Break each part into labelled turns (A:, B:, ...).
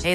A: Hey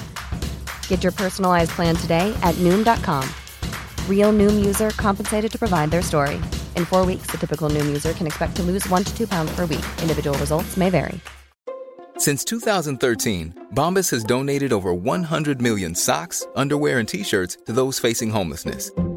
B: Get your personalized plan today at Noom.com. Real Noom user compensated to provide their story. In four weeks, the typical Noom user can expect to lose one to two pounds per week. Individual results may vary.
C: Since 2013, Bombas has donated over 100 million socks, underwear, and t shirts to those facing homelessness.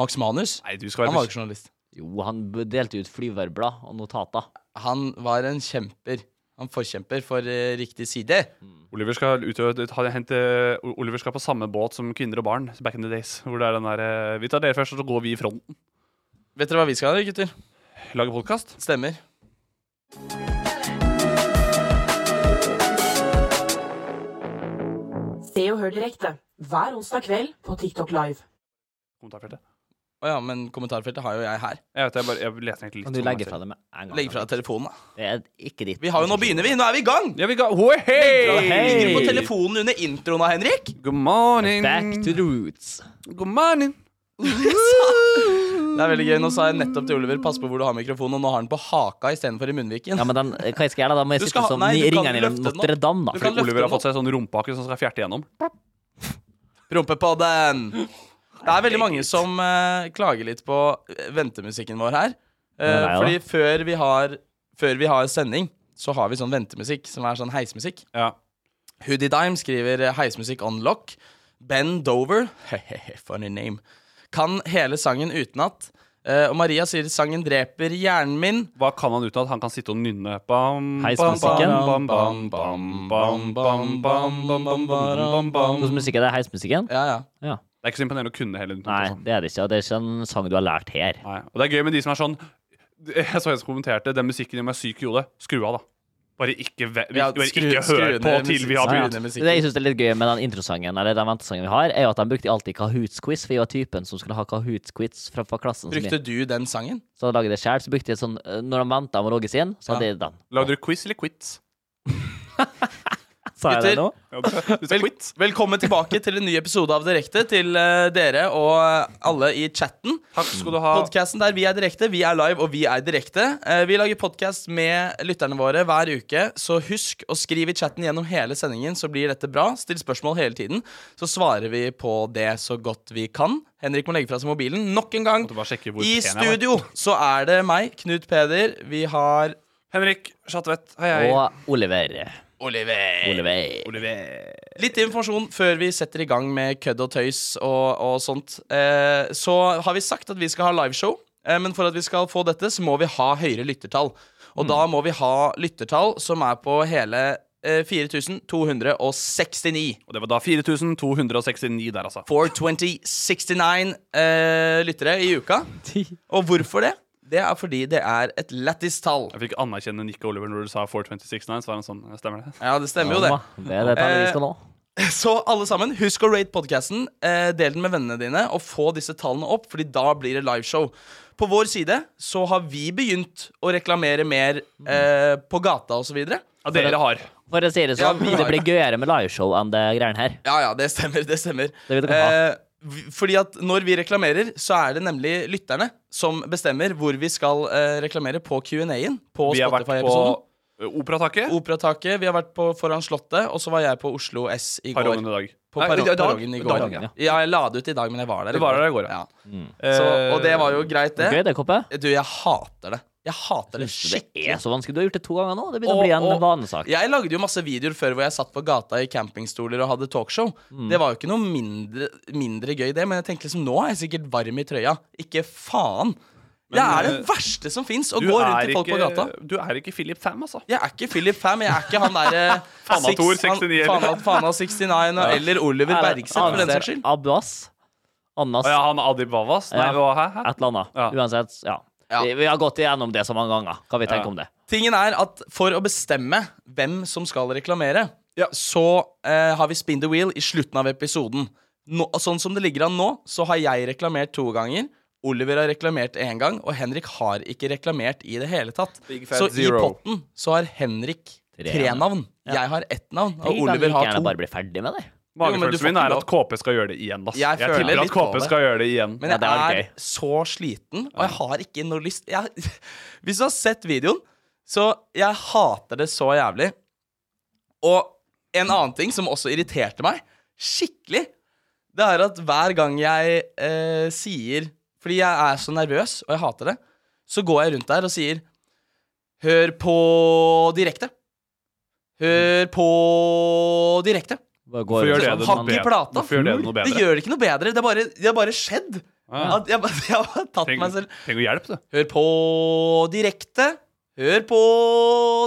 D: Max Manus?
E: Nei, du skal
D: Han var
E: være
D: jo journalist.
F: Jo, han b- delte ut flyverblad og notater.
D: Han var en kjemper. Han forkjemper for eh, riktig side.
E: Oliver skal ut og ut- ha- hente O- Oliver skal på samme båt som kvinner og barn back in the days. Hvor det er den der eh, Vi tar dere først, og så går vi i fronten.
D: Vet dere hva vi skal gjøre, gutter?
E: Lage podkast.
D: Stemmer.
G: Se og hør direkte hver onsdag kveld på TikTok Live.
E: Kommentarfeltet.
D: Å ja, men kommentarfeltet har jo jeg her.
E: Jeg vet, jeg bare jeg leter egentlig litt.
F: Kan du
E: sånn
F: legge
E: meg
F: fra deg med en gang?
D: Legg fra deg telefonen, da.
F: Det er ikke ditt.
D: Vi har jo, Nå begynner vi! Nå er vi i gang!
E: selv. Ja, vi ga Hoi,
F: Legg fra
D: Ligger
F: deg.
D: du på
F: Hey.
E: hei!
D: telefonen under introen da, Henrik?
E: Good morning.
F: Back to the roots.
E: Good morning.
D: Det er veldig gøy. Nå sa jeg nettopp til Oliver pass på hvor du har mikrofonen, og nå har den på haka istedenfor i munnviken.
F: Ja, men den, hva jeg skal gjøre da? Da må jeg
D: Du
F: sitte
D: skal ha-
F: som
D: nei, du kan
F: ringene i
D: løfte den opp.
F: Notre Dame, da.
D: Du kan
E: Fordi
D: løfte
E: Oliver har
D: den
E: fått seg sånn rumpeake som skal fjerte gjennom.
D: Rumpepodden! Det er veldig mange som eh, klager litt på eh, ventemusikken vår her. Eh,
F: Det er deg,
D: fordi før vi, har, før vi har sending, så har vi sånn ventemusikk som er sånn heismusikk.
E: Ja.
D: Hoodie Dime skriver eh, heismusikk on lock. Ben Dover funny name. Kan hele sangen utenat. Eh, og Maria sier 'sangen dreper hjernen min'.
E: Hva kan han uten at han kan sitte og nynne? Bam,
F: Heismusikken.
E: bam, bam, bam, bam, bam, bam, bam, bam, bam, bam, bam.
F: Hvordan musikk er Sånn det? Heismusikken?
D: Ja, ja. Sånn.
F: Ja.
E: Det er ikke så imponerende å kunne heller. utenat,
F: Nei,
E: altså.
F: det er det ikke. og Det er ikke en sang du har lært her.
E: Nei. Og det er gøy med de som er sånn Jeg så en som kommenterte den musikken gjør meg syk i hodet. Skru av, da. Bare ikke, ve-
D: Ja,
E: bare
D: skru-
E: ikke
D: skru
E: hør
D: ned
E: på til vi
F: Nei, ja.
D: musikken.
E: har begynt.
D: ned
F: Det
D: musikken.
F: jeg syns er litt gøy med den introsangen, eller den ventesangen vi har, er jo at de brukte alltid Kahoots-quiz. For jeg var typen som skulle ha Kahoots-quiz fra, fra klassen. Som jeg,
D: Brukte du den sangen?
F: så hadde jeg laget det selv, så brukte jeg sånn eh, Når de venta med å logge seg inn, så hadde jeg den.
E: Lagde du quiz eller quits?
F: Sa jeg det
D: Gutter,
F: nå?
E: Ja, du sa du sa
D: Vel,
E: quits.
D: velkommen tilbake til en ny episode av Direkte til eh, dere og eh, alle i chatten.
E: Takk skal du ha.
D: Podcasten der vi er direkte, vi er live og vi er direkte. Eh, Vi lager podkast med lytterne våre hver uke, så husk å skrive i chatten gjennom hele sendingen, så blir dette bra. Still spørsmål hele tiden, så svarer vi på det så godt vi kan. Henrik må legge fra seg mobilen nok en gang.
E: Måtte bare sjekke hvor
D: I
E: pen jeg var.
D: studio så er det meg, Knut Peder. Vi har
E: Henrik Schatvedt. Hei, hei.
F: Og Oliver.
D: Oliver.
F: Oliver.
E: Oliver.
D: Litt informasjon før vi setter i gang med kødd og tøys og, og sånt. Eh, så har vi sagt at vi skal ha liveshow, eh, men for at vi skal få dette, så må vi ha høyere lyttertall. Og da må vi ha lyttertall som er på hele eh, 4269.
E: Og det var da 4269 der, altså.
D: 42069 eh, lyttere i uka. Og hvorfor det? Det er fordi det er et lættis tall.
E: Jeg fikk anerkjenne Nick og Oliver når du sa 426.9, så var han sånn "Ja, Stemmer det?
D: Ja, det stemmer jo, det.
F: Det er det
D: Eh,
F: tallet vi skal nå.
D: Så alle sammen, husk å rate podcasten, eh, del den med vennene dine, og få disse tallene opp, fordi da blir det liveshow. På vår side så har vi begynt å reklamere mer eh, på gata osv. Ja,
E: Ja, dere har.
F: For å si det
D: Ja,
F: sånn,
D: vi har-
F: det blir gøyere med liveshow enn det greiene her.
D: ja, det stemmer. det stemmer
F: Det vil dere ha.
D: Eh, v- Fordi at når vi reklamerer, så er det nemlig lytterne som bestemmer hvor vi skal eh, reklamere på Q&A-en på
E: Vi har vært på
D: Spotify-episoden.
E: eh, Operataket.
D: Operataket, vi har vært på Foran Slottet, og så var jeg på Oslo S i går.
E: Parongen i dag.
D: På
E: Nei,
D: paro
E: i dag.
D: Parongen i går.
E: Dagen, ja.
D: ja. jeg la det ut i dag, men jeg var der
E: Du var der i går, ja.
D: ja. Så,
E: Eh,
D: og det var jo greit, det.
F: Gøy det, Koppe.
D: Du, jeg hater det. Jeg hater det
F: Det
D: skikkelig.
F: er så vanskelig. Du har gjort det to ganger nå. Det begynner
D: Og-
F: å bli en
D: og-
F: vanesak.
D: Jeg lagde jo masse videoer før hvor jeg satt på gata i campingstoler og hadde talkshow. Det var jo ikke noe mindre, mindre gøy, det, men jeg tenkte liksom nå er jeg sikkert varm i trøya. Ikke faen! det er det
E: eh,
D: verste som fins, å
E: Du
D: gå rundt
E: er
D: til folk på
E: ikke-
D: gata.
E: Du er ikke Philip Pham, altså.
D: Jeg er ikke Philip Pham, jeg er ikke han eh, derre
E: Fana Thor 69.
D: Fana 69 og, eller Oliver
F: Er det-
D: Bergseth, for den
F: Anser
D: saks skyld.
F: Abbas. Annas.
E: Å ja, han Adib Wawaz? Nei,
F: Ja.
E: hva- hæ? hæ?
F: Et eller annet.
E: Ja.
F: Uansett, ja.
D: Ja.
F: Vi, vi har gått igjennom det så mange ganger. Hva vi tenker
E: Ja.
F: om det?
D: Tingen er at for å bestemme hvem som skal reklamere, så eh, har vi spin the wheel i slutten av episoden. Nå, sånn som det ligger an nå, så har jeg reklamert to ganger. Oliver har reklamert én gang, og Henrik har ikke reklamert i det hele tatt.
E: Big fat
D: Så
E: zero.
D: i potten så har Henrik
F: Tre
D: tre navn. Jeg har ett navn, og Oliver
F: like
D: har
F: gjerne
D: to.
F: bare bli ferdig med det.
D: Jo, men du
E: Magefølelsen
D: får
E: min
D: ikke
E: er
D: lov.
E: at KP skal gjøre det igjen. Ass.
D: Jeg
E: Jeg,
D: føler
E: tipper
D: litt
E: at
D: på
E: KP
D: det.
E: skal gjøre det igjen.
D: Men jeg
F: det hadde vært
D: er
F: gøy.
D: så sliten, og jeg har ikke noe lyst jeg, Hvis du har sett videoen, så jeg hater det så jævlig. Og en annen ting som også irriterte meg skikkelig, det er at hver gang jeg eh, sier Fordi jeg er så nervøs, og jeg hater det, så går jeg rundt der og sier Hør på direkte. Hør på direkte.
F: Bare
E: Hvorfor
F: går
E: gjør
F: rundt
E: det
F: sånn.
E: det
D: Hakk
E: noe
D: i
E: bedre?
D: plata.
E: Hvorfor gjør det det noe bedre?
D: Det gjør det ikke noe bedre. Det har bare, det har bare skjedd.
E: Ah.
D: At jeg, bare- jeg har tatt meg
E: Trenger
D: selv
E: trenger hjelp, du.
D: Hør på direkte. Hør på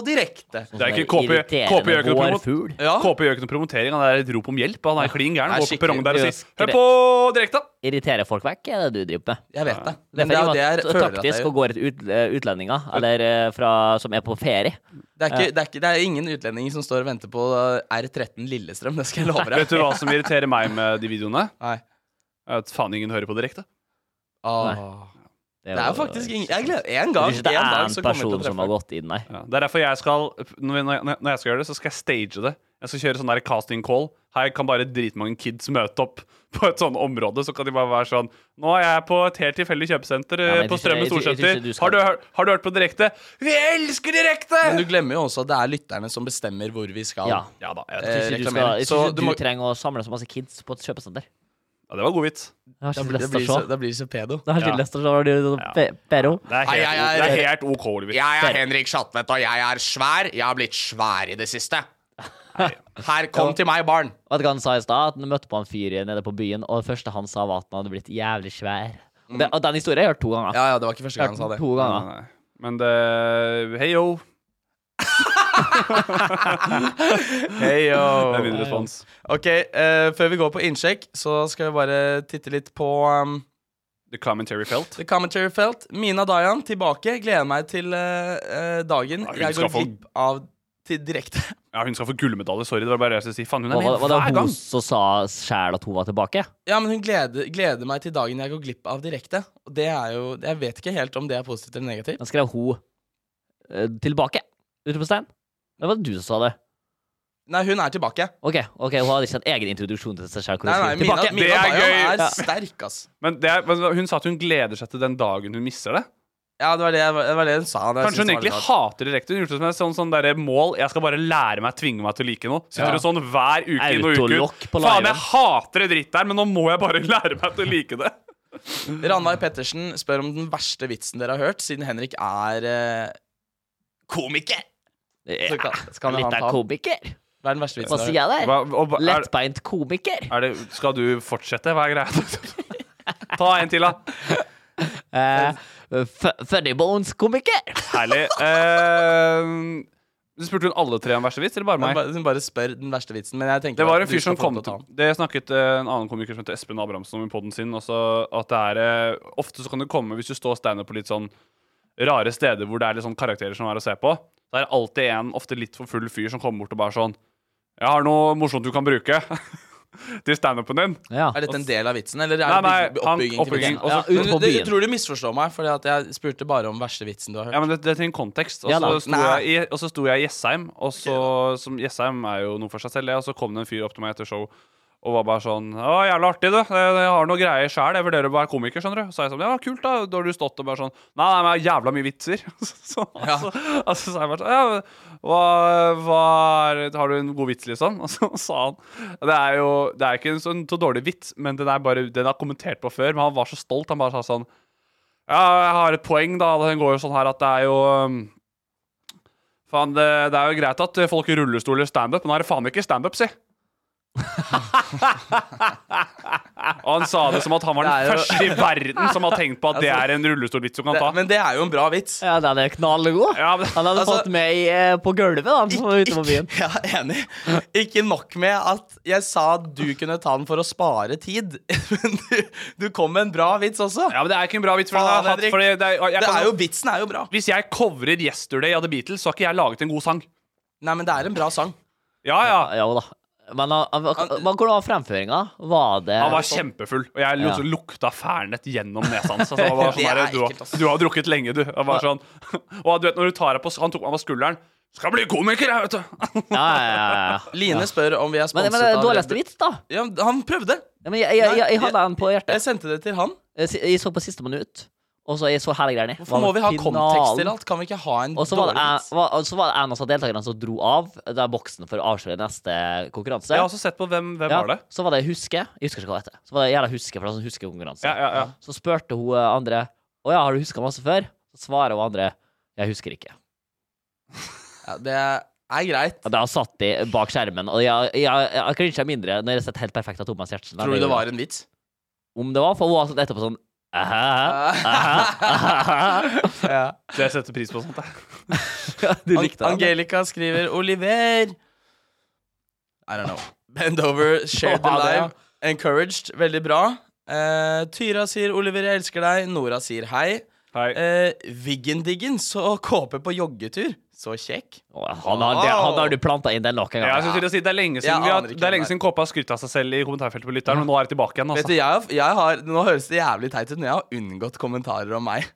D: direkte.
E: Det er ikke
F: Sånn
E: KP. KP gjør ikke noe
F: irriterende
E: promo-
F: vårfugl.
D: Ja.
E: KP gjør ikke noe promotering. Han er et rop om hjelp. Han er klin gæren.
D: Nei,
E: Går på perrongen der
F: skikkelig.
E: og sier 'Hør
F: Det-
E: på direkte'.
F: Irritere folk vekk er det du driver med.
D: Jeg vet det.
F: Det er, fordi
D: Men det er jo
F: man
D: det jeg føler at jeg
F: taktisk å
D: gjør.
F: gå etter ut, eh, utlendinger eller, eh, fra, som er på ferie.
D: Det er, ikke, det, er ikke, det er ingen utlendinger som står og venter på eh, R13 Lillestrøm. Det skal jeg love
E: Vet
D: deg.
E: du hva som irriterer meg med de videoene?
D: Nei.
E: At faen ingen hører på direkte.
D: Åh. Ah, Det er jo faktisk ingen jeg gleder, En
F: Det
D: gang,
F: er ikke
D: en
F: det er
D: dag, så
F: en
D: kommer jeg til å
F: person som har
D: treffe.
F: gått inn, nei.
E: Ja. Det er derfor jeg skal når, når, når jeg skal gjøre det, så skal jeg stage det. Jeg skal kjøre sånn der casting call. Her kan bare dritmange kids møte opp på et sånn område. Så kan de bare være sånn Nå er jeg på et helt tilfeldig kjøpesenter
F: men
E: eh,
F: jeg tror ikke-
E: på Strømmen
F: jeg tror- jeg tror
E: Storsenter.
F: ikke du skal-
E: Har, du hør- har du hørt på direkte? Vi elsker direkte!
D: Men du glemmer jo også at det er lytterne som bestemmer hvor vi skal.
F: Ja.
E: Ja da.
D: Eh,
F: Jeg tror
E: Jeg,
F: ikke du, skal,
D: reklamerer.
F: jeg
D: Så
F: tror ikke du
D: du må-
F: trenger å samle så masse kids på et kjøpesenter.
E: ja, det var god vits.
F: Jeg har
D: Da
F: ikke
D: blir,
F: lyst
D: det
F: til
D: blir så,
F: å se.
D: da blir det så pedo.
F: Jeg har
E: Ja.
F: ikke lyst til å se. Pe- sånn Pero.
E: Det
D: Nei,
E: er helt,
D: jeg
E: det
D: er-
E: er helt OK, Oliver.
D: Jeg er Henrik Schatvedt, og jeg er svær. Jeg har blitt svær i det siste. Her, kom til meg, barn.
F: Vet du hva han sa i stad? At Han møtte på en fyr nede på byen, og det første han sa, var at han hadde blitt jævlig svær. Og, det, og den historien har jeg hørt to ganger.
D: Mm. Ja, ja, det var ikke første
F: Jeg
D: gang
F: har
D: han
F: hørt
D: sa det.
F: den
D: Mm.
F: to ganger.
E: Nei, nei. Men det Hei yo.
D: Hei, yo.
E: Det er min respons.
D: Ok, eh, før vi går på innsjekk, så skal vi bare titte litt på um,
E: The commentary felt.
D: The Commentary Felt. Mina Dayan tilbake. Gleder meg til eh, eh, dagen
E: Ja, hun
D: jeg
E: skal
D: går
E: få-
D: glipp av til direkte.
E: Ja, hun skal få gullmedalje. Sorry, det var bare det jeg skulle si. Faen, hun er
F: Og,
E: med
F: var det
E: hver
F: hun
E: gang.
F: som sa sjæl at hun var tilbake?
D: Ja, men hun gleder, gleder meg til dagen jeg går glipp av direkte. Og det er jo Jeg vet ikke helt om det er positivt eller negativt.
F: Da skrev hun eh, 'tilbake'. Utropstegn. Det var du som sa det.
D: Nei, hun er tilbake.
F: Ok, ok, hun hadde ikke en egen introduksjon til seg sjæl.
D: Nei, nei, Mina,
E: Tilbake.
D: Mina
E: Det er
D: Dayan
E: gøy.
D: er sterk, ass.
E: Men, det er, men hun sa at hun gleder seg til den dagen hun misser det.
D: Ja, det var det, det, var det hun sa. det jeg
E: Kanskje hun
D: synes det
E: egentlig
D: var litt rart.
E: hater direkte. Hun gjorde det som et sånn, sånn derre mål. Jeg skal bare lære meg, tvinge meg til å like noe. Sitter
D: Ja.
E: du sånn hver uke inn og uke
F: Autolokk
E: ut.
F: på
E: Faen,
F: liven.
E: jeg hater det dritt der, men nå må jeg bare lære meg til å like det.
D: Ranveig Pettersen spør om den verste vitsen dere har hørt, siden Henrik er eh, komiker. Så kan, så kan han
F: Litt av
D: ta opp.
F: komiker.
D: Hva er den verste
F: Hva
D: vitsen
F: sier
D: dere
F: jeg der?
D: har hørt?
E: Hva, og, hva- er,
F: Lettbeint komiker.
E: er det, skal du fortsette? Hva er greia? Ta en til, da.
F: Eh, fu- Funnybones-komiker.
E: Herlig. Eh, spurte hun alle tre om verste vits, eller bare
D: Hun
E: meg?
D: bare, hun bare spør den verste vitsen, men jeg tenker
E: Det var en
D: at du
E: fyr
D: skal
E: som
D: få
E: kom
D: lov
E: til
D: å ta den.
E: Det snakket eh, en annen komiker som heter Espen Abrahamsen om i poden sin. Også, at det er, eh, ofte så kan det komme, hvis du står standup på litt sånn rare steder hvor det er litt sånn karakterer som er å se på, så er det alltid en ofte litt for full fyr som kommer bort og bare sånn 'Jeg har noe morsomt du kan bruke til standupen din.'
F: Ja.
D: Er dette en del av vitsen, eller er
E: Nei,
D: det
E: nei,
D: bygge-
E: han-
D: oppbygging? til
E: oppbygging,
D: vitsen?
E: og så-
D: Men
F: ut på
D: du- Jeg
F: byen.
D: tror du misforstår meg, Fordi at jeg spurte bare om verste vitsen du har hørt.
E: Ja, men det, det er til en kontekst. Og
F: Ja da.
E: så sto
D: Nei.
E: jeg i- og så sto jeg i Jessheim, og så som Jessheim er jo noe for seg selv, det, og så kom det en fyr opp til meg etter show Og var bare sånn Å, jævla artig, du. Jeg, jeg har noe greier sjæl. Jeg vurderer å være komiker, skjønner du. Så er jeg sånn Ja, kult, da. Da har du stått og bare sånn Nei, nei, men jeg har jævla mye vitser. så,
D: Ja.
E: altså, altså, så er jeg bare sånn Ja, men hva, hva er Har du en god vits, liksom? Og så sa han Det er jo Det er ikke en sånn så dårlig vits, men den er bare Den er kommentert på før. Men han var så stolt. Han bare sa sånn Ja, jeg har et poeng, da. Den går jo sånn her at det er jo um, Faen, det, det er jo greit at folk i rullestol gjør standup, men nå er det faen ikke standup, si. og han sa det som at han var den
D: Det er jo-
E: første i verden som har tenkt på at det er en rullestolvits du kan
D: Det,
E: ta.
D: men det er jo en bra vits.
F: Ja, den er knallgod.
E: Ja, men-
F: Han hadde
D: altså-
F: fått meg eh, på gulvet, da. Som var ute på byen.
D: Ja, enig. Ikke nok med at jeg sa at du kunne ta den for å spare tid, men du, du kom med en bra vits også.
E: Ja, men det er ikke en bra vits. For
D: Faen,
E: den har jeg hatt,
D: Henrik.
E: fordi det er, jeg
D: det
E: kan,
D: er jo, vitsen er jo bra.
E: Hvis jeg covrer 'Yesterday' av The Beatles, så har ikke jeg laget en god sang.
D: Nei, men det er en bra sang.
E: Ja, ja.
F: Ja da. Men han- han- han- hvordan var fremføringa? Var det
E: Han var kjempefull, og
F: Ja.
E: jeg liksom lukta fernet gjennom nesa hans. Altså, han var
D: Det
E: sånn
D: er
E: der, du,
D: ekkelt,
E: har,
D: ass.
E: du har drukket lenge, du. Han var sånn Og du vet, når du tar deg på Han tok meg på skulderen. Skal bli komiker, jeg, vet du.
F: Ja, ja, ja, ja.
D: Line spør om vi
F: Men,
D: er sponset
F: men det er
D: av Red
F: dårligste
D: Bull.
F: vits, da.
D: Ja, han prøvde.
F: Ja, men jeg, jeg, jeg, jeg hadde den på
D: Jeg
F: hjertet.
D: sendte det til han.
F: Jeg, jeg så på siste minutt, og så jeg så hele greiene.
D: Hvorfor må vi ha kontekst til alt? Kan vi ikke ha en
F: Og så var,
D: dårlig
F: det en,
D: vits?
F: var, og så var det en av deltakerne som dro av der boksen for å avsløre neste konkurranse.
E: Jeg har også sett på Hvem, hvem
F: Ja,
E: var det?
F: Så var det Huske. Jeg husker ikke hva det heter. Så var det jævla Huske, for det er sånn huskekonkurranse.
E: Ja, ja, ja.
F: Så spurte hun eh, andre Å ja, har du huska masse før? Så svarer hun andre Jeg husker ikke.
D: Ja, det er greit.
F: Og Da satt de bak skjermen, og jeg, jeg, jeg, jeg crincha mindre når jeg har sett helt perfekt av Thomas Giertsen.
D: Tror du det var en vits?
F: Om det var, for hun var sånn etterpå sånn «Æhæ, æhæ, æhæ».
D: Ja.
E: Så jeg setter pris på sånt. Jeg.
F: Du
D: An
F: likte det.
D: Angelica skriver Oliver I don't know. Bend over, share the
F: Ja, det, ja.
D: live. Encouraged. Veldig bra. Eh, Tyra sier 'Oliver, jeg elsker deg'. Nora sier hei.
E: Hei.
D: Uh, Viggendiggen så kåpe på joggetur. Så kjekk.
F: Å, Han har, det, han har du planta inn den nok en
E: Ja, jeg
F: gang.
E: skulle til å si, det er lenge siden,
D: Jeg
E: vi har,
D: aner ikke
E: det er
D: hvem
E: lenge
D: det er.
E: siden Kåpe har skrytt av seg selv i kommentarfeltet på lytteren, men nå er det tilbake igjen.
D: Vet du,
E: Altså.
D: jeg, har- jeg har, Nå høres det jævlig teit ut, men jeg har unngått kommentarer om meg.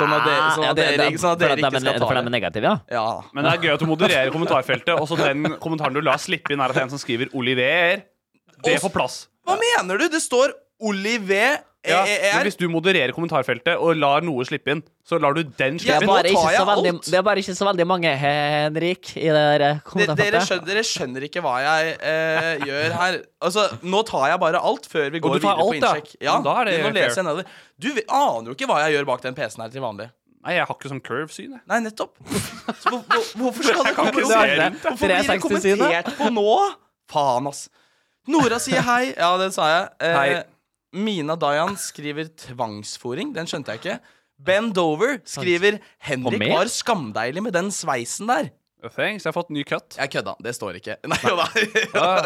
D: Sånn at
E: Ah,
D: dere- sånn
F: Ah, Ja,
D: at
F: det-
D: dere-
F: det-
D: sånn at dere
F: for
D: ikke
F: dem er-
D: skal ta
F: For
D: det.
F: dem er negative, ja?
D: Ja.
E: Men det er gøy at du modererer kommentarfeltet, og så den kommentaren du lar slippe inn, er at det er en som skriver 'Oliver'. Det får plass.
D: Hva mener du? Det står E- Oliver
E: Ja, men
D: EER.
E: hvis du modererer kommentarfeltet og lar noe slippe inn, så lar du den
F: Det er,
D: Ja,
E: slippe
D: Men
E: inn.
D: nå
F: bare ikke
D: tar
F: så
D: jeg
F: veldig,
D: alt.
F: det er bare ikke så veldig mange eh, Henrik i det der eh,
D: De- Dere
F: kommentarfeltet.
D: skjønner, dere skjønner ikke hva jeg eh, gjør her. Altså, Nå tar jeg bare alt før vi går
E: du tar
D: videre på
E: alt, ja?
D: innsjekk. Ja,
E: Men da er det
D: nå
E: fair.
D: leser jeg nedover. Du vi- aner jo ikke hva jeg gjør bak den PC-en her til vanlig.
E: Nei, jeg har ikke sånn curve-syn. jeg.
D: Nei, nettopp. Så hvor, hvor, hvorfor skal det
E: kan
D: komme
E: ikke
D: opp?
E: se rundt, da.
D: Hvorfor blir
F: 360-synet?
D: det kommentert på nå? Faen, ass. Nora sier hei. Ja, det sa jeg. Eh,
E: Hei.
D: Mina Dayan skriver tvangsfòring. Den skjønte jeg ikke. Ben Dover skriver 'Henrik
F: meg?
D: var skamdeilig med den sveisen der'.
E: Thanks, jeg har fått ny cut.
D: Jeg kødda. Det står ikke. Nei, jo da.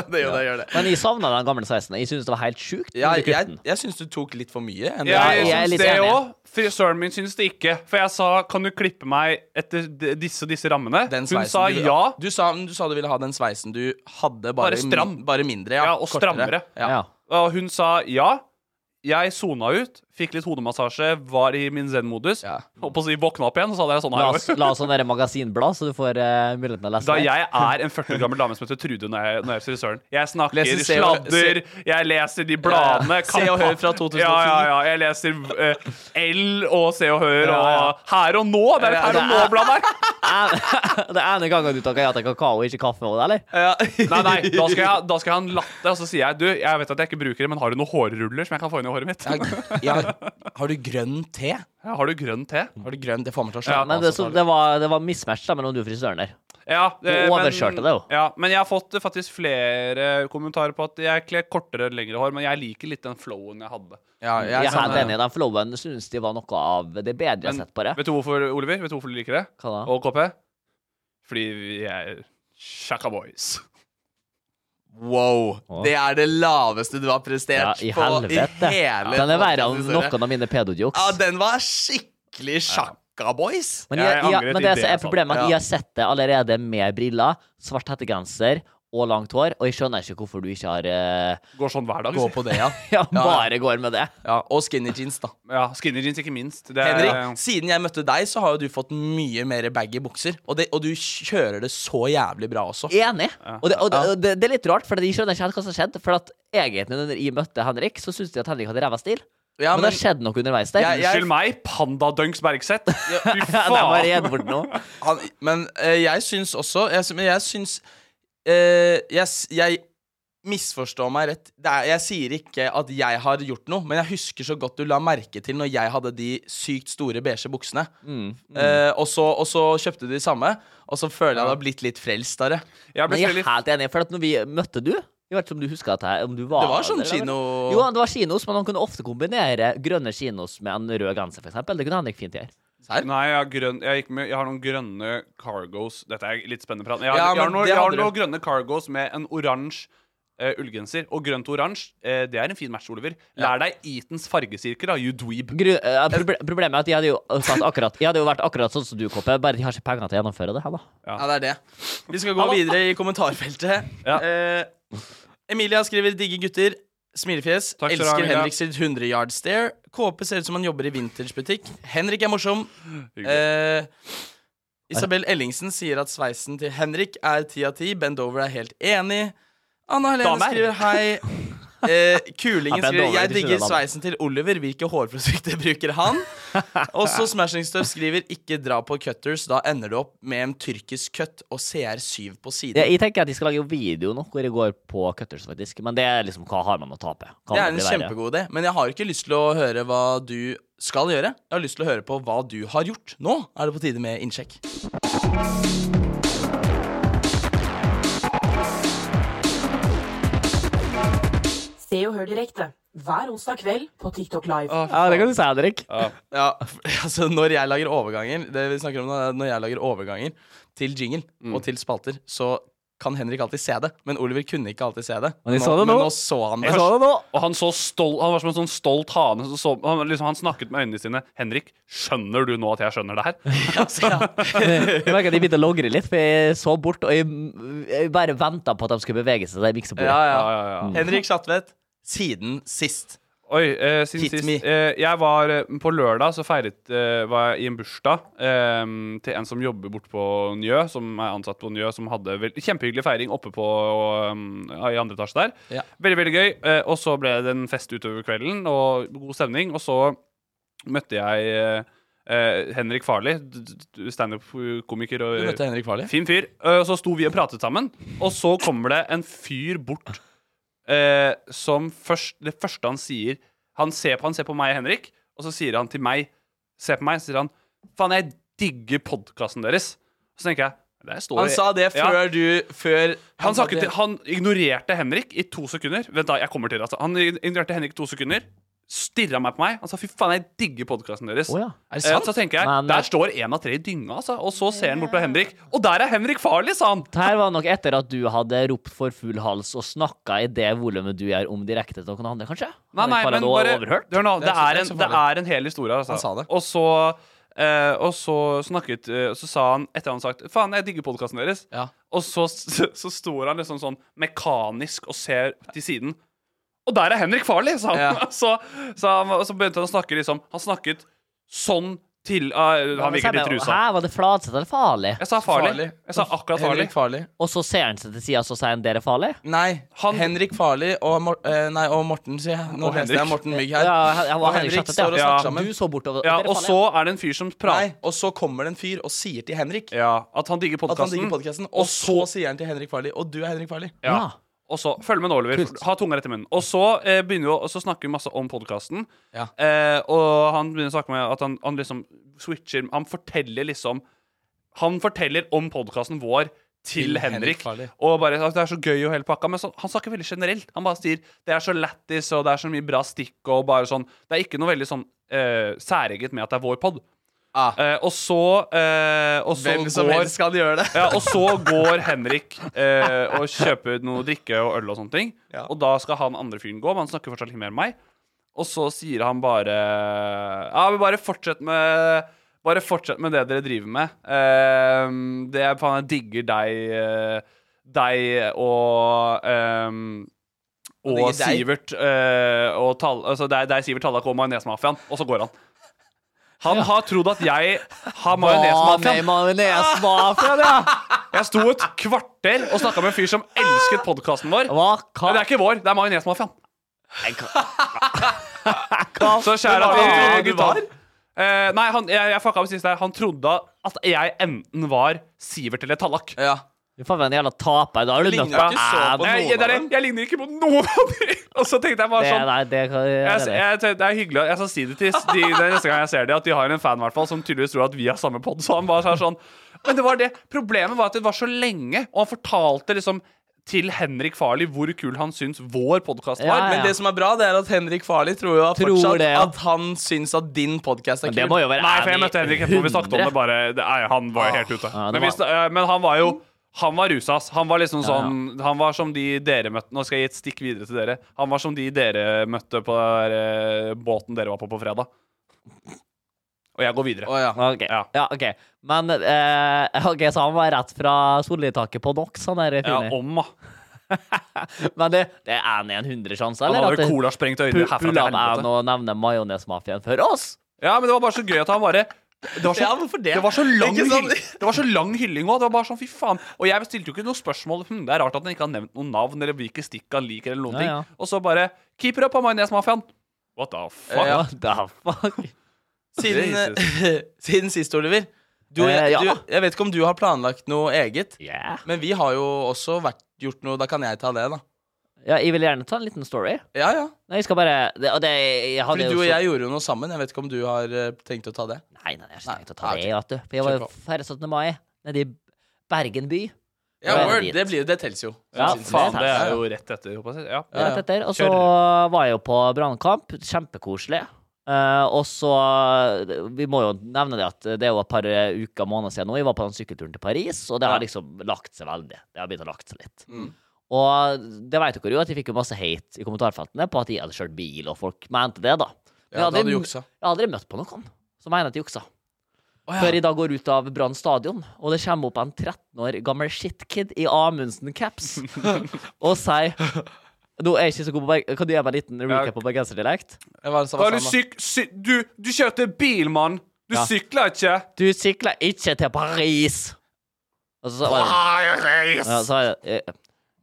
D: Det gjør det. Gjør det.
F: Men jeg savna den gamle 16. Jeg syns det var helt sjukt.
D: Ja,
F: når du
D: jeg,
F: kuttet
D: jeg,
F: den.
D: syns du tok litt for mye. enn
E: Ja,
D: det
E: jeg
F: jeg er
E: syns
F: litt
E: det
F: enig.
E: òg. Frisøren min syns det ikke. For jeg sa 'kan du klippe meg etter de- disse og disse rammene'?
D: Den
E: Hun
D: sveisen
E: sa
D: du,
E: ja.
D: Du sa, du sa du ville ha den sveisen du hadde, bare,
E: Bare stram.
D: min- bare mindre. Ja,
E: Ja, og
D: kortere.
E: strammere.
D: Ja.
F: Ja.
E: Og hun sa ja. Jeg sona ut, fikk litt hodemassasje, var i min zen-modus.
D: Ja.
E: Holdt på å si våkna opp igjen, og så hadde jeg sånn
F: La
E: her.
F: oss, la oss sånn der magasinblad, så du får eh, muligheten til å lese
E: Da
F: det.
E: jeg er en 40 år gammel dame som heter Trude når jeg, når jeg er frisøren. Jeg snakker
D: Leser Se og-
E: sladder, jeg leser de
D: Ja,
E: bladene.
D: ja. Se og
E: kampa-
D: Hør fra 2010.
E: Ja, ja, ja. Jeg leser eh, L og Se og Hør og Her og Nå. Det er et
D: Ja,
E: Her
D: det
E: og Nå-blad der.
F: En- Det er ene gangen du takker ja til kakao, ikke kaffe og det, eller?
D: Ja.
E: Nei, nei, da skal, jeg, da skal jeg ha en latte, og så sier jeg du, jeg vet at jeg ikke bruker det, men har du noen hårruller som jeg kan få inn i håret mitt?
D: Jeg har- har du grønn te?
E: Ja, har du grønn te?
D: Har du grønn, Det får meg til å
E: Ja, altså,
D: slappe
F: Men
D: av,
F: det, så,
D: så tar
F: det var, det var mismatch da, mellom du og frisøren der.
E: Ja, eh,
F: overkjørte det jo.
E: Ja, men jeg har fått eh, faktisk flere kommentarer på at jeg kler kortere, lengre hår, men jeg liker litt den flowen jeg hadde.
D: Ja, jeg er
F: Jeg er
D: sånn,
F: helt enig. Den flowen syns de var noe av det bedre jeg har
E: Men
F: sett på det.
E: Vet du hvorfor, Oliver? Vet du hvorfor du liker det?
F: Hva da?
E: Og KP? Fordi vi er Shaka Boys.
D: Wow. Det er det laveste du har
F: Ja,
D: prestert
F: I
D: på i
F: helvete.
D: hele
F: Den er verre enn
D: podcasthistorien.
F: noen av mine pedojokes.
D: Ja, den var skikkelig sjakka, boys.
F: Men,
E: Jeg
F: jeg, jeg,
E: angrer
F: men det
E: til det
F: som
E: jeg
F: er
E: sa.
F: problemet, er at
D: Ja.
F: jeg har sett det allerede med briller, svart hettegenser og langt hår, og jeg skjønner ikke hvorfor du ikke har eh,
E: Går sånn hver dag.
D: Gå
E: si.
D: på det, ja.
F: Ja, bare går med det.
D: ja. Og skinny jeans, da.
E: Ja, Skinny jeans, ikke minst. Det er,
D: Henrik, siden jeg møtte deg, så har jo du fått mye mer baggy bukser. Og, det, og du kjører det så jævlig bra også.
F: Enig. Og det, og det, og det, det er litt rart, for jeg skjønner ikke helt hva som skjedde. For at egentlig, når jeg møtte Henrik, så syntes jeg at Henrik hadde ræva stil.
D: Ja,
F: men, det har skjedd noe underveis der.
D: Jeg- jeg-
E: Unnskyld meg, Pandadunks Bergseth. Fy
F: Ja, det var
E: faen.
F: redd bort nå.
D: han, men eh, jeg syns også Jeg, sy- men jeg syns eh, jeg, s- jeg misforstår meg rett. Det er, jeg sier ikke at jeg har gjort noe, men jeg husker så godt du la merke til når jeg hadde de sykt store beige buksene.
E: Mm,
D: Eh, og, så, og så kjøpte du de samme, og så føler jeg det har blitt litt frelst av det.
E: Jeg ble
F: Men jeg er
E: litt
F: helt enig, for at når vi møtte du jeg vet ikke om du husker at jeg, om du var
D: Det var sånn
F: der, eller?
D: kino-
F: Jo, det var kinos, men han kunne ofte kombinere grønne kinos med en rød genser, for eksempel. Det kunne Henrik fint gjøre.
E: Nei, jeg har, grønn, jeg, gikk med, jeg har noen grønne cargos. Dette er litt spennende prat. Jeg har,
D: Ja,
E: jeg har,
D: men
E: noen,
D: det
E: jeg har
D: hadde du.
E: noen grønne cargos med en oransje eh, ullgenser. Og grønt og oransje, eh, det er en fin match, Oliver. Lær deg Eatons fargesirkel, da, you dweeb.
F: Gru, eh, proble problemet er at jeg hadde jo, satt akkurat, jeg hadde jo vært akkurat sånn som du, Koppe, bare de har ikke penger til å gjennomføre det her, da.
D: Ja, det er det. Vi skal gå videre i kommentarfeltet.
E: Ja.
D: Eh, Emilia skriver 'digge gutter'. Smilefjes.
E: Takk skal du ha,
D: Elsker
E: Emilia.
D: Henrik sitt 100 yard stare. KP ser ut som han jobber i vintagebutikk. Henrik er morsom.
E: Hyggelig.
D: Eh, Isabel Ellingsen sier at sveisen til Henrik er ti av ti. Bendover er helt enig. Anna Helene
F: Damer.
D: skriver hei. Eh, Kulingen
F: Ja, Ben
D: skriver
F: Dover,
D: 'Jeg
F: de
D: digger
F: skjønner
D: sveisen til Oliver'. Hvilke hårprodukter bruker han? Og så Smashing Stuff skriver 'Ikke dra på cutters'. Da ender du opp med en tyrkisk cut og CR7 på siden.
F: Jeg, jeg tenker at de skal lage en video nå, hvor jeg går på cutters, faktisk. Men det er liksom, hva har man å tape? Kan
D: Det er
F: man
D: en
F: bli verre?
D: kjempegod idé, men jeg har ikke lyst til å høre hva du skal gjøre. Jeg har lyst til å høre på hva du har gjort. Nå er det på tide med innsjekk.
G: Se og hør direkte hver onsdag kveld på TikTok Live.
F: Ja, det kan du si, Henrik.
D: Ja, altså Når jeg lager overganger Det vi snakker om nå er Når jeg lager overganger til jingle
E: Mm.
D: og til spalter, så kan Henrik alltid se det. Men Oliver kunne ikke alltid se det.
F: Men jeg så det nå.
D: men nå så han det.
E: Jeg
F: Så det nå.
E: Og han, så stolt, han var som en sånn stolt hane. Så, så, han, liksom, han snakket med øynene sine. 'Henrik, skjønner du nå at jeg skjønner det her?' Altså,
F: Jeg merker at jeg begynte å logre litt, for jeg så bort, og jeg, jeg bare venta på at de skulle bevege seg til miksebordet.
D: Ja, ja.
E: Ja, ja, ja.
D: Henrik Schatvedt, siden sist.
E: Oi, eh, siden
D: Hit
E: sist
D: me.
E: eh, Jeg var eh, på lørdag Så feiret eh, Var jeg i en bursdag eh, Til en som jobber bort på Njø Som er ansatt på Njø Som hadde vel- kjempehyggelig feiring Oppe på um, I andre etasje der
D: Ja.
E: Veldig, veldig gøy eh, Og så ble det en fest utover kvelden Og god stemning Og så møtte jeg eh, eh, Henrik Farley d- d- Stand-up-komiker og
D: Du møtte Henrik Farley.
E: Fin fyr. Eh, Så sto vi og pratet sammen, og så kommer det en fyr bort eh, som først Det første han sier han ser, på, han ser på meg og Henrik, og så sier han til meg Se på meg, så sier han Faen, jeg digger podkasten deres. Så tenker jeg der står
D: Han
E: jeg-
D: sa det
E: Ja.
D: før du Før
E: Han, sa ikke
D: det-
E: til, han ignorerte Henrik i to sekunder. Vent da, jeg kommer til det, altså. Han ignorerte Henrik i to sekunder, stirra meg på meg. Han sa fy faen, jeg digger podkasten deres.
F: Å ja.
D: Er det sant?
E: Eh, Så tenker jeg,
F: Men-
E: Der står én av tre i dynga, altså. Og så ser han bort på Henrik, og der er Henrik farlig, sa han.
F: Det her var nok etter at du hadde ropt for full hals og snakka i det volumet du gjør om direkte til noen andre, kanskje?
E: Nei,
F: Hadde
E: nei,
F: ikke
E: men
F: Farhad
E: bare
F: overhørt?
E: Hør nå,
D: Det er
E: det
D: ikke-
E: er
D: det er
E: en,
D: ikke så
E: det
D: farlig.
E: er en hel historie. Altså.
D: Han sa det.
E: Og så, eh, og så snakket eh, Så sa han, etter han sagt 'Faen, jeg digger podkasten deres',
D: Ja.
E: og så, så, så står han liksom sånn mekanisk og ser til siden. Og der er Henrik Farley, sa han.
D: Ja.
E: så, så han. Og så begynte han å snakke liksom Han snakket sånn til eh, Han virket litt rusa.
F: Hæ, var det Fladseth eller Farlig?
E: Jeg sa farlig.
D: Farley.
E: Jeg sa akkurat farlig.
D: Henrik Farley.
F: Og så ser han seg til sida, så sier han dere er farlig?
D: Nei,
E: Han-
D: Henrik Farley og, Mor eh, nei, og Morten, sier jeg. Nå
E: Og
D: leste jeg
E: Henrik.
D: Morten Mygg
F: Ja,
D: her.
F: han- han
D: Og
F: var
D: Henrik
F: Henrik
D: står og
F: ja.
D: snakker sammen.
F: Du så bortover
E: Ja,
F: dere er
E: og
F: farlige.
E: så er det en fyr som
D: Nei,
E: prater
D: og så kommer det en fyr og sier til Henrik
E: ja, at han digger
D: at han digger
E: podkasten.
D: podkasten, og så sier han til Henrik Farley, og du er Henrik Farley.
E: Ja.
F: Ja.
E: Og så, Følg med nå, Oliver. Ha tunga rett i munnen. Og så eh, begynner vi å, og så snakker vi masse om podkasten.
D: Ja.
E: Eh, og han begynner å snakke med at han, han liksom switcher Han forteller liksom Han forteller om podkasten vår til,
D: Til Henrik
E: Henrik.
D: Farley.
E: og bare at det er så gøy og hele pakka. Men så, han snakker veldig generelt. Han bare sier det er så lættis, og det er så mye bra stikk og bare sånn. Det er ikke noe veldig sånn eh, særeget med at det er vår pod.
D: Ah.
E: Eh, og så eh, og så
D: Hvem som
E: går-
D: helst kan gjøre det.
E: ja, og så går Henrik eh, og kjøper noe drikke og øl og sånne ting.
D: Ja.
E: Og da skal han andre fyren gå, men han snakker fortsatt litt mer enn meg. Og så sier han bare Ja, men bare fortsett med bare fortsett med det dere driver med. Eh, det er faen, jeg digger deg eh, deg og ehm,
D: Og
E: og,
D: det er deg.
E: Sivert eh, og Tal, altså det, er, det er Sivert Tallak og Majonesmafiaen, og så går han. Han har trodd at jeg har Majonesmafiaen.
F: Majonesmafiaen, ja!
E: Jeg sto et kvarter og snakka med en fyr som elsket podkasten vår.
F: Hva
E: Men det
F: kan
E: er ikke vår, det er Majonesmafiaen. Så
D: Men
E: skjæra
D: var det han
E: til
D: du
E: gutta.
D: var?
E: Eh, nei, han, jeg, jeg fucka med sist der. Han trodde at jeg enten var Sivert eller Tallak.
D: Ja.
F: Du er faen meg en jævla taper. Da er du
D: Ligner
F: nødt
D: jo ikke så på
F: til å
D: noen av
E: Jeg, jeg, det er det.
D: dem.
E: jeg ligner ikke på noen av de! Og så tenkte jeg bare
F: Det,
E: sånn
F: nei, det, kan-
E: jeg,
F: det, er det.
E: jeg, tenkte, det er hyggelig Jeg skal si det til de, det er neste gang jeg ser det, at de har en fan hvert fall, som tydeligvis tror at vi har samme pod. Så han bare sa sånn Men det var det. Problemet var at det var så lenge, og han fortalte liksom til Henrik Farley hvor kul han syns vår podkast
F: Ja,
E: var.
F: ja.
D: Men det som er bra, det er at Henrik Farley tror jo
F: Tror
D: fortsatt
F: det, ja.
D: at han syns at din podkast er
F: Men
D: kul.
F: det må jo være
E: Nei, for jeg
F: enig
E: møtte Henrik etterpå. Vi snakket om det
F: 100.
E: bare det, nei, Han var jo helt ute.
F: Ja, det
E: men, vi,
F: var-
E: snak- eh, men han var jo Han var rusa, ass. Han var liksom sånn Han var som de dere møtte Nå skal jeg gi et stikk videre til dere. Han var som de dere møtte på der, eh, båten dere var på på fredag. Og jeg går videre.
D: Å, ja.
F: Ok,
E: Ja.
F: ja, ok. Men eh, ok, så han var rett fra solidtaket på NOx, han der
E: Ja,
F: fyren.
E: om, da.
F: Men det, det er en i en hundre sjanse,
E: Han
F: eller?
E: hadde
F: At det-
E: vel cola sprengt øynene
F: Pu-
E: herfra til
F: Pulla han jeg
E: helvete.
F: nå nevner majonesmafiaen før oss?
E: Ja, men det var bare så gøy at han bare det var, så,
D: Ja, hvorfor det?
E: det var så lang
D: Ikke sant?
E: hylling Det var så lang hylling òg. Det var bare sånn, fy faen. Og jeg stilte jo ikke noe spørsmål. Hm, det er rart at han ikke har nevnt noen navn eller hvilke stikk han liker. eller noen
F: Ja, ja.
E: ting Og så bare Keeper up av Majones-mafiaen. What the fuck?
D: Ja.
F: What the fuck?
D: Siden, eh, siden sist, Oliver. Du, og
F: Eh,
D: jeg,
F: ja.
D: du, jeg vet ikke om du har planlagt noe eget,
F: Yeah.
D: men vi har jo også vært, gjort noe. Da kan jeg ta det, da.
F: Ja, jeg vil gjerne ta en liten story.
D: Ja, ja.
F: Nei, jeg skal bare det, og det, jeg hadde
D: Fordi
F: jo
D: du og
F: så-
D: jeg gjorde jo noe sammen. Jeg vet ikke om du har eh, tenkt å ta det.
F: Nei, nei, jeg har ikke
D: Nei,
F: tenkt å ta
D: ok.
F: det, vet du. For jeg var
D: Kjør
F: jo ferdig 17. mai nede i Bergen by.
D: Ja,
F: Ja,
D: word,
F: dit.
D: det, blir, det tels jo.
F: Ja,
D: Siden
E: Faen,
D: sist.
E: det
F: Ja,
E: er
F: ja.
E: jo rett etter. håper jeg. Ja.
D: Ja,
F: rett
D: ja.
F: etter. Og så var jeg jo på brannkamp. Kjempekoselig. Eh, og så eh, Vi må jo nevne det at det er jo et par eh, uker måneder siden nå. Jeg var på den sykkelturen til Paris, og det har liksom lagt seg veldig. Det har begynt å lagt seg litt.
D: Mm.
F: Og det vet dere jo at jeg fikk jo masse hate i kommentarfeltene på at jeg hadde kjørt bil, og folk mente det, da. Men
D: Ja,
F: jeg
D: da
F: aldri-
D: hadde du juksa.
F: Jeg har aldri møtt på noen som mener at de juksa. Før jeg da går ut av Brann stadion, og det kommer opp en 13 år gammel shitkid i Amundsen-caps og sier Nå er jeg ikke så god på berg... Kan du gi meg en liten recap på bergenserdialekt?
D: Jeg var sammen,
E: Hva er du syk... Sy du, du kjørte bil, mann! Du
F: Ja.
E: sykla ikke!
F: Du sykler ikke til Paris! Og så sa ja, så sa jeg eh,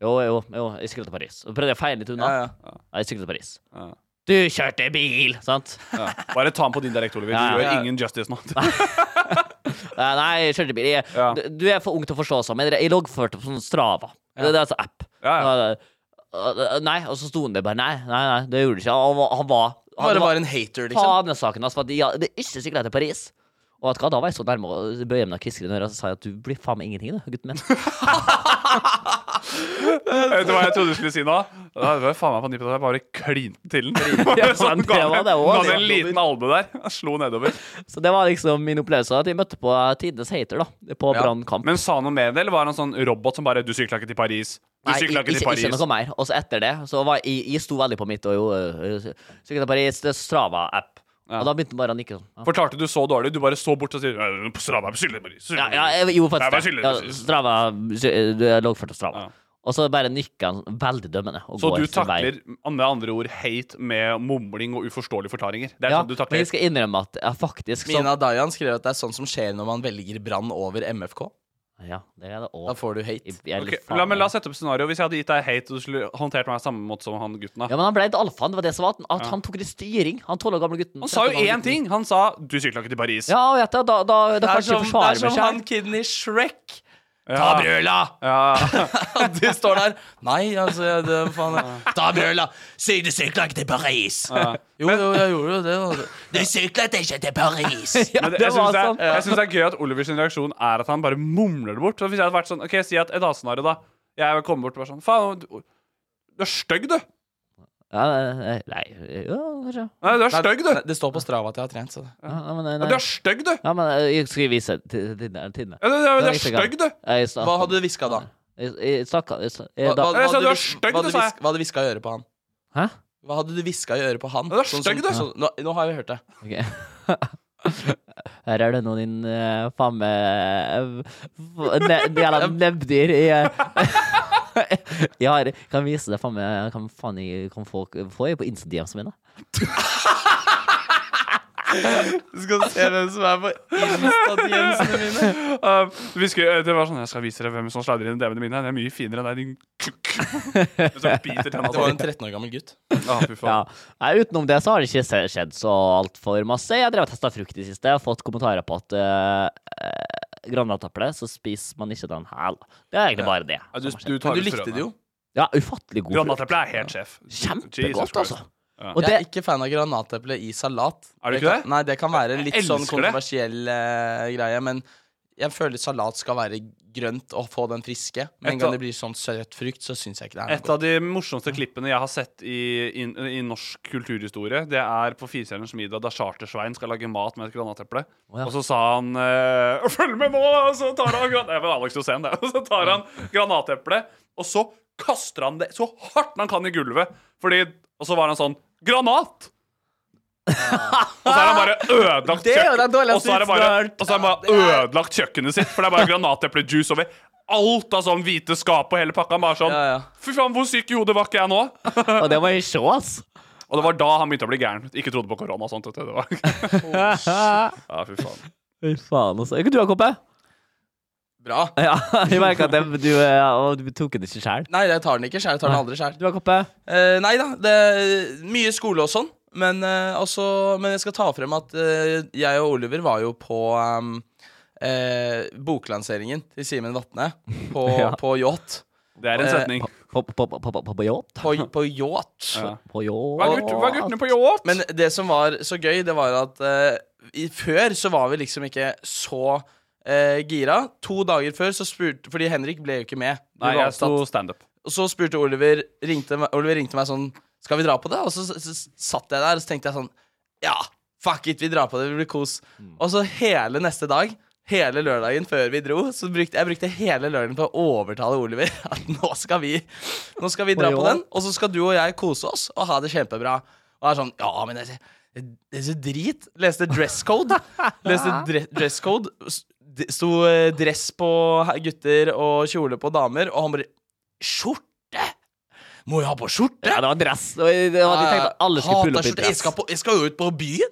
F: Jo, jo, jo, jeg sykler til Paris. Så prøvde jeg å feie litt unna.
D: Ja, ja.
F: Nei, Jeg sykler til Paris.
E: Ja.
F: Du kjørte bil, sant?
E: Ja. Bare ta den på din direkte, Oliver. Du
F: Ja, ja.
E: gjør ingen justice nå.
F: Nei, Eh, nei, jeg kjørte bil. Jeg,
E: Ja.
F: du, du er for ung til å forstå sånn. men Jeg loggførte på sånn Strava. Det, det er altså app.
E: Ja,
F: Og da- Nei, og så sto han der bare Nei, nei, nei, det gjorde du ikke. Han var, han var,
D: Nå var
F: han
D: det
F: var
D: bare en hater, liksom.
F: fanesaken hans for at de- ja, det er ikke sikkerhet til Paris. Og vet du hva, da var jeg så nærme å bøye meg ned Kristin i øret og så sa jeg at du blir faen meg ingenting, du, gutten min.
E: Vet du hva jeg trodde du skulle si nå? Da var jeg faen meg på nippet, jeg bare klinte til den.
F: Ja,
E: Bare sånn,
F: det
E: ga
F: var
E: den-
F: det også, det
E: ga den
F: var
E: en liten albue der. Jeg Slo nedover.
F: Så det var liksom min opplevelse. At jeg møtte på tidenes hater, da. På
D: Ja,
F: Brann kamp.
E: Men sa han noe mer, eller var han en sånn robot som bare 'Du sykla ikke til Paris'. Du
F: Nei,
E: sykla ikke
F: ikke,
E: til
F: ikke
E: Paris.
F: noe mer. Og så etter det så var jeg, jeg sto veldig på mitt og jo øh, øh, Sykla til Paris, det er Strava-app. Og da begynte han bare å nikke sånn. Ja.
E: Fortalte du så dårlig. Du bare så bort og sier «Øh, på Strava, jeg sykler til Paris. sykler
F: Ja,
E: til
F: ja,
E: Paris».
F: jeg, jo,
E: Jeg bare
F: faktisk.
E: sykler
F: Ja,
E: til Paris.
F: Strava sy- Du er loggført av Strava.
E: Ja.
F: Og så bare nikker han veldig dømmende. Og
E: Så
F: går
E: du
F: sin vei.
E: takler med andre ord hate med mumling og uforståelige forklaringer? Det er
F: Ja,
E: sånn du
F: men
E: takler
F: jeg skal innrømme at jeg faktisk så,
D: Mina Dayan skrev at det er sånn som skjer når man velger Brann over MFK.
F: Ja, det er det også.
D: Da får du hate.
F: Jeg- jeg er
E: Ok,
F: litt faen,
E: la, men
F: jeg.
E: la oss sette opp scenario Hvis jeg hadde gitt deg hate, og du skulle håndtert meg samme måte som han gutten.
F: Ja,
E: Da.
F: men han ble et alfaen. Det var det som var at, at han tok litt styring. Han tåla gamle gutten.
E: Han sa jo
F: 13 gamle
E: én
F: gutten.
E: ting! Han sa 'du sykla ikke til Paris'.
F: Ja, og vet du, da, da, da kan
D: Det er
F: jeg ikke
D: som, det er
F: forsvare meg
D: som han
F: sjøl.
D: kiden i Shrek.
E: Ja.
D: brøla!
E: Ja.
D: Og du står der. Nei, altså det, faen, Ta brøla! Sy, du sykla ikke til Paris! Jo, jo, jeg gjorde jo det. da. Du sykla ikke til Paris!
F: Ja,
E: Men det,
F: det
E: jeg syns
F: var
E: det,
F: sånn.
E: er- jeg syns det er gøy at Olivers reaksjon er at han bare mumler det bort. Så hvis jeg hadde vært sånn, ok, Si at et annet scenario, da. Jeg kommer bort og bare sånn Faen, du, du er stygg, du!
F: Ja, nei, nei, jo, kanskje.
E: Nei, du er stygg, du!
D: Det står på Strava at jeg har trent, så det.
F: Ja, men, nei,
E: Ja, Du
F: nei.
E: er stygg, du! Ja,
F: Ja, men eh, jeg skal vise til Tidne.
E: Du du- du
F: Det er ikke
E: er
F: galt.
E: stygg, du!
F: Jeg
D: Hva
F: snakka
D: hadde du hviska da?
F: Jeg snakka jeg sa- jeg
D: Hva, hva,
F: da-
D: hva,
E: Jeg sa
D: hadde
E: du
D: du
E: er
D: vis-
E: stygg,
D: hva hadde
E: du, sa jeg.
D: hva hadde du hviska i øret på han?
F: Hæ?
D: Hva hadde du hviska i øret på han?
E: Ja, du er
D: Sånn
E: stygg,
D: som-
E: du.
D: sånn- nå, nå har jeg hørt det.
F: Ok. Her er det noen din uh, faen meg eh, f- ne- jævla nebbdyr i eh, Jeg har, kan vise deg faen meg Kan faen jeg kan folk få jeg på Insta-DMs mine?
D: Du skal se hvem som er på Insta-diensene mine.
E: Uh, vi skulle, det var sånn, Jeg skal vise dere hvem som slider inn i DVD-ene mine. Det er mye finere enn deg, din kukk. Som biter tenna
D: Det var en 13 år gammel gutt.
E: Ah, fy faen.
F: Ja. Nei, utenom det så har det ikke se- skjedd så altfor masse. Jeg drev og testa frukt i siste og fått kommentarer på at uh, granateple, så spiser man ikke den hæl. Det er egentlig bare det.
E: Ja, du,
F: som har skjedd.
E: du, tar
D: Men
E: ut
D: du likte
E: frøene.
D: det jo.
F: Ja, ufattelig god frukt.
E: Granateple er helt sjef. Jesus
F: Kjempegodt,
E: Christ.
F: altså. Og
D: Jeg
F: det,
D: er ikke fan av granateple i salat.
E: Er du ikke
D: kan,
E: det?
D: Nei, det kan være en litt
E: Jeg
D: sånn
E: elsker det.
D: kontroversiell eh, greie, men jeg føler salat skal være grønt og få den friske. Med
E: Et
D: en
E: av-
D: gang det blir sånn søt frukt, så syns jeg ikke det er noe
E: Et av de morsomste klippene jeg har sett i, i, i norsk kulturhistorie, det er på Firestjerners middag da Charter-Svein skal lage mat med et granateple.
F: ja.
E: Og så sa han eh, 'Følg med nå!' Og så tar han gran- Det var Alex Rosén, det. Og så tar han granateplet, og så kaster han det så hardt han kan i gulvet. Fordi Og så var han sånn 'Granat!' og så er han bare ødelagt
D: Det er jo den
E: kjøkken-
D: dårligste
E: Og så er han bare,
D: vitsen jeg har hørt.
E: og så er han bare ødelagt kjøkkenet sitt, for det er bare granateplejuice over alt av sånn hvite skap og hele pakka. Han Bare sånn
D: Ja, ja.
E: Fy faen, hvor syk i hodet var ikke jeg nå? Og
F: og det må jeg se, ass.
E: det var da han begynte å bli gæren. Ikke trodde på korona og sånt. vet du. Det var. Ja, fy faen.
F: Fy faen, altså. Ikke du, Jakob? eh?
D: bra.
F: Ja, jeg merker at det, du, eh, og du tok den ikke sjæl.
D: Nei, jeg tar den ikke sjæl. Jeg tar den aldri sjæl.
F: Du, Jakob? eh?
D: Eh, nei da, det er mye skole og sånn. Men, eh, også, men jeg skal ta frem at eh, jeg og Oliver var jo på ehm, eh, boklanseringen til Simen Vatne på,
F: Ja.
D: på yacht.
E: Det er en
D: Eh,
E: setning.
F: På- på- på- på- på- På yacht?
D: På, på yacht.
E: Ja.
F: På
E: Hva er, gutt, hva
F: yacht?
E: er guttene på yacht?
D: Men det som var så gøy, det var at eh, i, før så var vi liksom ikke så eh, gira. To dager før så spurte Fordi Henrik ble jo ikke med. Du
E: Nei,
D: var
E: jeg
D: opptatt.
E: sto standup.
D: Og så spurte Oliver ringte, meg- Oliver ringte meg sånn Skal vi dra på det? Og så, så, så satt jeg der og så tenkte jeg sånn Ja, fuck it, vi drar på det, det blir kos.
F: Mm.
D: Og så hele neste dag, hele lørdagen før vi dro, så brukte jeg brukte hele lørdagen på å overtale Oliver at nå skal vi Nå skal vi dra
F: Oi,
D: på
F: oi.
D: den, og så skal du og jeg kose oss og ha det kjempebra. Og er sånn Ja, men det, det er så drit. Leste dress code. Leste dre dress code. S- d- Sto eh, dress på he- gutter og kjole på damer, og han bare Skjorte! Må jeg ha på skjorte?
F: Ja, det var dress. Og jeg- det var- De tenkte at alle skulle
D: Hater
F: pulle opp i
D: skjorte. Jeg
F: dress.
D: skal, på, jeg skal jo ut på byen.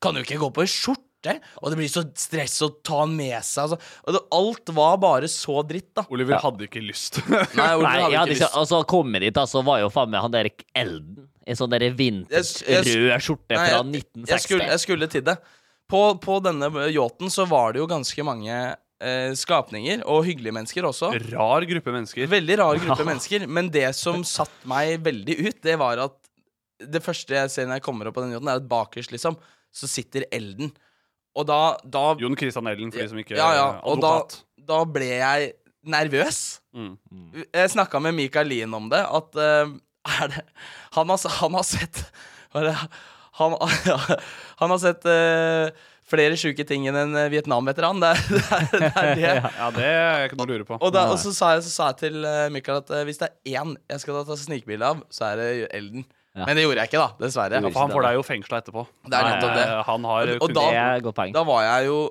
D: Kan jo ikke gå på en skjorte. Og det blir så stress å ta den med seg. Altså. Og det, alt var bare så dritt, da.
E: Oliver hadde ikke lyst.
D: Nei, Ole
F: Nei, jeg hadde ikke,
D: lyst.
F: og så kom jeg dit, da, så var jo faen meg han der Elden i sånn der vintage
D: Jeg- jeg-
F: rød skjorte
D: Nei,
F: fra
D: jeg, jeg, skulle,
F: 1960.
D: jeg skulle til det. På, på denne yachten så var det jo ganske mange eh, skapninger, og hyggelige mennesker også.
E: Rar gruppe mennesker.
D: Veldig rar gruppe mennesker. Men det som satte meg veldig ut, det var at det første jeg ser når jeg kommer opp på den yachten, er at bakerst, liksom, så sitter Elden. Og da, da
E: Jon Christian Ellen, for de som liksom ikke
D: Ja, ja. Og da,
E: Advokat.
D: da ble jeg nervøs.
E: Mm.
D: Jeg snakka med Mikael Lien om det. At eh, er det Han har, han har sett hva er det? han, han har sett eh, flere sjuke ting enn en Vietnam-veteran. Det, er- det, er- det er det.
E: Ja, det er ikke noe å lure på.
D: Og, da, og så, sa jeg, så sa jeg til eh, Mikael at eh, hvis det er én jeg skal ta snikbilde av, så er det Elden. Men det gjorde jeg ikke, da. Dessverre.
E: For han får deg jo fengsla etterpå.
D: Det er nettopp det.
E: Eh, Han har
D: Og da-
F: Det er et godt poeng.
D: Da var jeg jo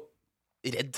D: redd.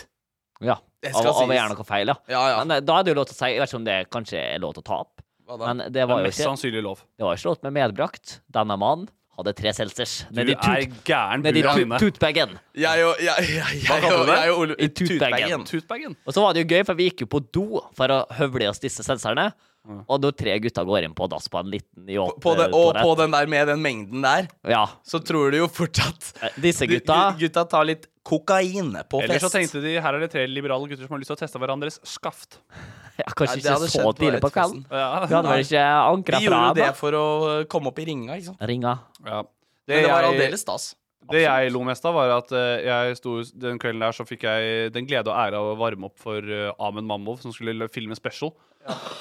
F: Ja.
D: Det
F: Av
D: skal
F: av å
D: sies.
F: gjøre noe feil, ja.
D: Ja, ja.
F: Men eh, da er det jo lov til å si Jeg vet ikke om det kanskje er lov til å ta opp.
D: Hva da?
F: Men det
E: Det
F: var
E: er
F: jo
E: mest
F: ikke
E: sannsynlig lov.
F: Det var ikke lov med medbrakt. Denne mannen hadde tre seltzers.
E: Du
F: Nedi
E: er
F: tut-
E: gæren,
F: nedi
E: du,
F: tut-
E: Anine.
F: tutbagen.
D: Jeg og jeg, jeg, jeg,
E: kalte du
D: og-
E: det?
D: jeg og Ole-
F: I tutbagen.
D: tutbagen.
E: Tutbagen.
F: Og så var det jo gøy, for vi gikk jo på do for å høvle i oss disse seltzerne. Og når tre gutter går inn på dass på en liten yacht
D: på det,
F: eh,
D: og på
F: toalett.
D: den der med den mengden der,
F: Ja.
D: så tror du jo fortsatt
F: Eh, Disse gutta
D: Gutta tar litt kokain på
E: Eller så
D: fest.
E: tenkte de her er det tre liberale gutter som har lyst til å teste hverandres skaft.
F: ja, Kanskje
D: Nei, det
F: ikke
D: hadde
F: så
D: skjedd på
F: tidlig på kvelden.
D: etterfesten.
E: Ja.
F: Vi hadde vel ikke ankra
D: Vi
F: fra
D: gjorde jo det
F: ennå.
D: for å øh, komme opp i ringa, ikke sant.
F: Ringa.
E: Ja.
D: Men det var
E: jeg-
D: aldeles stas.
E: Det jeg lo mest av, var at eh, jeg sto, den kvelden der så fikk jeg den glede og ære av å varme opp for eh, Amen Mamov, som skulle filme special.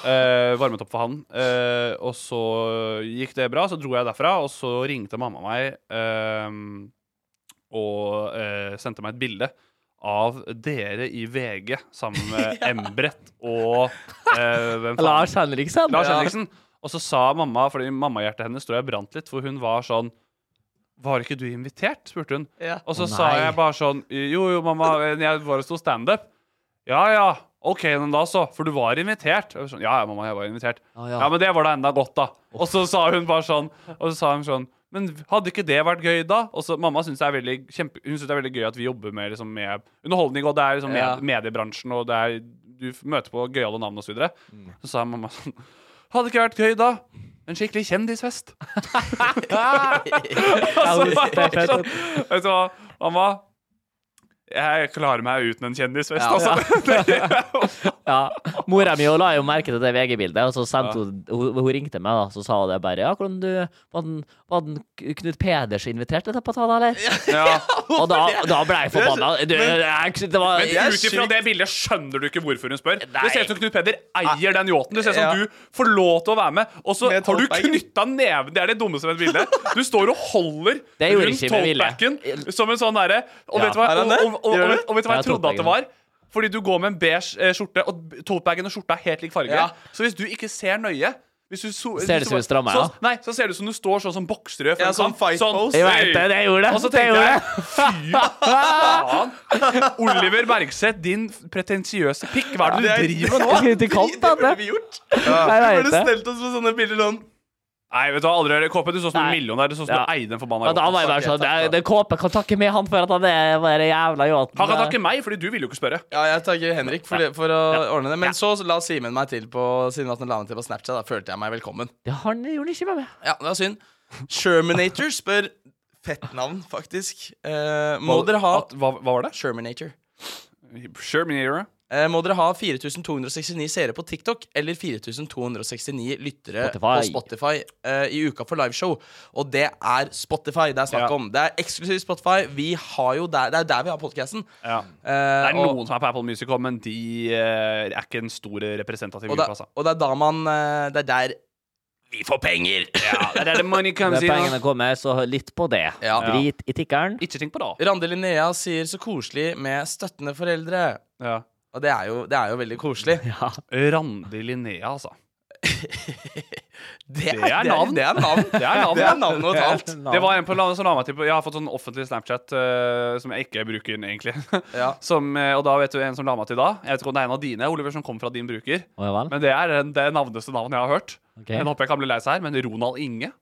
E: Eh, varmet opp for han. Eh, og så gikk det bra, så dro jeg derfra, og så ringte mamma meg eh, og eh, sendte meg et bilde av dere i VG sammen med Embret og eh, hvem faen?
F: Lars Henriksen.
E: Lars Henriksen. Og så sa mamma, fordi mammahjertet hennes tror jeg brant litt, for hun var sånn Var ikke du invitert? spurte hun.
D: Ja.
E: Og så
F: Å,
E: sa
F: nei.
E: jeg bare sånn Jo, jo, mamma, men jeg var og sto standup. Ja, ja. OK, men da så, for du var invitert. Og jeg var sånn, ja, ja, mamma, jeg var invitert.
F: Å,
E: ja.
F: ja.
E: men det var da enda godt, da. Og så sa hun bare sånn, og så sa hun sånn men hadde ikke det vært gøy, da? Og så Mamma syns det, er veldig kjempe- hun synes det er veldig gøy at vi jobber med, liksom, med underholdning, og det er liksom, med,
D: Ja.
E: mediebransjen, og det er, du f- møter på gøyale navn osv. Så, videre.
F: Mm.
E: så sa mamma sånn Hadde ikke vært gøy, da? En skikkelig kjendisfest. Og så var jeg sånn, Vet du hva, mamma? Jeg klarer meg uten en kjendisfest,
F: Ja.
E: altså.
F: Ja. Mora mi hun la jo merke til det VG-bildet, og så sendte hun, hun Hun ringte meg, da, så sa hun det bare. Ja, hvordan du Var den, var den K- Knut Peders invitert til dette, eller?
E: Ja.
F: Og da, da ble jeg forbanna. Du, jeg, det var
E: Men
D: er
E: ut ifra
D: sykt.
E: det bildet skjønner du ikke hvorfor hun spør.
F: Nei. Ah,
E: Det ser ut som Knut Peder eier den yachten. Det ser ut som
D: Ja.
E: du får lov til å være med, og så
D: Med
E: har du
D: tollbagen.
E: knytta neven Det er det dummeste med det bildet. Du står og holder
F: Det gjorde
E: rundt
F: ikke med vilje.
E: tollbacken som en sånn derre og,
F: Ja.
E: vet du hva-
D: Er han
E: og,
D: det?
E: og, og,
D: Gjør
E: og,
D: du?
E: vet- og vet du hva jeg
F: Ja,
E: trodde at det
F: tollbagen.
E: var? Fordi du går med en beige eh, skjorte, og b- tollbagen og skjorta er helt lik farge.
D: Ja.
E: Så hvis du ikke ser nøye hvis du so
F: Ser det
E: hvis
F: som
E: bare-
F: du strammer,
E: så,
F: ja?
E: Nei, så ser det ut som du står sånn som bokserød.
D: Ja, sånn fight pose.
F: Jeg vet det, det gjorde det.
E: Og så
F: Det
E: tenkte
F: gjorde
E: jeg
F: det.
E: Fy faen! Oliver Bergseth, din pretensiøse pikk, hva er det du driver med nå?
F: Skulle til kamp, da.
D: burde
F: det.
D: vi gjort.
F: Jeg
D: Vi
F: vet
D: burde
F: det.
D: stelt oss med sånne bilder sånn.
E: Nei, vet du hva, aldri hørt det. KP, du så ut som en
F: Nei.
E: millionær. Du så ut som
F: Ja.
E: du eide en forbanna
F: Og da var jeg bare sånn det- det Kåpe kan takke med han for at han er bare jævla yachten.
E: Han kan takke meg, fordi du ville jo ikke spørre.
D: Ja, jeg takker Henrik for, det, for å ordne det. Men så la Simen meg til på siden at han la meg til på Snapchat. Da følte jeg meg velkommen.
F: Det han gjorde ikke med meg.
D: Ja, det var synd. Shermanator spør Fett navn, faktisk. Eh, må dere ha
E: At- hva, hva var det?
D: Shermanator.
E: Shermanator?
D: Eh, må dere ha 4269 seere på TikTok eller 4269 lyttere på
F: Spotify.
D: Spotify eh, i uka for liveshow? Og det er Spotify det er snakk
E: Ja.
D: om. Det er eksklusivt Spotify. Vi har jo der, det er der vi har Eh, podkasten.
E: Ja. Det er noen som er på Apple Music også, men de eh, er ikke en stor representativ
D: og,
E: gruppe,
D: det,
E: altså.
D: og det er da man eh, Det er der vi får penger!
E: Det er der the money comes
F: Når
E: in.
F: pengene kommer, så litt på det.
D: Ja.
F: Drit i tikkeren.
E: Ikke tenk på det.
D: Randi Linnea sier 'så koselig med støttende foreldre'.
E: Ja.
D: Og det er jo, det er jo veldig koselig.
E: Randi Linnea, altså.
D: Det
E: Det er navn.
D: Det er navn.
E: Det er navn,
D: Det
E: ja.
D: er navn og et halvt.
F: Navn.
E: Det var en på landet som la meg til på- Jeg har fått sånn offentlig Snapchat eh, som jeg ikke bruker den egentlig.
D: Ja.
E: som, eh, og da vet du en som la meg til da. Jeg vet ikke om det er en av dine, Oliver, som kom fra din bruker.
F: Å, ja vel.
E: Men det er en- det navneste navnet jeg har hørt.
F: Ok.
E: Jeg håper jeg kan bli lei seg her, men Ronald Inge.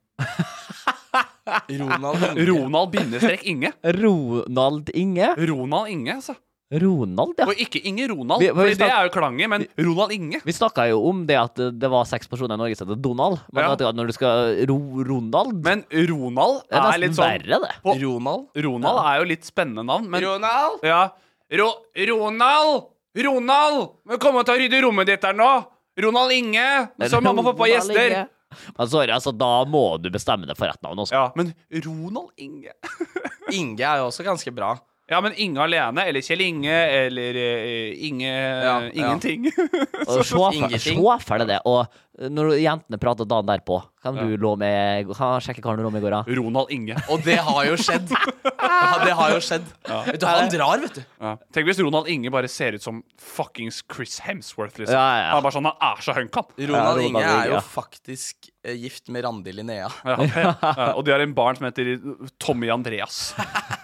D: Ronald Inge.
E: Ronald bindestrek Inge.
F: Ronald Inge?
E: Ronald Inge, altså.
F: Ronald, ja.
E: Og ikke Inge Ronald,
F: Vi-
E: for
F: vi
E: det er jo klanget, men Ronald Inge.
F: Vi snakka jo om det at det var seks personer i Norge som het Donald. Men
E: Ja.
F: vet du hva, når du skal ro Ronald
E: Men Ronald
F: Det er
E: er
F: nesten
E: litt sånn
F: verre, det.
E: på,
D: Ronald.
E: Ronald er jo litt spennende navn, men
D: Ronald.
E: Ja. Ro Ronald! Ronald! Må komme og ta og rydde rommet ditt her nå! Ronald Inge! Så mamma og pappa har
F: Ronald
E: gjester!
F: Inge. Men sorry, altså, da må du bestemme deg for ett navn også.
E: Ja, men Ronald Inge
D: Inge er jo også ganske bra.
E: Ja, men Inge alene, eller Kjell Inge, eller eh, Inge
D: Ja, ja.
E: Ingenting.
F: Og se
D: Ingenting.
F: for- se for deg det. Og når jentene prater dagen derpå, kan du lå med kan jeg sjekke hva han lå med i går, da?
E: Ronald Inge.
D: Og det har jo skjedd. Ja, det har jo skjedd. Vet du, han drar, vet du.
E: Ja. Tenk hvis Ronald Inge bare ser ut som fuckings Chris Hemsworth, liksom.
F: Ja, ja, ja.
E: Han er bare sånn, han er så hunk, han.
D: Ronald
F: Ronald
D: Inge er
F: Inge,
D: jo
F: ja.
D: faktisk eh, gift med Randi Linnea.
E: Ja, ja. Og de har en barn som heter Tommy Andreas.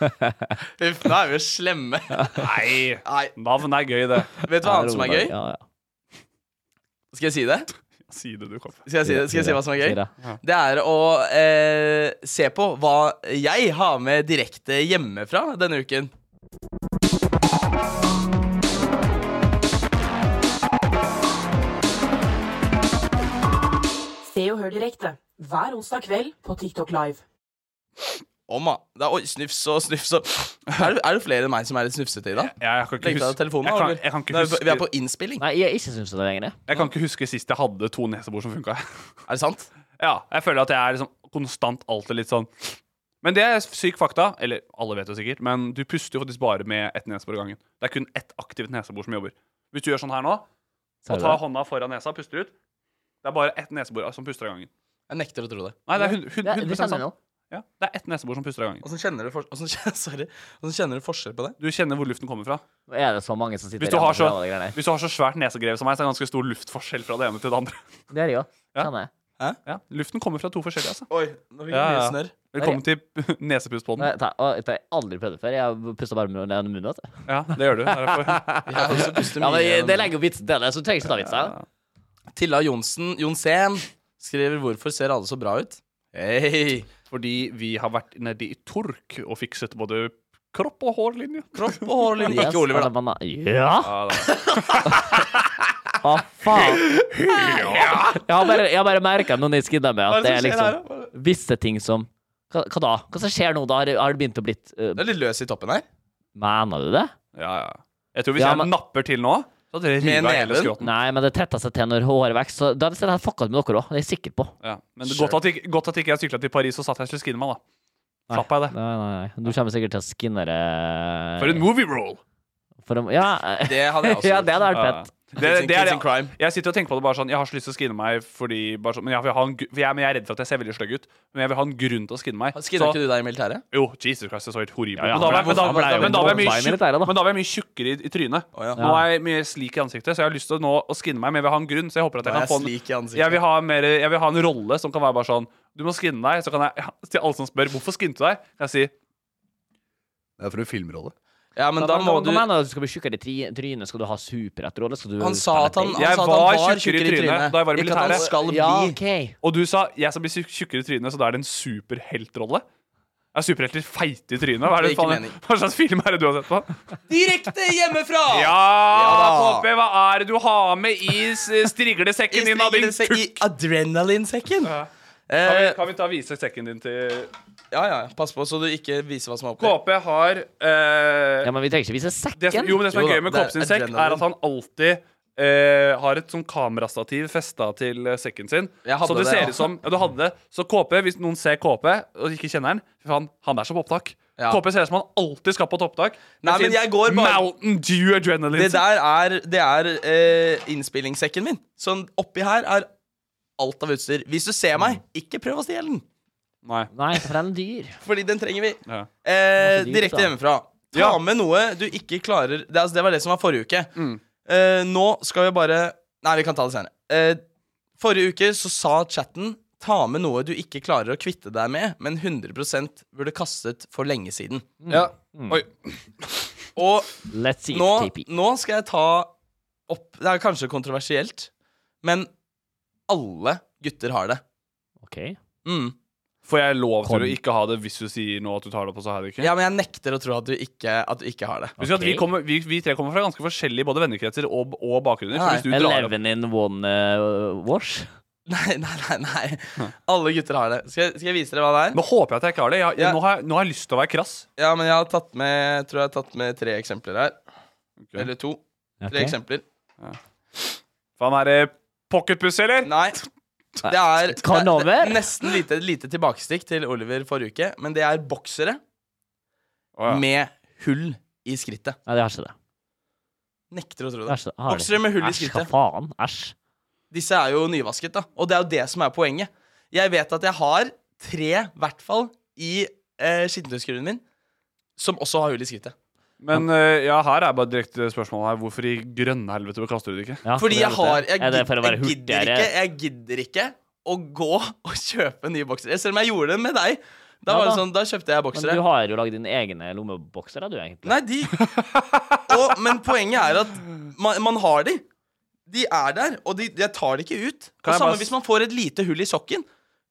D: Uff, da er vi jo slemme.
E: Nei!
D: Nei,
E: Navn er gøy, det.
D: Vet du hva annet som er
F: Ronald,
D: gøy?
F: Ja, ja.
D: Skal jeg si det?
E: Si det, du, Kopp.
D: Skal jeg si, det? Skal jeg si hva som er
F: Si
D: gøy?
F: det.
D: Det er å eh, se på hva jeg har med direkte hjemmefra denne uken.
G: Se og hør direkte hver onsdag kveld på TikTok Live.
D: Omma. Det er, oi, snufs og snufs og er det, er det flere enn meg som er litt snufsete i dag?
E: Jeg kan
D: Legg
E: ikke
D: fra deg
E: huske, jeg
D: telefonen.
E: kan,
D: Oliver.
E: jeg kan ikke
D: Nei,
E: huske
D: Vi er på innspilling.
F: Nei, jeg ikke syns det lenger. jeg.
E: Jeg kan ikke huske sist jeg hadde to nesebor som funka.
D: Er det sant?
E: Ja, jeg føler at jeg er liksom konstant alltid litt sånn Men det er syk fakta. Eller alle vet det sikkert, men du puster jo faktisk bare med ett nesebor i gangen. Det er kun ett aktivt nesebor som jobber. Hvis du gjør sånn her nå,
F: Ser
E: og
F: du
E: tar
F: det?
E: hånda foran nesa og puster ut Det er bare ett nesebor som puster av gangen.
D: Jeg nekter å tro det.
E: Nei, det er hun- hun-
F: Ja, det
E: 100
F: kjenner jeg
E: sant.
F: nå.
E: Ja, det er ett nesebor som puster av gangen.
D: Åssen kjenner, du for- hvordan kjen- sorry. Hvordan kjenner du forskjell på det?
E: Du kjenner hvor luften kommer fra.
F: Nå er det så mange som sitter
E: Hvis du har
F: hjemme
E: så,
F: og gjør det greiene.
E: hvis du har så svært nesegrev som meg, så er det ganske stor luftforskjell fra det ene til det andre.
F: Det er jeg òg.
E: Ja.
F: Kjenner jeg.
D: Hæ?
E: Ja, Luften kommer fra to forskjellige, altså.
D: Oi, nå fikk jeg
E: Ja,
D: mye
E: ja.
D: snørr.
E: Velkommen til Nesepustpodden.
F: Nei, ta- å, Dette har jeg aldri prøvd det før. Jeg puster bare med gjennom munnen. Vet du.
E: Ja, det gjør du. Derfor.
D: Jeg har også pustet
F: Ja,
D: mye
F: men
D: gjennom-
F: Det legger jo vitsen til det, så trenger jeg ikke ta vitsen.
D: Tilla Johnsen, Jonsen, skriver 'Hvorfor ser alle så bra ut?' Hei!
E: Fordi vi har vært nede i Tork og fikset både kropp og hårlinje.
D: Kropp og hårlinje. Ikke Oliver, da.
F: da. Ja!
E: Ja, da.
F: Hva faen? Jeg har bare, jeg har bare merka noen i skinna med
D: Hva
F: at det
D: er
F: er
D: det som skjer
F: liksom visse ting som hva, hva da? Hva som skjer nå? Da har det- har det begynt å blitt uh,
D: Det er litt løs i toppen her.
F: Mener du det?
E: ja, ja. Jeg tror hvis
F: Ja,
E: jeg
F: men-
E: napper til nå, så hadde det
D: Med
E: rivet hele
D: neven?
E: skrotten.
F: Nei, men det tretter seg til når håret vokser. Så Da hadde jeg fucka med dere òg, det er jeg sikker på.
E: Ja. Men det er godt at, ikke, godt at ikke jeg sykla til Paris og satt her og skulle skinne meg, da. Slapp av i det.
F: Nei, nei, nei. Du kommer sikkert til å skinne det eh,
E: For en movie roll!
F: For en- Ja,
D: Det altså- hadde jeg også
F: ja, det hadde vært
E: Ja,
F: fett.
E: ja. Det, det er
D: Kids in crime.
E: Jeg sitter og tenker på det bare sånn Jeg har så lyst til å skinne meg fordi bare sånn, men, jeg vil ha en, gr- for jeg, men jeg er redd for at jeg ser veldig stygg ut. Men jeg vil ha en grunn til å skinne meg.
D: Skinner
E: Så-
D: ikke du deg i militæret?
E: Jo, Jesus Christ, det så helt horribelt
F: Ja, ja.
E: Men da var jeg- men da-
F: Han ble jo
E: men da var jeg
F: mobba
E: mye
F: i militæret, da.
E: tjukk- men da var jeg mye tjukkere i, i trynet.
D: Å, ja.
E: Nå er jeg mye slik i ansiktet, så jeg har lyst til å nå å skinne meg. Men jeg vil ha en grunn, så jeg håper at jeg
D: Nå
E: kan
D: er
E: få
D: jeg slik i
E: en
D: ansiktet.
E: jeg vil, ha mer, jeg vil ha en rolle som kan være bare sånn Du må skinne deg. Så kan jeg Til alle som spør hvorfor skinte du deg, kan jeg si
H: Det er for en filmrolle.
D: Ja, men da må du
F: Hva mener du? Skal du bli tjukkere i tri- trynet? Skal du ha superetterrolle? Skal du
D: Han sa at han, han,
E: Jeg
D: sa at
E: var
D: han var
E: tjukkere i
D: tjukkere i
E: trynet
D: trynet.
E: da jeg var i
D: Ikke at han
E: militæret.
D: skal bli.
F: Ja, ok.
E: Og du sa jeg skal bli tjukk- tjukkere i trynet, så da er det en superheltrolle? Er superhelter feite i trynet? Hva, er
D: Det
E: det,
D: er ikke
E: faen,
D: mening.
E: hva slags film er det du har sett på?
D: Direkte hjemmefra!
E: Ja,
D: Ja da.
E: Poppe, hva er det du har med i s- striglesekken din, da, din
D: Stignelse I
E: kukk?
D: adrenalinsekken.
E: Ja. Kan vi,
D: Eh,
E: kan vi ta og vise sekken din til
D: ja, ja. Pass på så du ikke viser hva som er oppi.
E: KP har eh,
F: Ja, men vi trenger ikke vise sekken.
E: det som, Jo, men det som
D: Jo
E: er
D: da,
E: gøy med
D: det er
E: KP sin sekk, er
D: adrenalin.
E: at han alltid eh, har et sånn kamerastativ festa til eh, sekken sin.
D: Jeg hadde
E: Så det
D: det,
E: ser
D: ja.
E: ut som Ja, du hadde det. Så KP, hvis noen ser KP og ikke kjenner han, fy faen, han er så på opptak.
D: Ja.
E: KP ser ut som han alltid skal på et opptak. med
D: Nei, men
E: sin
D: jeg går bare-
E: Mountain Dew Adrenaline.
D: Det der er, det er eh, innspillingssekken min. Sånn oppi her er alt av utstyr. Hvis du ser meg, ikke prøv å stjele den,
E: Nei.
F: Nei, for den er dyr.
D: Fordi den trenger vi.
E: Ja.
D: Eh,
F: Den er så dyp,
D: direkte
F: da.
D: hjemmefra. Ta
E: Ja.
D: med noe du ikke klarer det, altså, det var det som var forrige uke.
F: Mm.
D: Eh, nå skal vi bare Nei, vi kan ta det senere. Eh, forrige uke så sa chatten ta med noe du ikke klarer å kvitte deg med, men 100 burde kastet for lenge siden.
E: Ja. Oi.
D: Og
F: Let's see
D: nå,
F: it, TP.
D: nå skal jeg ta opp Det er kanskje kontroversielt, men alle gutter har det.
F: Ok.
D: Mm.
E: Får jeg lov
F: Kom.
E: til å ikke ha det hvis du sier nå at du tar det opp, og så har jeg det ikke?
D: Ja, men jeg nekter å tro at du ikke, at du ikke har det.
E: Husk at vi,
F: Ok.
E: kommer, vi, vi tre kommer fra ganske forskjellige både vennekretser og, og bakgrunner.
D: Nei.
E: Så hvis du drar opp
F: Eleven in one uh, wash.
D: Nei, nei, nei. nei Alle gutter har det. Skal jeg, skal jeg vise dere hva det er?
E: Nå håper jeg at jeg ikke har det. Jeg, jeg,
D: Ja.
E: nå, har jeg, nå har jeg lyst til å være krass.
D: Ja, men jeg har tatt med jeg tror jeg har tatt med tre eksempler her. Eller to. Tre
F: Ok.
D: eksempler.
E: Faen, er det pocketpuss, eller?
D: Nei. Det er, det
F: Kan
D: er,
F: over?
D: det er nesten lite, lite tilbakestikk til Oliver forrige uke, men det er boksere
E: Å, ja.
D: med hull i skrittet.
F: Nei, det har ikke det.
D: Nekter å tro
F: det,
D: det.
F: har ikke det. Har det.
D: Voksere med hull
F: Æsj,
D: i
F: hva
D: skrittet.
F: faen? Æsj.
D: Disse er jo nyvasket, da. Og det er jo det som er poenget. Jeg vet at jeg har tre, i hvert fall, i eh, skittentøyskurven min, som også har hull i skrittet.
E: Men eh, ja, her er bare direkte spørsmål her. Hvorfor i grønne helvete kaster du det ikke?
F: Ja,
D: Fordi
F: det er
D: jeg har
F: det.
D: jeg,
F: Er det for å
D: gid-
F: være
D: jeg gidder
F: hurtigere?
D: ikke Jeg gidder ikke å gå og kjøpe nye boksere. Selv om jeg gjorde det med deg. Da
F: Ja
D: var det
F: da.
D: sånn, da kjøpte jeg
F: Men
D: boksere.
F: du har jo lagd dine egne lommebokser, da, du, egentlig.
D: Nei, de og, Men poenget er at man, man har de. De er der, og de, jeg tar det ikke ut. Og
E: Kan jeg bare
D: samme
E: s-
D: hvis man får et lite hull i sokken.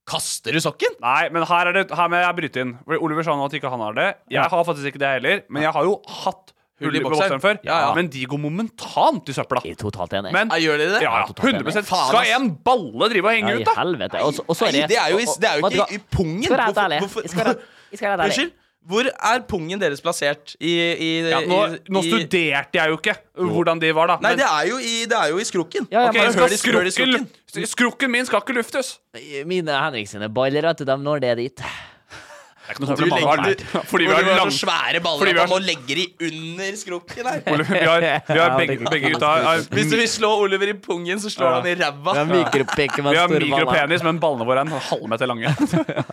D: Kaster du sokken?
E: Nei, men her, er det, her må jeg bryte inn. Fordi Oliver sa nå at ikke han har det. Jeg har faktisk ikke det heller. Men jeg har jo hatt hull i bokseren før.
D: Ja, ja.
E: Men de går momentant i søpla.
F: Jeg er totalt enig.
E: Men
D: Ja, gjør de det?
E: ja, ja, 100
D: Faen,
E: Skal
D: ass.
E: en balle drive og henge
F: ja,
E: ut,
F: i
E: da?
F: helvete. Og så- og så er
D: Nei, det er jo, i-
F: og- og-
D: det er jo
F: vet du
D: ikke
F: hva?
D: i pungen.
F: Skal være helt
D: Hvorfor-
F: ærlig.
D: hvorfor-
F: Jeg skal være- jeg skal være helt ærlig.
D: Unnskyld? Hvor er pungen deres plassert i, i,
E: Ja, nå,
D: i-
E: nå
D: i-
E: studerte jeg jo ikke hvordan de var, da.
D: Nei,
E: men-
D: det er jo i, det er jo i skrukken.
F: Ja, ja,
E: Ok,
D: Bare
E: skal
D: hør de- hør de
E: skrukken, skrukken min skal ikke luftes.
F: Mine Henrik sine baller, vet du, de når det dit.
E: Det er ikke noe
D: Du
E: problem.
D: legger-
E: Nei. Fordi vi har,
D: Oliver
E: lang,
D: så svære baller
E: fordi
D: at
E: vi
D: han
E: har-
D: nå legger de under skrukken her.
E: Oliver, vi har, vi har
F: Ja,
E: begge,
F: det-
E: begge gutta har,
D: Hvis du vil slå Oliver i pungen, så slår
E: Ja.
D: han i ræva.
F: De mikropikker med
E: vi har
F: store baller.
E: mikropenis, men ballene våre er en halvmeter lange. Eh,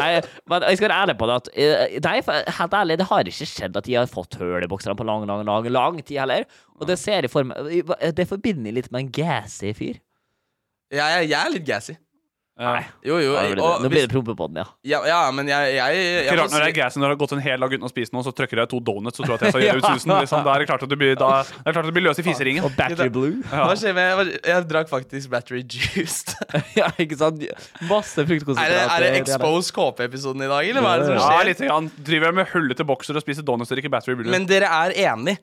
F: Nei, men jeg skal være ærlig på det at eh, Nei, for helt ærlig, det har ikke skjedd at de har fått hull i bokserne på lang, lang, lang lang tid heller. Og det eh, ser jeg for meg Det forbinder jeg litt med en gassy fyr.
D: Ja, jeg, jeg er litt gassy.
E: Nei.
D: Jo, jo.
F: Ja, det blir det.
D: Og
F: Nå blir
D: hvis,
F: det prompepodden, ja.
D: ja, ja, men jeg, jeg, jeg,
E: Ikke
D: må
E: rart når
D: si-
E: det er greit når du har gått en hel dag uten å spise noe, så trykker jeg to donuts og tror at jeg skal gjøre ut susen. Liksom. Da er det klart at du blir, da, da er det klart at du blir løs i fiseringen.
F: Og Battery Blue.
D: Hva skjer med Jeg, jeg drakk faktisk battery juice.
F: ja, ikke sant? Masse
D: er, det,
F: fruktkonsentrater.
D: er det Expose KP-episoden i dag, eller hva er det som
E: Ja,
D: skjer?
E: litt grann. Driver jeg med hullete bokser og spiser donuts og drikker battery blue?
D: Men dere er enig?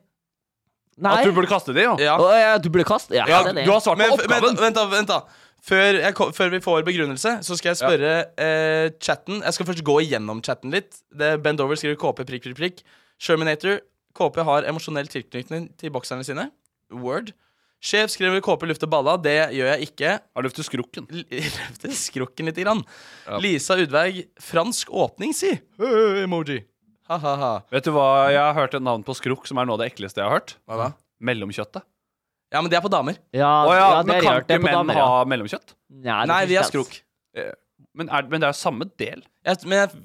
F: Nei.
E: At du burde kaste det, jo.
D: Ja.
F: Å, ja, du burde kaste? Ja,
D: Ja,
F: det er det.
E: Du har svart
D: Men,
E: på
D: f- men
E: oppgaven.
D: vent, da. Vent da. Før, jeg, ko- før vi får begrunnelse, så skal jeg spørre eh, chatten. Jeg skal først gå igjennom chatten litt. Det er Bendover skriver KP prikk, prikk, prikk. Sherminator. KP har emosjonell tilknytning til bokserne sine. Word. Sjef skriver KP luft og balla. Det gjør jeg ikke.
E: Har du løftet skrukken?
D: L- Løfter skrukken lite grann. Lisa Udveig. Fransk åpning, si. Hø, Emoji. Ha-ha-ha.
E: Vet du hva, jeg har hørt et navn på skrukk som er noe av det ekleste jeg har hørt.
D: Hva da?
E: Mellomkjøttet.
D: Ja, men det er på damer.
F: Ja,
E: Å ja,
F: ja, det
E: men
F: er
E: kan
F: rart. Det er
E: ikke
F: på
E: menn
F: damer,
E: ha
F: ja.
E: mellomkjøtt?
F: Nei, det
D: Nei,
F: finnes
D: vi er
F: det, altså.
D: skrok.
E: Men, er, men det er jo samme del.
D: Jeg, men jeg,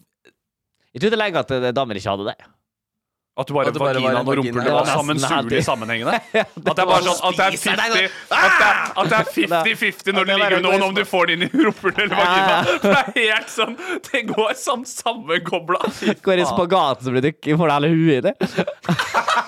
F: Jeg trodde lenge at eh, damer ikke hadde det.
E: At du bare,
D: At det bare var
E: vaginaen
D: en
E: og
D: vagina. Det
E: rumpehullet
D: var
E: var
F: nesten
E: sammensulig
F: happy.
E: sammenhengende? At det er
F: var
E: bare sånn at det er 50 At det
F: Ah!
E: er- at det er 50-50 når du
F: det er
E: ligger
F: bare
E: med
F: Ah.
E: noen,
F: egoisme.
E: om du får det inn i rumpehullet eller vagina. Det er helt sånn Det går som sammenkobla.
F: Går i spagaten som blir dykk, får du hele huet i det.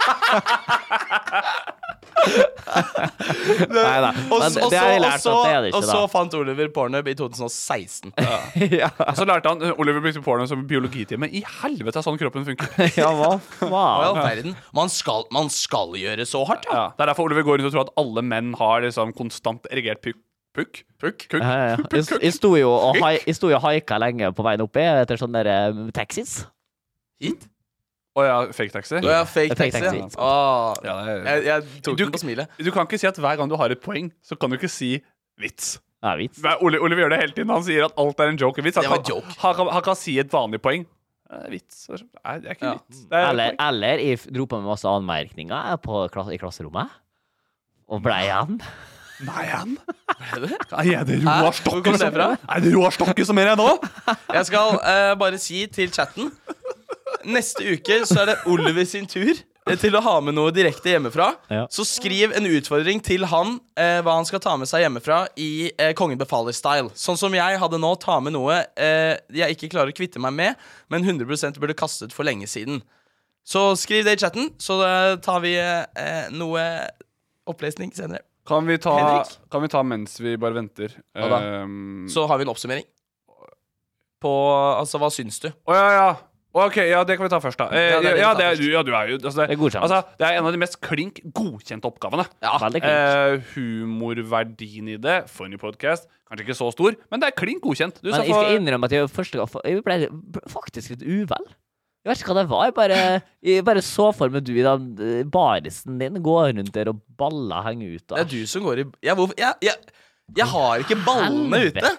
F: Nei da.
D: Og
F: Men
D: så-
F: det har jeg
D: og
F: lært
D: så-
F: at det er det
D: Og
F: ikke,
D: så fant Oliver pornhub i 2016.
F: da. Ja,
E: Så lærte han eh, Oliver brukte porno som biologitime. I helvete er sånn kroppen funker.
F: ja hva
D: Hva i
F: faen?
D: all verden? Man skal, man skal gjøre så hardt, ja.
E: Ja, det er derfor Oliver går rundt og tror at alle menn har liksom konstant erigert pukk. Pukk? Pukk? Kukk?
F: Ja, ja, ja. Jeg jeg sto jo og hai- jeg sto jo og haika lenge på veien oppi etter sånne der, eh, taxis.
D: Hit?
E: Å ja, fake taxi?
D: Å ja, fake
F: Fake
D: taxi.
F: taxi.
D: ja. Åh,
E: Ja, det er-
D: jeg, jeg tok den på smilet.
E: du kan ikke si at hver gang du har et poeng, så kan du ikke si vits.
F: Ja, vits.
E: Nei, Ole, Oliver gjør det hele tiden. Han sier at alt er en joke. Vits. Han,
D: Det var
E: kan-
D: joke.
E: Han, kan- han kan si et vanlig poeng. Eh, Vits. Nei, det er ikke
D: Ja.
E: vits. Det er
F: Eller,
E: poeng.
F: eller jeg f- dro på med masse anmerkninger jeg, på, kla- i klasserommet. Og blei igjen.
E: Nei, han. Nei, er det
D: Hæ?
E: Roar
D: Hvor kom
E: Stokke
D: det
E: som
D: fra?
E: Er det Roar Stokke som er her nå?
D: Jeg skal eh, bare si til chatten Neste uke så er det Oliver sin tur eh, til å ha med noe direkte hjemmefra.
F: Ja.
D: Så skriv en utfordring til han eh, hva han skal ta med seg hjemmefra i eh, Kongen befaler-style. Sånn som jeg hadde nå, ta med noe eh, jeg ikke klarer å kvitte meg med, men 100 burde kastet for lenge siden. Så skriv det i chatten, så eh, tar vi eh, noe opplesning senere.
E: Kan vi, ta,
D: Henrik?
E: kan vi ta mens vi bare venter?
D: Hva da?
E: Ehm,
D: Så har vi en oppsummering. På Altså, hva syns du?
E: Å ja, ja. Å, OK, ja, det kan vi ta først, da. Eh,
D: Ja, det er det vi
E: ja,
D: tar
E: det er,
D: først.
E: du- ja, du er jo altså,
F: Det er godkjent.
E: Altså, det er en av de mest klink godkjente oppgavene.
F: Veldig klink.
E: Eh, humorverdien i det, funny podcast, kanskje ikke så stor, men det er klink godkjent. Du
F: Men
E: skal
F: jeg
E: få-
F: skal innrømme at jeg første gang Jeg ble faktisk litt uvel. Jeg vet ikke hva det var. Jeg bare, jeg bare så for meg du i den eh, barisen din gå rundt der og balla henger ut.
D: Det er du som går i jeg, hvorfor, jeg, jeg, jeg har ikke ballene ute!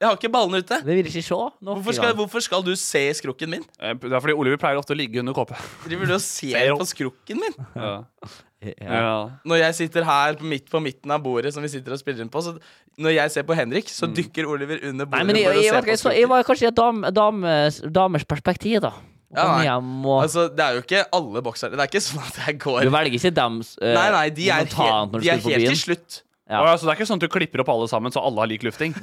D: Jeg har ikke ballene ute
F: Det vil jeg ikke se. noen
D: Hvorfor skal,
F: gang.
D: hvorfor skal du se i skrukken min?
E: Eh, Det er fordi Oliver pleier ofte å ligge under kåpe.
D: Driver du og ser
E: Ser opp.
D: på skrukken min?
E: Ja.
F: ja.
D: Når jeg sitter her på midt på midten av bordet, som vi sitter og spiller inn på så Når jeg ser på Henrik, så dykker Oliver under
F: Mm. Nei,
D: bordet.
F: men jeg,
D: for å
F: jeg,
D: se
F: vet
D: på
F: ikke, jeg, så,
D: skrukken.
F: jeg var kanskje i et dam, dames, damers perspektiv, da. Å
D: Ja,
F: Komme
D: nei.
F: hjem og
D: Altså, det er jo ikke alle boksere. Det er ikke sånn at jeg går
F: Du velger ikke dem eh,
D: Nei, nei, de er
F: momentant når
D: helt,
F: du
D: de er
F: skal på
D: helt
F: byen.
D: til slutt.
F: Ja.
E: Å ja, så det er ikke sånn at du klipper opp alle sammen, så alle har lik lufting?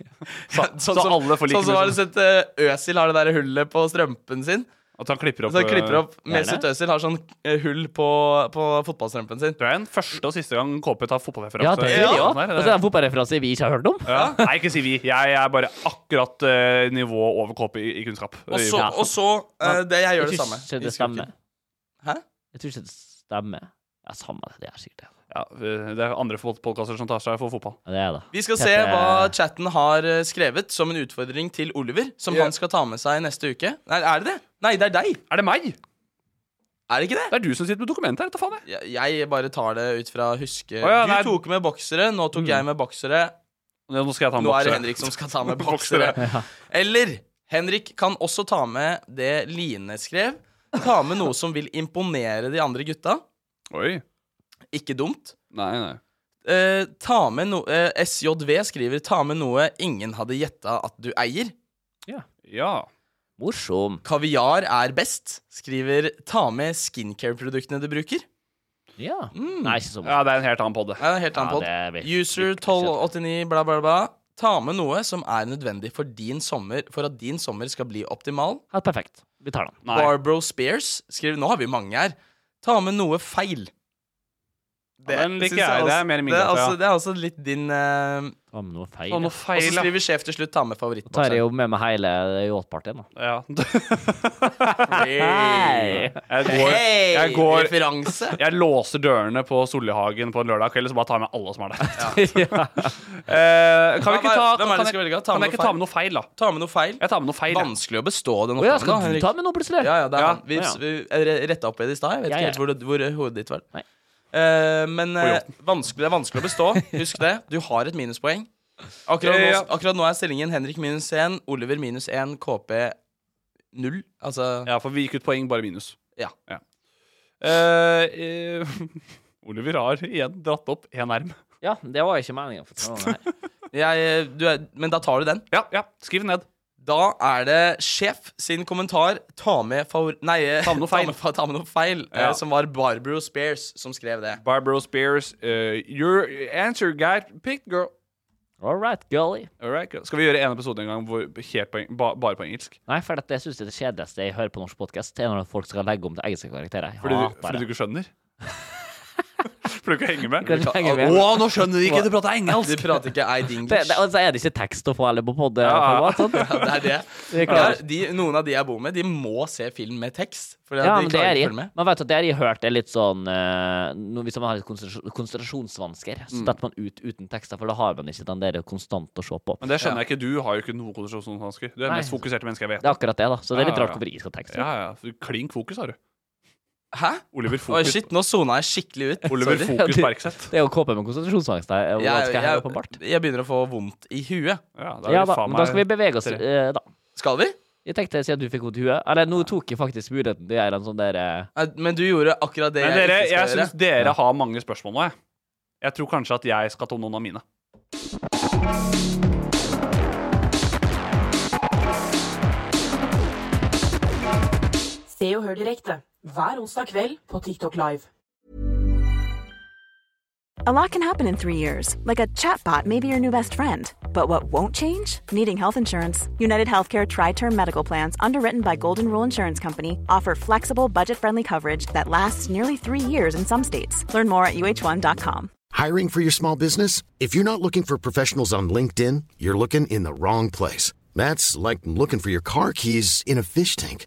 E: så, så,
D: Sånn som,
E: alle
D: sånn
E: får lik
D: som har du
E: lufting?
D: sett eh, Øsil har det der hullet på strømpen sin.
E: At han klipper opp, eh,
D: Så han sånn Altså, klipper opp
F: Gjerne.
D: Mesut Øsil har sånn eh, hull på, på fotballstrømpen sin.
E: Det er den første og siste gang KP tar eh, fotballreferanse.
D: altså.
F: Ja, det gjør de
E: Ja,
F: òg.
E: der,
F: Og så er det en fotballreferanse vi ikke har hørt om.
E: sånn ja. Nei, ikke si vi. Jeg er bare akkurat eh, nivå over KP i, i kunnskap.
D: Og så,
F: Ja.
D: og så eh, det, Jeg gjør det samme.
F: Jeg tror ikke
D: i
F: det stemmer.
D: skrukken. Hæ?
F: Jeg tror ikke det stemmer. Ja, samme det. Det er sikkert det.
E: ja, eh, det er andre podkaster som tar seg for fotball.
F: Ja, det er det.
D: Vi skal se
F: Dette-
D: hva chatten har eh, skrevet som en utfordring til Oliver, som
E: Ja.
D: han skal ta med seg neste uke. Nei, er det det? Nei, det er deg.
E: Er det meg?
D: Er det ikke det?
E: Det er du som sitter med dokumentet her. vet du faen jeg.
D: Jeg- Jeg bare tar det ut fra huske.
E: Å ja, nei.
D: Du tok med boksere, nå tok jeg med boksere.
E: Nå skal jeg ta en
D: Nå er
E: bokser.
D: det Henrik som skal ta med
E: Boksere.
D: boksere. Eller Henrik kan også ta med det Line skrev. Ta med noe som vil imponere de andre gutta.
E: Oi.
D: Ikke dumt.
E: Nei, nei.
D: Eh, ta med noe eh, SJV skriver 'ta med noe ingen hadde gjetta at du eier'.
E: Ja. ja.
F: Morsom.
D: Kaviar er best. Skriver 'ta med skincare-produktene du bruker'.
F: Ja.
D: Mm.
F: Nei, ikke så morsom.
E: det er en helt annen pod.
D: Nei, det er helt annen
F: Ja, det
D: podd.
F: blir
D: User
F: fryktelig kjedelig.
D: 1289 bla, bla, bla. Ta med noe som er nødvendig for, din sommer, for at din sommer skal bli optimal.
F: Helt perfekt. Vi tar den.
E: Nei.
D: Barbro Spears skriver Nå har vi mange her. Ta med noe feil.
E: Ja, den liker
D: synes
E: jeg. Det er
D: også-
E: mer min
D: det er
E: gate, ja.
D: altså- Det er altså litt din eh,
F: Ta med noe feil.
E: Å, noe
F: ja.
D: Og så
E: feil, ja.
D: skriver sjef til slutt ta med
F: Da tar jeg
D: favorittbokseren.
F: jo med meg hele yachtpartyen. da.
E: ja.
F: Hei!
E: Jeg går, jeg går
D: Referanse.
E: jeg låser dørene på Sollihagen på en lørdag kveld, så bare tar jeg med alle som er
F: Ja.
E: der. Eh, kan vi ikke ta
D: Hvem er- hvem er det
E: kan
D: du skal
E: jeg,
D: velge? Ta
E: kan
D: med
E: jeg
D: noe
E: ikke ta
D: feil?
E: med noe feil, da?
D: Ta med noe feil.
E: Jeg tar med noe feil. jeg.
D: Vanskelig å bestå den
F: Å ja,
D: oppgaven. da,
F: skal du
D: Henrik.
F: ta med noe plutselig?
D: Ja, ja, det er,
E: Ja,
D: han. vi,
F: ja, ja.
D: vi jeg retta opp i det i stad. Jeg vet
F: Ja,
D: ikke
F: ja.
D: helt hvor, det- hvor hodet ditt var.
F: Nei.
D: Eh, men eh,
E: På
D: vanskelig, det er vanskelig å bestå. Husk det. Du har et minuspoeng. Akkurat
E: Ja,
D: nå,
E: ja.
D: akkurat nå er stillingen Henrik minus 1, Oliver minus 1, KP 0. Altså
E: Ja, for vi gikk ut poeng, bare minus.
D: Ja.
E: Eh, eh, Oliver har igjen dratt opp én erm.
F: Ja, det var ikke meningen. For å ta den her.
D: jeg, du er, Men da tar du den.
E: Ja, ja, skriv den ned.
D: Da er det sjef sin kommentar Ta med favor... Nei, eh,
E: Ta med noe feil.
D: Ta med, fa- ta med noe feil eh,
E: Ja.
D: Som var Barbro Spears som skrev det.
E: Barbro Spears, eh, your answer got picked, girl.
F: All right, girlie.
E: All right, girl. Skal vi gjøre en episode en gang hvor, helt på, eng- ba, bare på engelsk?
F: Nei, for dette syns jeg er det kjedeligste jeg hører på norsk podkast, er når folk skal legge om til engelske karakterer. Jeg
E: Fordi, du,
F: hater
E: fordi du
F: det.
E: ikke skjønner? fordi du ikke henger med?
F: Kan ikke henge med.
E: Å, nå skjønner de ikke! Du prater
D: Du
E: engelsk!
D: prater ikke Eid
F: Det,
D: English.
F: det, og så er det ikke tekst å få heller på pod.
E: Ja, ja.
D: Ja, det er det.
F: Vi
D: Ja,
F: klarer.
D: de, noen av de jeg bor med, de må se film med tekst. For
F: Ja,
D: de
F: men det
D: klarer
F: er
D: ikke
F: i.
D: å følge med.
F: Man vet at det er i hørt er litt sånn eh, no, Hvis man har litt konsentrasjon- konsentrasjonsvansker, så
E: Mm.
F: detter man ut uten tekster, for da har man ikke den der konstant å se på.
E: Men det skjønner jeg ikke. Du har jo ikke noe konsentrasjonsvansker. Du er det
F: Nei.
E: mest fokuserte mennesket jeg vet.
F: Det er akkurat det, da. Så det er litt
E: Ja,
F: rart
E: ja, ja.
F: hvorfor jeg skal ha tekst.
E: Ja, ja. Du- Klink fokus har du.
D: Hæ?
E: Oliver
D: Oi,
E: Fokus.
D: shit, nå sona jeg skikkelig ut.
E: Oliver
D: Sorry.
E: Fokus
F: Ja, du-
E: Bergseth.
F: Det er jo KP med konsentrasjonsangst her.
D: Jeg,
F: Hvordan skal jeg henge opp en bart?
D: jeg, jeg begynner å få vondt i huet.
E: Ja, da er
F: Ja
E: det
F: da,
E: faen
F: men da skal vi
E: meg-
F: bevege oss, eh, da.
D: Skal vi?
F: Jeg tenkte siden du fikk vondt i huet Eller nå tok jeg faktisk muligheten til å gjøre en sånn der eh,
D: Nei, Men du gjorde akkurat det
E: Men dere,
D: jeg ikke
E: jeg
D: skal
E: syns
D: gjøre.
E: dere har mange spørsmål nå, jeg. Jeg tror kanskje at jeg skal ta noen av mine.
G: Se og hør direkte hver onsdag kveld på TikTok Live.
I: A lot can happen in three years, like a chatbot may be your new best friend. But what won't change? Needing health insurance. United Healthcare Tri Term Medical Plans, underwritten by Golden Rule Insurance Company, offer flexible, budget friendly coverage that lasts nearly three years in some states. Learn more at uh1.com.
J: Hiring for your small business? If you're not looking for professionals on LinkedIn, you're looking in the wrong place. That's like looking for your car keys in a fish tank.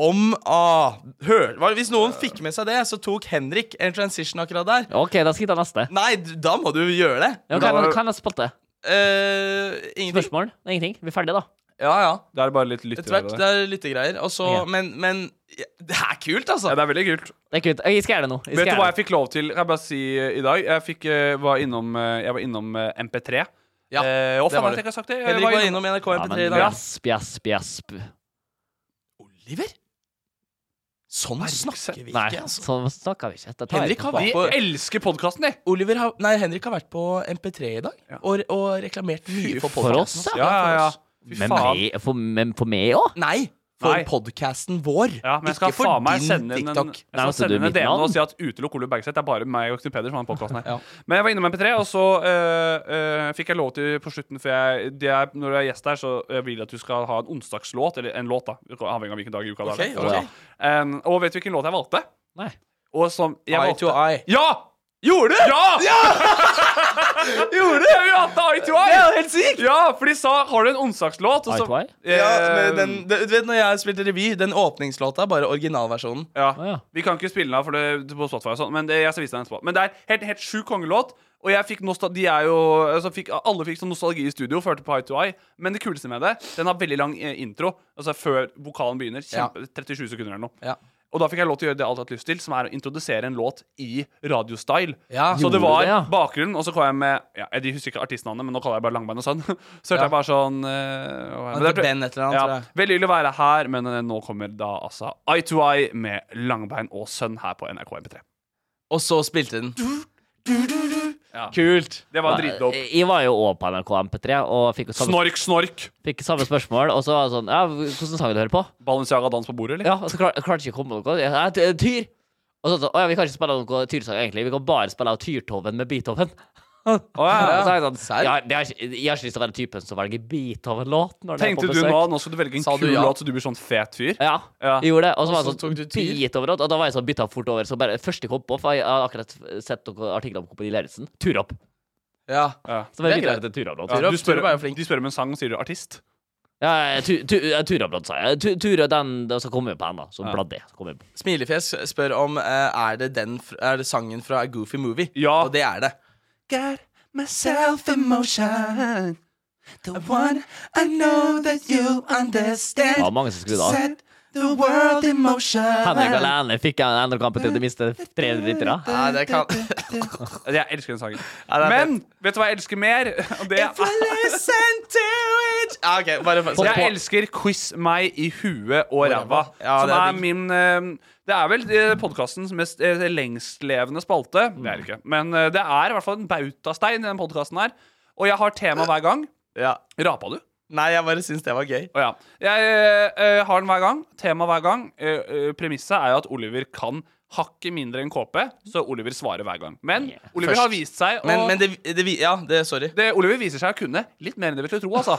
D: Om ah, hør, hva- Hvis noen fikk med seg det, så tok Henrik en transition akkurat der.
F: OK, da skal jeg ta neste.
D: Nei, du- da må du gjøre det.
F: Ja, hva er- hva er neste spalte?
D: Eh, ingenting.
F: Spørsmål? Ingenting? Vi er ferdige, da.
D: Ja, ja.
E: Det er bare litt
D: Etter hvert.
E: lyttere.
D: Det er lyttegreier. Og så
F: Ok.
D: Men, men ja, Det er kult, altså.
E: Ja, det er veldig kult.
F: Det er kult. Jeg skal gjøre det nå. Jeg skal
E: Vet du
F: gjøre
E: hva jeg
F: det.
E: fikk lov til? Kan jeg bare si eh, i dag? Jeg, fikk, eh, var, innom, eh, jeg var innom eh, MP3.
D: Ja,
E: Eh, å,
D: det
E: faen,
D: var du.
E: at jeg ikke har sagt det. Jeg
D: Henrik var innom NRK
F: Ja,
D: MP3 i
F: men
D: dag.
F: Gjesp, gjesp, gjesp.
D: Oliver? Sånn snakker vi
F: Nei,
D: ikke, altså.
F: sånn snakker vi ikke. Dette tar jeg
D: Henrik
F: ikke
D: har
F: på.
D: vært
E: De elsker podkasten, de!
D: Oliver har, nei, Henrik har vært på MP3 i dag og, og reklamert mye for
F: for oss,
D: podkasten.
E: altså. Ja, ja, ja. Fy
F: Men
E: faen.
F: meg- for- Men for meg òg?
D: Nei, for
E: Nei.
D: podkasten vår.
E: Ja, men jeg skal
D: ikke for
E: faen meg
D: din
E: sende inn en,
D: TikTok.
E: jeg skal
F: Nei, altså,
E: sende
F: du,
E: inn en
F: mitt
E: DM nå
F: navn.
E: og si at utelukk Ole Bergseth. Det er bare meg og Knut Peder som har den podkasten her.
D: Ja.
E: Men jeg var innom MP3, og så øh, øh, fikk jeg lov til på slutten For jeg, det er, når du er gjest her, så jeg vil jeg at du skal ha en onsdagslåt. Eller en låt, da. Avhengig av hvilken dag i uka det er.
D: Ok, ok.
E: Um, og vet du hvilken låt jeg valgte?
F: Nei.
E: Og som jeg
D: Eye
E: valgte
D: to eye.
E: Ja! Gjorde du?! Ja!
D: Gjorde
E: det? Vi hadde Eye to Eye.
D: Det er jo helt sykt.
E: Ja, for de sa Har du en onsdagslåt? Og så- Eh,
F: Eye to Eye?
D: Ja, men den, den, du vet når jeg spilte revy, den åpningslåta er bare originalversjonen.
E: Ja. Vi kan ikke spille den av for det, på Spotify, og sånn, men det, jeg skal vise deg den etterpå. Men det er helt, helt sjuk kongelåt. Og jeg fikk nostal de er jo, altså fikk, alle fikk sånn nostalgi i studio, førte på Eye to Eye. Men det kuleste med det, den har veldig lang eh, intro. Altså før vokalen begynner. Kjempe, 37 sekunder eller noe. Og da fikk jeg lov til å gjøre det jeg alltid har hatt lyst til, som er å introdusere en låt i radiostyle.
D: Ja.
E: Så det
D: Gjorde
E: var
D: det, ja.
E: bakgrunnen, og så kom jeg med ja, Jeg husker ikke artistnavnet, men nå kaller jeg bare Langbein og Sønn. Så
D: Ja.
E: hørte jeg bare sånn eh, hva er
D: Han
E: det?
D: heter Ben et eller annet, tror jeg.
E: Veldig hyggelig å være her, men eh, nå kommer da altså Eye to Eye med Langbein og Sønn her på NRK MP3.
D: Og så spilte den.
E: Ja.
D: Kult.
E: Det var dritdope.
F: Jeg var jo òg på NRK MP3 og fikk jo samme,
E: Snork, snork.
F: fikk samme spørsmål. Og så var det sånn ja, 'Hvordan sang du hører på?'
E: Balenciaga dans på bordet, eller?
F: Ja, og så klar, jeg klarte ikke å komme på noe. Jeg, jeg, jeg, tyr! Og så sånn, å ja, vi kan ikke spille noe tyrsang, egentlig. Vi kan bare spille av Tyrtoven med Beethoven. Og så sa jeg sånn,
D: Serr?
F: jeg, har- jeg, har ikke- jeg har ikke lyst til å være typen som velger Beethoven-låt. når den er på
E: Tenkte du
F: besøk.
E: nå nå skal du velge en
D: Sa du
E: kul
D: ja?
E: låt så du blir sånn fet fyr?
F: Ja,
E: Ja.
F: jeg gjorde det. Og så var
D: Og
F: det
D: så
F: sånn
D: tok du tyr.
F: Beethoven-låt. Og da var jeg sånn bytta fort over. Så bare første jeg kom på, for jeg har akkurat sett noen artikler om Kompani Lauritzen, Turopp.
D: Ja.
E: Ja.
F: Så bare
D: Det er
F: bytta jeg
D: greit.
F: til Turopp-låt.
D: Turopp,
E: Du spør,
D: Turopp er jo flink.
E: de spør om en sang, og sier du artist?
F: Ja, ja, tu, tu, ja, Turopp-låt, sa jeg. Tu, Tura, den den som kommer på henne, da. Som
E: Ja.
F: bladde. Som kommer på.
D: Smilefjes spør om eh, er det den fr- er det sangen fra A Goofy Movie.
E: Ja.
D: Og det er det. Got myself in motion. The one I know that you understand.
F: Det var mange som skrudde av.
D: the world in motion.
F: Henrik Alene fikk en endre kamp til det minste 300 liter. da.
D: Ja, det kan
E: Altså, Jeg elsker den sangen.
D: det er
E: Men vet du hva jeg elsker mer? Og det
D: If I listen to it ja, ok, bare for,
E: Jeg elsker Quiz meg i huet og ræva.
D: Ja,
E: som
D: det er
E: er
D: digg.
E: min eh, Det er vel eh, podkastens mest eh, lengstlevende spalte. Det er det ikke. Men eh, det er i hvert fall en bautastein i den podkasten her. Og jeg har tema hver gang.
D: ja.
E: Rapa du?
D: Nei, jeg bare syns det var gøy.
E: Å ja. Jeg eh, eh, har den hver gang. Tema hver gang. Eh, eh, Premisset er jo at Oliver kan hakket mindre enn KP, så Oliver svarer hver gang. Men Oliver har vist seg å
D: Men, men det, det vi- Ja, det, sorry.
E: det, Oliver viser seg å kunne litt mer enn det vi skulle tro. altså.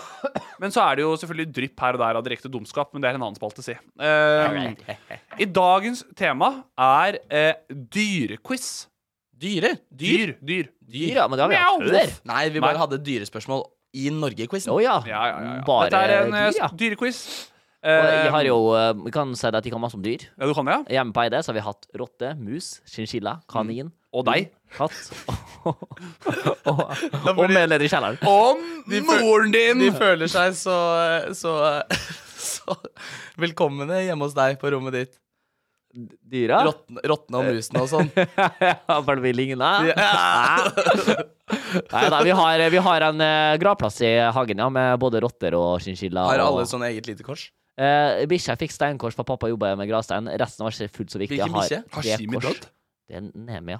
E: Men så er det jo selvfølgelig drypp her og der av direkte dumskap, men det er en annen spalte, si. Eh, I dagens tema er eh, dyrequiz.
D: Dyre?
E: Dyr. Dyr.
F: Dyr, ja, men det har vi hatt
E: Mjau.
F: før.
D: Nei, vi bare hadde dyrespørsmål i Norge-quizen.
F: Å ja.
E: Ja, ja, ja, ja.
F: Bare
E: Dette er en
F: dyr,
E: eh,
F: ja.
E: dyrequiz.
F: Og
E: Eh,
F: jeg har jo, eh, vi kan si det at jeg kan masse om dyr.
E: Ja, du kan det, ja?
F: Hjemme på Eide så har vi hatt rotte, mus, chinchilla, kanin
E: Og deg.
F: Katt. Og, og, og medleder i kjelleren.
E: Om moren din!
D: De føler seg så, så, så velkomne hjemme hos deg på rommet ditt.
F: Dyra?
D: Rottene rottene og musene og sånn.
F: Bare vi ligner. Nei da, vi har, vi har en eh, gravplass i hagen, ja, med både rotter og chinchilla.
D: Har alle
F: og-
D: sånn eget lite kors?
F: Eh, bikkja fikk steinkors, for pappa jobba med gravstein. Resten var ikke fullt så viktig.
D: Hvilken
F: Jeg
D: bikkje?
F: Har
E: Har Shimi
F: tre kors.
E: dødd?
F: Det er Nemi, ja.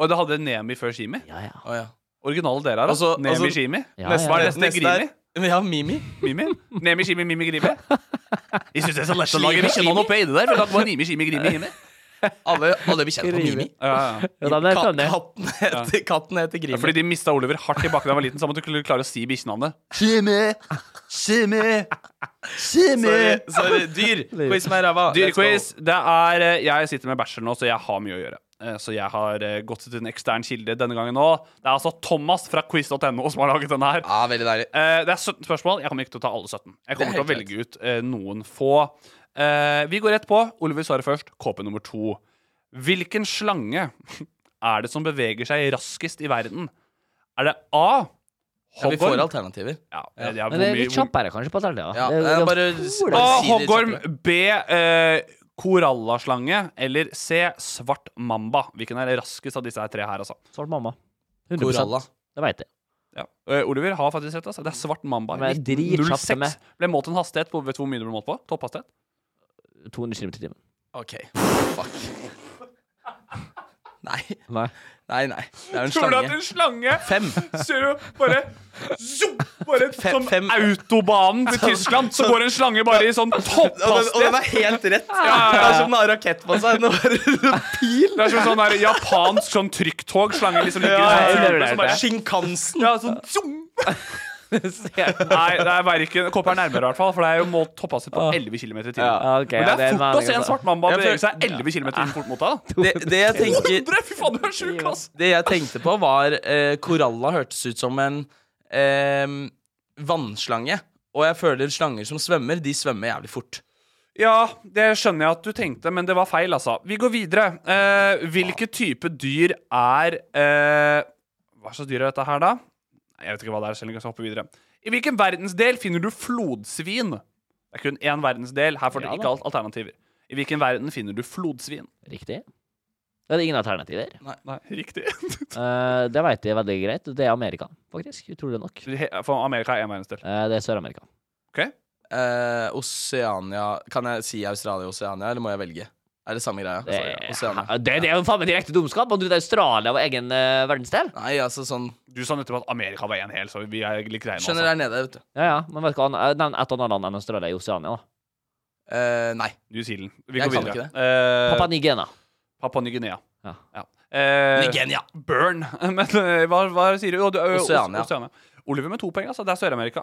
E: Og det hadde Nemi før Shimi?
F: Ja, ja.
D: Å ja.
E: Originale dere her, altså.
D: Altså-
E: Nemi
D: altså-
E: Shimi?
F: Ja,
E: Neste-
F: ja.
E: Hva er det neste?
D: Neste
E: Grimi?
D: er- Ja, Mimi.
E: Mimi? Nemi Shimi Mimi Grimi? Jeg syns det er så lett å lage
D: Slimi,
E: visjonen oppi det der. For da var Nimi Shimi Grimi Himi.
D: Alle, alle blir kjent på Mimi.
E: Ja, ja, ja.
F: ja den er
D: Katt-
F: funny.
D: katten, heter, katten heter Grimi.
E: Fordi de mista Oliver hardt i bakken da han var liten, så han måtte kl- klare å si bikkjenavnet.
H: Jimmy! Jimmy!
D: Sorry, sorry. Dyr. Quiz med ræva. Let's go.
E: Dyrequiz. Det er eh, Jeg sitter med bachelor nå, så jeg har mye å gjøre. Eh, Så jeg har eh, gått til en ekstern kilde denne gangen òg. Det er altså Thomas fra quiz.no som har laget denne her.
D: Ja, veldig deilig.
E: Eh, det er 17 spørsmål. Jeg kommer ikke til å ta alle 17. Jeg
D: Det er
E: kommer til å
D: helt
E: velge ut eh, noen få. Eh, vi går rett på. Oliver svarer først. KP nummer to. Hvilken slange er det som beveger seg raskest i verden? Er det A.
D: Ja, vi får
E: Hoggorm?
D: alternativer.
E: Ja, eh, det er
F: Men det
E: hvor
F: er
E: mye-
F: litt kjappere, kanskje, på Italia.
D: Ja,
F: det,
D: jeg
F: det,
D: bare-
F: tror
E: A.
F: det.
D: Si det
E: Hoggorm.
D: kjappere.
E: B. Eh, Korallaslange. Eller C. Svart mamba. Hvilken er raskest av disse her tre her, altså?
F: Svart mamma. 100
D: Koralla.
F: Det veit jeg.
E: Ja. Eh, Oliver har faktisk rett. Altså. Det er svart mamba.
F: Men jeg er dritkjapt som
E: 1906. Ble målt en hastighet på Vet du hvor mye det ble målt på? Topphastighet?
F: 200 km i timen.
D: OK. Fuck. Nei.
F: Nei.
D: Nei, nei. Det er jo en
E: Tror du at
D: slange.
E: en slange
D: Fem.
E: Ser du bare, zoom, bare
D: Fem-
E: Som
D: fem- Sånn-
E: autobanen til Tyskland, så går en slange bare i
D: Og
E: sånn
D: den, og den er
E: topphastighet.
D: helt rett.
E: ja, ja.
D: Det er som den har rakett på seg. Den er bare pil.
E: Det er som sånn der japansk sånn trykktog. Slange liksom ligger
D: Ja,
E: i sånn
F: jeg
E: kurve,
F: hører det,
E: så bare
F: det.
E: skikk-
D: Shinkansen.
E: ja, sånn, zoom. Nei, det er verken Kåpe er nærmere, i hvert fall. For det er jo målt topphaset på 11 km i timen.
F: Ja, ok,
E: Men det
F: det er
E: er fort å se
F: meningen,
E: en
F: altså.
E: svart mamba
D: Ja, for-
E: bevege seg 11 km i fort mot deg. da.
D: Det, det jeg tenker
E: 200! Fy faen, du er sjuk, ass!
D: Det jeg tenkte på var eh, Koralla hørtes ut som en eh, vannslange. Og jeg føler slanger som svømmer, de svømmer jævlig fort.
E: Ja, det skjønner jeg at du tenkte, men det var feil, altså. Vi går videre. Eh, hvilke type dyr er eh, Hva slags dyr er dette her, da? Nei, Jeg vet ikke hva det er, selv om jeg skal hoppe videre. I hvilken verdensdel finner du flodsvin? Det er kun én verdensdel. Her får
F: Ja
E: dere
F: da.
E: ikke alt alternativer. I hvilken verden finner du flodsvin?
F: Riktig. Da er det ingen alternativer.
D: Nei,
E: Riktig.
F: Eh, det veit jeg veldig greit. Det er Amerika, faktisk. Utrolig nok.
E: He- For Amerika er én verdensdel.
F: Eh, det er Sør-Amerika.
E: OK?
D: Eh, Oseania Kan jeg si Australia og Oseania, eller må jeg velge? Er det samme greia?
F: Det,
D: Oseania.
F: det, det er jo faen meg direkte dumskap! Og du, det er Australia var egen eh, verdensdel.
D: Nei, altså sånn
E: Du sa nettopp at Amerika var én hel, så vi er litt greie altså. med
D: Skjønner der nede, vet du.
F: Ja, ja. Men vet du hva, an- eh, nevn et annet land enn Australia i Oseania, da.
D: Eh, nei.
E: New Zealand. Vi
D: Jeg
E: går
D: kan
E: videre.
D: ikke
E: Eh,
F: Papua Ny-Guinea.
E: Papua Ny-Guinea.
F: Ja.
E: Ja. Eh,
D: Nigenia.
E: Burn. Men eh, hva, hva sier du? Jo, du- ø, Os-
D: Oseania.
E: Oseania. Oliver med to poeng, altså. Det er Sør-Amerika.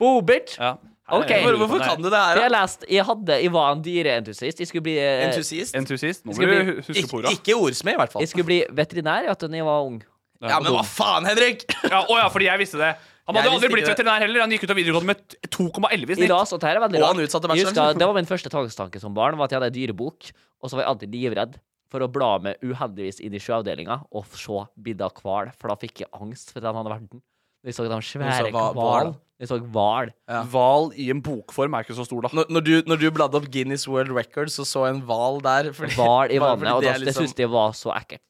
F: Bo, bitch!
E: Ja.
F: Ok.
D: Hvor, hvorfor kan du det her?
F: Jeg har
D: da?
F: lest Jeg, hadde, jeg var en dyreentusiast. Jeg skulle bli eh,
D: Entusiast?
E: Entusiast. Nå må
F: Skal
E: du
F: vi-
E: hu- huske på orda.
D: Ik ikke ordsmed, i hvert fall.
F: Jeg skulle bli veterinær vet du, da jeg var ung.
D: Ja, men hva faen, Henrik?
E: Ja, å ja, fordi jeg visste det. Han
D: Jeg
E: hadde aldri
D: visste
E: blitt
D: ikke det.
E: veterinær heller. Han gikk ut av videregående med t- 2,11 i
F: I
E: snitt.
F: ras, og det her er veldig
D: Og han
F: rart.
D: utsatte
F: Jeg
D: bacheloren.
F: husker, det var min første tvangstanke som barn. Var at Jeg hadde en dyrebok, og så var jeg alltid livredd for å bla meg uheldigvis inn i sjøavdelinga og f- se bilder av hval, for da fikk jeg angst for den hadde verden. Når jeg så de
D: Du
F: svære
D: så hva-
F: hval
D: hval.
F: Når jeg så hval.
D: Ja.
E: Hval i en bokform er ikke så stor, da.
D: Når, når, du, når du bladde opp Guinness World Records og så en hval der fordi-
F: Hval i
D: bare
F: vannet,
D: fordi
F: og
D: det
F: da,
D: er
F: det
D: liksom-
F: syntes jeg var så ekkelt.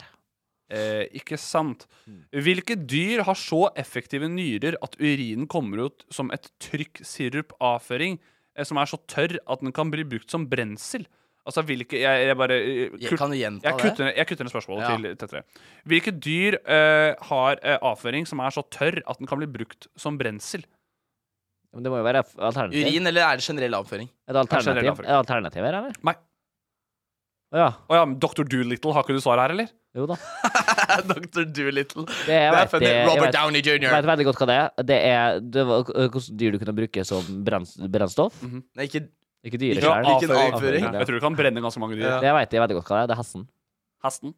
E: Eh, ikke sant.
D: Mm.
E: Hvilke dyr har så effektive nyrer at urinen kommer ut som et trykksirupavføring eh, som er så tørr at den kan bli brukt som brensel? Altså hvilke Jeg, jeg bare eh,
D: Jeg
E: kut-
D: kan jo gjenta
E: jeg
D: det.
E: kutter, ned- jeg kutter ned spørsmålet
D: Ja.
E: til tettere. Hvilke dyr eh, har eh, avføring som er så tørr at den kan bli brukt som brensel?
F: Men det må jo være f- alternativ.
D: Urin, eller er det generell avføring?
F: Er det
E: Kanskje det er
F: alternativ? Er det alternativ her, eller?
E: Nei.
F: Å Ja.
E: Å ja, men Dr. Doolittle, har ikke du svaret her, eller?
F: Jo da.
D: Dr. Doolittle.
F: Det er,
D: Det er
F: vet,
D: funny.
F: det, jeg
D: Robert
F: vet,
D: Downey
F: jeg vet
D: jr.
F: veldig godt hva det er. Det er det var, hvordan dyr du kunne bruke som brens, brennstoff.
D: Nei, ikke
F: Ikke
D: Ikke
F: dyreskjær.
D: noe avføring.
F: ja.
E: Jeg tror du kan brenne ganske mange dyr.
D: Ja.
F: Det veit jeg veldig godt hva det er. Det er hesten.
E: Hesten.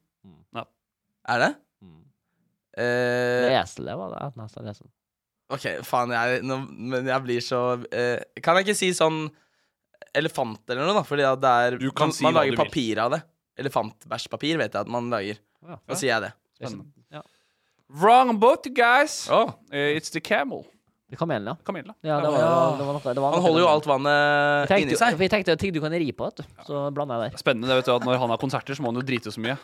D: Er det?
F: Mm.
D: Eh,
F: Eselet var det. ja, den hesten, esen.
D: OK, faen, jeg, nå, men jeg blir så eh, Kan jeg ikke si sånn elefant eller noe, da? Fordi at det er
E: Du kan
D: man,
E: si
D: man
E: hva
D: lager
E: du vil.
D: papir av det. Elefantbæsjpapir vet jeg at man lager.
F: Ja.
D: Da sier jeg det.
E: Spennende.
F: Ja.
E: Wrong boat, guys.
D: Oh.
E: Eh, it's the camel.
F: Det er Kamelen, ja.
E: Kamilla.
F: ja det var, det var, det var noe, det var
D: Han
F: noe-
D: holder jo alt
F: Jeg
D: vannet inni
F: tenkte,
D: seg.
F: for jeg tenkte ting du kan ri på, vet du. Så blanda jeg der.
E: Spennende det vet du, at når han har konserter, så må han jo drite så mye.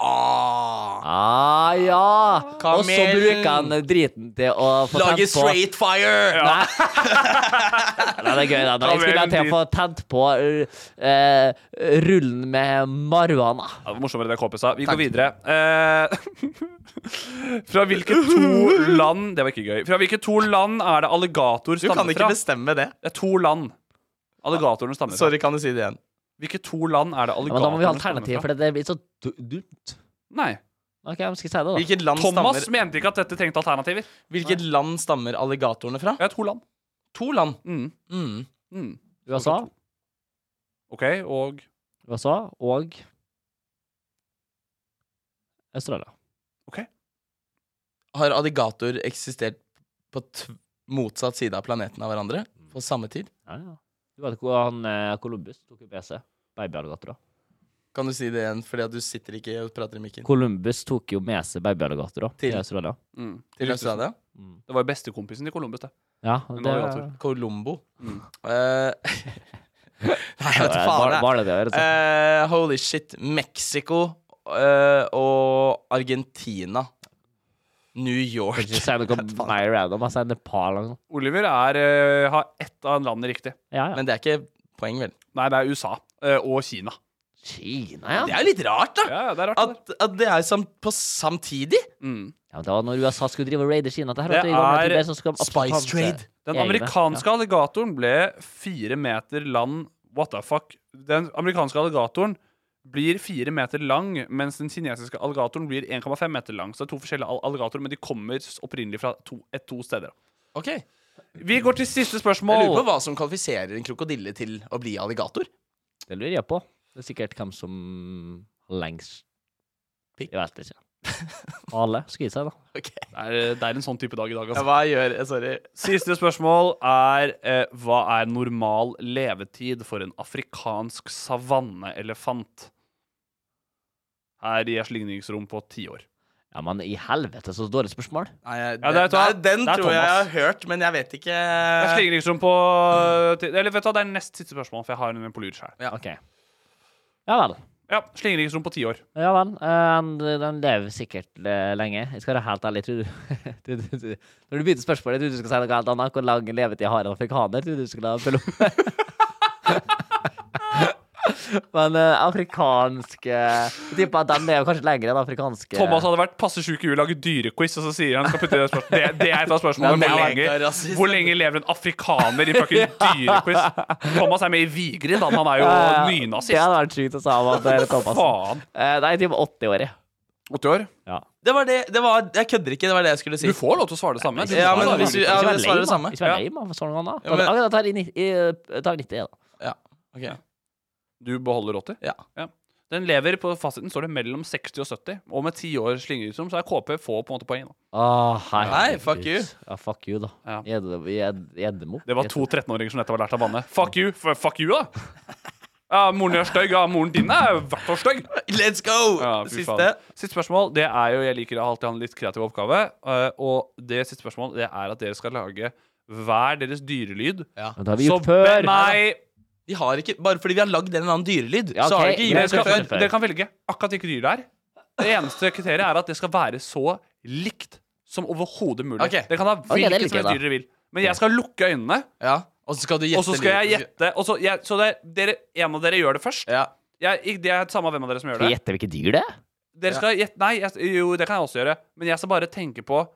D: Ah,
F: Ah, ja! Og så
D: Kamelen.
F: bruker han driten til å få
D: Lage
F: tent på
D: straight fire!
F: Nei. Nei, det er gøy, det. da. Jeg skulle
E: Kamelen
F: til å få tent på eh, rullen med marihuana.
E: Ja, det var morsommere det KP sa. Vi går videre. Eh, fra hvilke to land Det var ikke gøy. Fra hvilke to land er det alligator
D: Du kan
E: stammer
D: ikke
E: fra?
D: bestemme det.
E: Det er to land. Alligatoren stammer fra.
D: Sorry, kan du si det igjen?
E: Hvilke to land er det
F: Ja, men da må vi ha
E: alligatoren
F: alternativ,
E: stammer
F: for
E: fra?
F: det det blir så du- dumt.
E: Nei.
F: OK, jeg skal si det, da.
D: Hvilket land,
E: Thomas
D: stammer,
E: mente ikke at dette trengte alternativer.
D: hvilket land stammer alligatorene fra?
E: Ja, to land.
D: To land.
E: Mm.
D: Mm.
E: Mm.
F: USA,
E: OK, og
F: USA og Australia.
D: Har alligator eksistert på t motsatt side av planeten av hverandre på samme tid?
F: Ja, ja. Du vet hvor han eh, Columbus tok jo BC? Babyalligatorer.
D: Kan du si det igjen, fordi at du sitter ikke og prater i mikken?
F: Columbus tok jo med seg babyalligatorer til
D: Til-
F: Australia.
E: mm.
D: Til Australia?
F: Mm.
E: Det var jo bestekompisen til Columbus, det.
F: Ja,
E: En
F: det
E: alligator.
D: Colombo.
E: Mm.
D: Eh, Nei,
F: Ja,
D: jeg vet ikke faen.
F: var-
D: jeg.
F: var det det å gjøre, så.
D: Eh, holy shit. Mexico eh, og Argentina. New
F: Kan
D: York.
F: ikke si noe mer random. Jeg sier Nepal eller noe.
E: Oliver er, eh, har ett av landene riktig.
F: Ja, ja.
D: Men det er ikke poeng, vel?
E: Nei, det er USA. eh, og Kina.
F: Kina, ja.
D: Det er jo litt rart, da!
E: Ja, ja, det er rart. det
D: At, at det er sam på samtidig.
E: der. Mm.
F: ja men det var når USA skulle drive og raide Kina. Det, her,
E: Det
F: vet du, i gamle
E: er
F: tider, så skulle de absolutt
D: Spice
F: ha med seg
D: trade.
E: Den
F: egne.
E: amerikanske alligatoren ble fire meter lang. What the fuck? Den amerikanske alligatoren blir fire meter lang, mens den kinesiske alligatoren blir 1,5 meter lang. Så det er to forskjellige all- alligatorer, men de kommer s- opprinnelig fra to, et, to steder.
D: Ok
E: Vi går til siste spørsmål.
D: Jeg lurer på hva som kvalifiserer en krokodille til å bli alligator.
F: Det lurer jeg på. Det er sikkert hvem som har lengst Jeg vet ikke. Hale skal gi seg, da.
E: Det, er, det er en sånn type dag i dag, altså.
D: Ja, hva gjør Sorry.
E: Siste spørsmål er eh, hva er normal levetid for en afrikansk savanneelefant? Her gis ligningsrom på ti år.
F: Ja, men i helvete, så dårlig spørsmål.
D: Nei,
E: Ja, det er
D: nei,
E: Tom-
D: den
E: det er
D: tror jeg jeg har
E: Thomas.
D: hørt, men jeg vet ikke
E: Det
F: Eh,
E: er slingringsrom på eh, ti- Eller vet du hva, det er nest siste spørsmål, for jeg har en på lur sjøl.
D: Ja.
F: vel.
E: Ja, slingringsrom på ti år.
F: Ja vel. eh, han- Den lever sikkert eh, lenge. Jeg skal være helt ærlig. Tror du, du, du, du Når du begynte spørsmålet, jeg trodde du skulle si noe helt annet. Hvor lang levetid har en afrikaner? Trodde du skulle følge opp. Men eh, afrikanske Jeg tipper at de lever kanskje lenger enn eh, afrikanske
E: Thomas hadde vært passe sjuk i huet, lager dyrequiz, og så sier han skal putte det spørsmålet Det, det er et av spørsmålene.
D: Nei, men
E: Hvor
D: jeg er ikke
E: lenge,
D: rasist.
E: hvor lenge lever en afrikaner i fucking dyrequiz? Thomas er med i Vigrid, han, han er jo
F: Ja, ja.
E: nynazist.
F: Det hadde vært sjukt å si om at det er Thomas.
E: Faen.
F: Eh, Nei, jeg tipper 80 år, jeg.
E: 80 år?
F: Ja.
D: Det var det, det var, Jeg kødder ikke, det var det jeg skulle si.
E: Du får lov til å svare det samme. Du
D: Ja,
E: får
D: men
E: svare det
D: hvis
F: Ikke vær lame, da.
D: du- ja, det svarer det samme.
E: samme.
F: Ikke vær
D: Ja.
F: lame, da. Svar noe annet.
D: Ja, men-
F: Ok, Da tar jeg ni- jeg tar 90, jeg, da.
D: Ja, ok
E: Du beholder 80?
D: Ja.
E: Den lever på fasiten, står det mellom 60 og 70. Og med ti år slingringsrom, så er KP få på en måte poeng. da.
F: Åh, hei.
D: Nei, fuck you.
F: Ja, fuck you, da. Edde- vi er- vi er Eddermo.
E: Det var to 13-åringer som nettopp har lært av vannet. Fuck you! F fuck you, da! Ja, moren din er stygg. Ja, moren din er i hvert fall stygg.
D: Let's go!
E: Ja, fy
D: Siste.
E: faen. Siste spørsmål. Det er jo, Jeg liker å alltid ha en litt kreativ oppgave. eh, Og det siste spørsmål det er at dere skal lage hver deres dyrelyd.
D: Ja.
F: Men det har vi gjort før.
E: meg
D: Vi har ikke, bare fordi vi har lagd en eller annen dyrelyd,
F: Ja,
D: så har
F: ok,
D: vi ikke
E: Dere,
D: gjort det
E: skal,
D: før.
E: dere kan velge akkurat hvilke dyr det er. Det eneste kriteriet er at det skal være så likt som overhodet mulig.
D: Ok.
E: Dere kan ha
F: det
E: hvilket
F: liker
E: som
F: jeg
E: helst
F: da.
E: dyr dere vil. Men jeg skal lukke øynene,
D: Ja. Og så skal du gjette
E: og så skal jeg
D: lyden.
E: gjette. Og så, jeg, så det er, dere, en av dere gjør det først.
D: Ja.
E: Jeg, ikke- det er samme hvem av dere som gjør
F: Skal jeg
E: det.
F: gjette hvilke dyr det er?
E: Dere skal gjette, nei, jeg, jo, det kan jeg også gjøre. Men jeg skal bare tenke på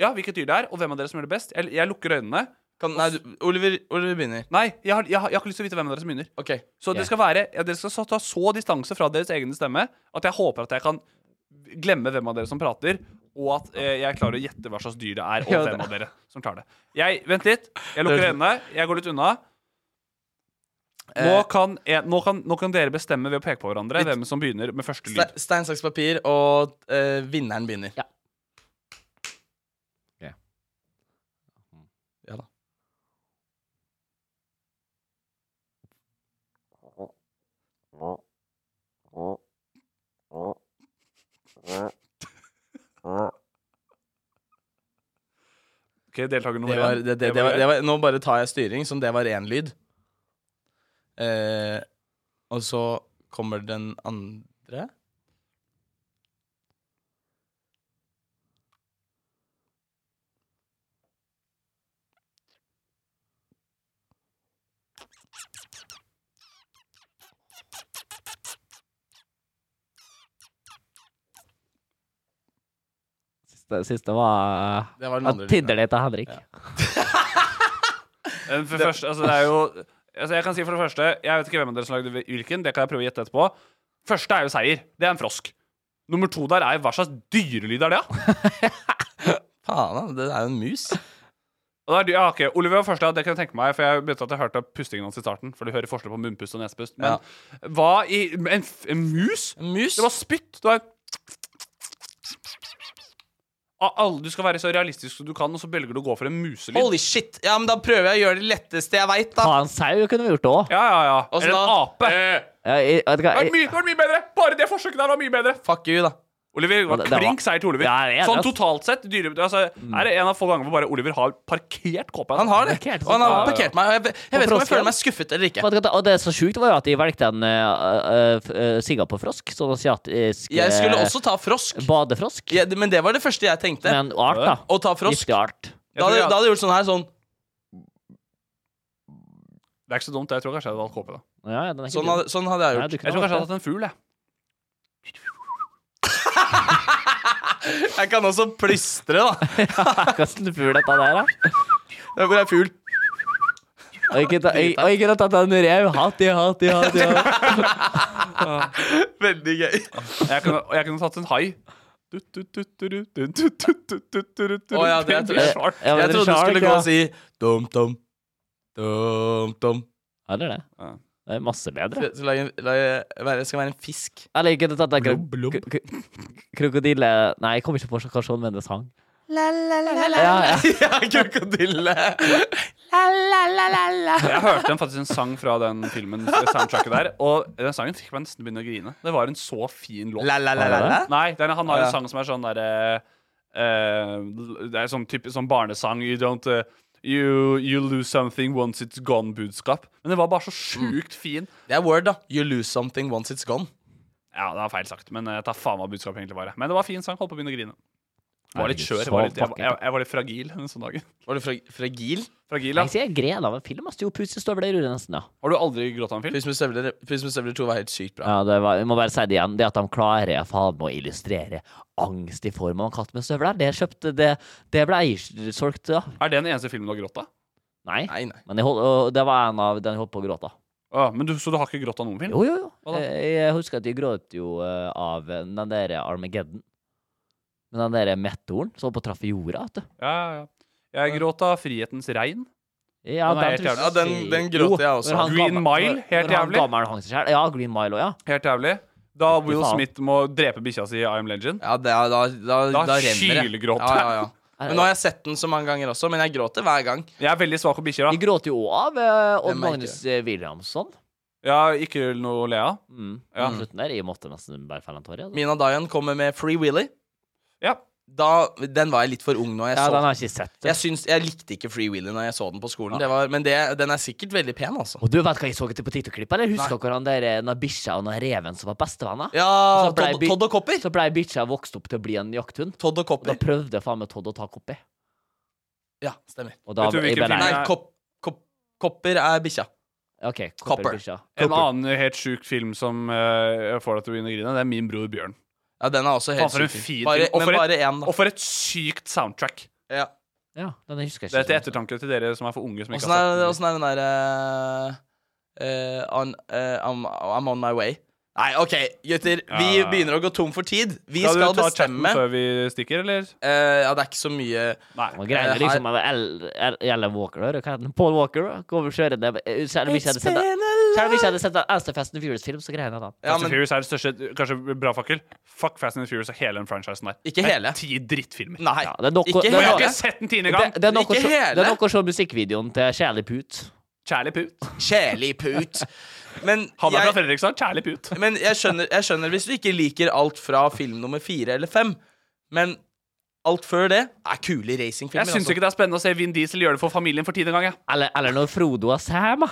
E: ja, hvilket dyr det er, og hvem av dere som gjør det best. Jeg, jeg lukker øynene.
D: Kan, nei, du, Oliver, Oliver begynner.
E: Nei, jeg har, jeg, har, jeg har ikke lyst til å vite hvem av dere som begynner.
D: OK.
F: Ja.
E: Så det skal være, ja, dere skal så- ta så distanse fra deres egne stemme at jeg håper at jeg kan glemme hvem av dere som prater, og at eh, jeg klarer å gjette hva slags dyr det er, og hvem av dere som klarer det. Jeg, vent litt. Jeg lukker øynene. Jeg går litt unna. Nå kan, jeg, nå, kan, nå kan dere bestemme ved å peke på hverandre
D: Litt-
E: hvem som begynner med første
D: Ste-
E: lyd.
D: Stein, saks, papir, og eh, vinneren begynner.
F: Ja.
D: Ja.
F: Ok.
D: Ja da.
E: Ok, deltaker nummer
D: Det var,
E: én.
D: det, det, det var, det var, nå bare tar jeg styring, som det var én lyd. Eh, og så kommer den andre.
F: Siste, siste var,
D: Det var den
F: uh,
D: andre lyden,
F: Tinder-date av Henrik.
E: Eh, For det første, altså det er jo altså Jeg kan si for det første Jeg vet ikke hvem av dere som lagde hvilken. Det kan jeg prøve å gjette etterpå. Første er jo seier. Det er en frosk. Nummer to der er hva slags dyrelyd er det? da?
D: Faen, da, det er jo en mus.
E: Og det er, dy- ja, ok, Oliver var første, ja, det kan jeg tenke meg, for jeg begynte at jeg hørte pustingen hans i starten. For du hører forskjell på munnpust og nesepust. Men
D: Ja.
E: hva i En, f- en mus?
D: En mus?
E: Det var spytt. Det var Ah, alle, du skal være så realistisk som du kan, og så velger du å gå for en muselyd.
D: Holy shit! Ja, men da prøver jeg å gjøre det letteste jeg veit, da.
F: Ta en sau kunne vi gjort det òg.
E: Ja, ja, ja.
D: Og så
E: Eller en
D: da- Eh,
E: ape.
F: Ja, jeg- vet du hva,
E: Det var
F: jeg-
E: mye, det var mye bedre! Bare det forsøket der var mye bedre.
D: Fuck you, da.
E: Oliver
F: Ja,
E: var
F: det- det var-
E: klink seier til Oliver.
F: Ja, jeg er enig, Mm.
E: sånn
F: ass.
E: totalt sett dyre, altså, Er det en av få ganger hvor bare Oliver har parkert kåpa?
D: Han har det.
F: Parkert,
D: Og han
F: ja,
D: har
F: ja.
D: parkert meg. Og jeg, jeg vet ikke om jeg
F: frosken?
D: føler meg skuffet eller ikke.
F: Vet du hva, Og det som var sjukt, var jo at de valgte en uh, uh, singapore-frosk. Sånn asiatisk eh,
D: Jeg skulle også ta frosk,
F: badefrosk.
D: ja, det- men det var det første jeg tenkte.
F: Med en art, da.
D: Å ta frosk.
F: Giftig art.
D: Da hadde
E: Jeg tror jeg-
D: da hadde jeg gjort sånn her, sånn.
E: Det er ikke så dumt. Jeg tror kanskje jeg hadde valgt kåpe. da.
F: Ja, ja, den er ikke
D: Sånn
F: dum.
D: hadde, sånn hadde
F: Nei,
D: jeg gjort.
F: du kunne valgt
E: Jeg tror kanskje jeg
F: det.
E: hadde hatt en fugl. jeg.
D: Jeg kan også plystre, da.
F: Hvordan fugl dette der, da?
D: Det er Hvor er fugl?
F: Og jeg kunne ta- jeg- og jeg kunne tatt en rev. Hatti, hatti, hatti. hatti.
D: Veldig gøy.
E: Jeg kunne, og jeg kunne tatt en hai.
D: Å ja, det er Trey Shark.
F: Ja, men
D: Jeg
F: Trey
D: trodde du
F: Shark,
D: skulle gå
F: ja.
D: og si dum-dum, dum-dum.
F: Eller det. Det er masse bedre.
D: Skal lage en- lage- være- skal være en fisk.
F: Eller ikke det tatt deg kro- kro- kro- krokodille Nei, jeg kommer ikke på hva som mener sang.
D: Ja, ja. Krokodille.
E: Jeg hørte en, faktisk en sang fra den filmen, det soundtracket der, og den sangen fikk meg nesten begynne å grine. Det var en så fin låt.
D: La, la, la, la, la?
E: Nei, den, han har
D: Ja.
E: en sang som er sånn derre eh, Det er sånn typisk sånn barnesang. You don't eh, you, you lose something once it's gone-budskap. Men det var bare så
F: Mm.
E: sjukt fin.
D: Det er word, da. You lose something once it's gone.
E: Ja, det var feil sagt, men jeg tar faen meg budskapet egentlig var. Men det var fin sang. Holdt på å begynne å grine. Jeg var litt
F: Herregud,
E: skjør. Jeg
F: så
E: var litt, jeg,
F: fucking-
E: jeg, jeg var litt fragil den sånne dagen.
D: Var du fra fragil?
E: Fragil,
F: Jeg
E: ja.
F: sier jeg gren av en film. ass. Jo, pusestøvler gjorde nesten, ja.
E: Har du aldri grått av en film?
D: Pus med støvler Pus med støvler 2 var helt sykt bra.
F: ja det var, jeg må bare si det igjen. Det at de klarer faen meg å illustrere angst i form av en katt med støvler, det kjøpte Det, det ble jeg solgt, ja.
E: Er det den eneste filmen du har grått av?
F: Nei.
D: Nei, nei.
F: Men jeg holdt, og det var en av den jeg holdt på å gråte av.
E: Ah, men du, så du har ikke grått av noen film?
F: Jo, jo, jo.
E: Hva da?
F: Jeg, jeg husker at jeg gråt jo eh, av den der Armageddon. Men den der meteoren som holdt på å treffe jorda, vet du.
E: Ja, ja, ja. Jeg gråt av Frihetens regn.
F: Ja,
E: Den er helt
F: tror
E: jævlig.
D: Ja, den, den gråter jeg også.
F: når han
E: Green
F: gammel-
E: Mile,
F: når-
E: helt
F: når han
E: jævlig.
F: gammel hang seg selv. Ja, Green Mile òg, ja.
E: Helt jævlig. Da
F: Fy
E: Will
F: faen.
E: Smith må drepe bikkja si i I Am Legend.
D: Ja, det er, da, da, da,
E: Da
D: renner det.
E: kylgråter
D: Ja, ja, ja. Men nå har jeg sett den så mange ganger også, men jeg gråter hhver gang.
E: Jeg er veldig svak for bikkjer,
F: Vi
E: da.
F: gråter Eh, jo òg av eh, Odd
D: Det merker
F: Magnus eh, Williamson.
E: Ja, ikke noe Lea.
F: Mm.
E: Ja.
F: På slutten der. Jeg måtte nesten bare felle en tåre. altså.
D: Mina Dayan kommer med Free Willy.
E: Ja.
D: Da, den var jeg litt for ung nå. Jeg,
F: Ja, den
D: så,
F: har jeg ikke sett.
D: jeg, syns, jeg likte ikke Free Willy når jeg så den på skolen, det var, men det, den er sikkert veldig pen, altså.
F: Og du vet hva jeg så etter på TikTok-klippet? Eller husker dere han der eh, den bikkja og den reven som var bestevenner?
D: Ja,
F: Og så ble
D: Todd,
F: bi-
D: Todd og Copper.
F: Så blei bikkja vokst opp til å bli en jakthund.
D: Todd og
F: Og da
D: Copper.
F: prøvde faen meg Todd å ta Coppi.
D: Ja, stemmer.
F: Og da
E: Vet du
F: jeg
E: hvilken
F: ble
D: Nei,
E: film
F: lei.
E: Nei.
D: Cop, Cop, Copper er bikkja.
F: Ok,
D: Copper.
F: Copper. bikkja.
E: En annen helt sjuk film som eh, får deg til å begynne å grine, det er Min bror Bjørn.
D: Ja, den er også
E: Faen,
D: helt
E: for en
D: sykt.
E: fin
D: Bare,
E: film. Og
D: men
E: for et-
D: bare én, da.
E: Og for et sykt soundtrack.
D: Ja.
F: Ja, den husker jeg
E: Det
F: ikke.
E: er til ettertanke til dere som er for unge. som ikke
D: Åssen
E: har
D: er,
E: sett den.
D: åssen er den derre on, eh, I'm, I'm on my way. Nei, OK, gutter. Vi
E: Ja.
D: begynner å gå tom for tid. Vi
E: Skal
D: skal
E: du ta chatten
D: bestemme
E: før vi stikker, eller?
D: Eh, Ja, det er ikke så mye
E: Nei.
F: Man greier liksom av El- El- Ellen Walker der. Hva heter den? Paul Walker. da. Kommer kjørende. Eh, Selv om jeg ikke hadde sett den. Selv om jeg ikke hadde sett den eneste Fast and Furious-film, så greier jeg den.
D: Ja,
E: Fast and
D: men
E: Furious er det største Kanskje bra fakkel. Fuck Fast and Furious og hele den franchisen der.
D: Ikke
E: Det er
D: hele.
E: Ti drittfilmer.
D: Nei.
F: Ja, det er nok-
D: ikke
F: det er
E: Og jeg
D: hele.
E: har ikke sett den tiende gang!
F: Det, det er nok å
D: Ikke
F: se- det er
D: hele.
F: nok å se musikkvideoen til Kjærlig put.
E: Kjærlig put.
D: Kjælig put. Men
E: Han er fra
D: jeg,
E: Fredrikstad. Kjærlig put.
D: men jeg, skjønner, jeg skjønner hvis du ikke liker alt fra film nummer fire eller fem, men alt før det er kule
E: Jeg
D: racingfilmer. altså.
E: syns ikke det er spennende å se Vin Diesel gjøre det for familien for tiende gang. Jeg.
F: Eller, eller når Frodo og Sam, da.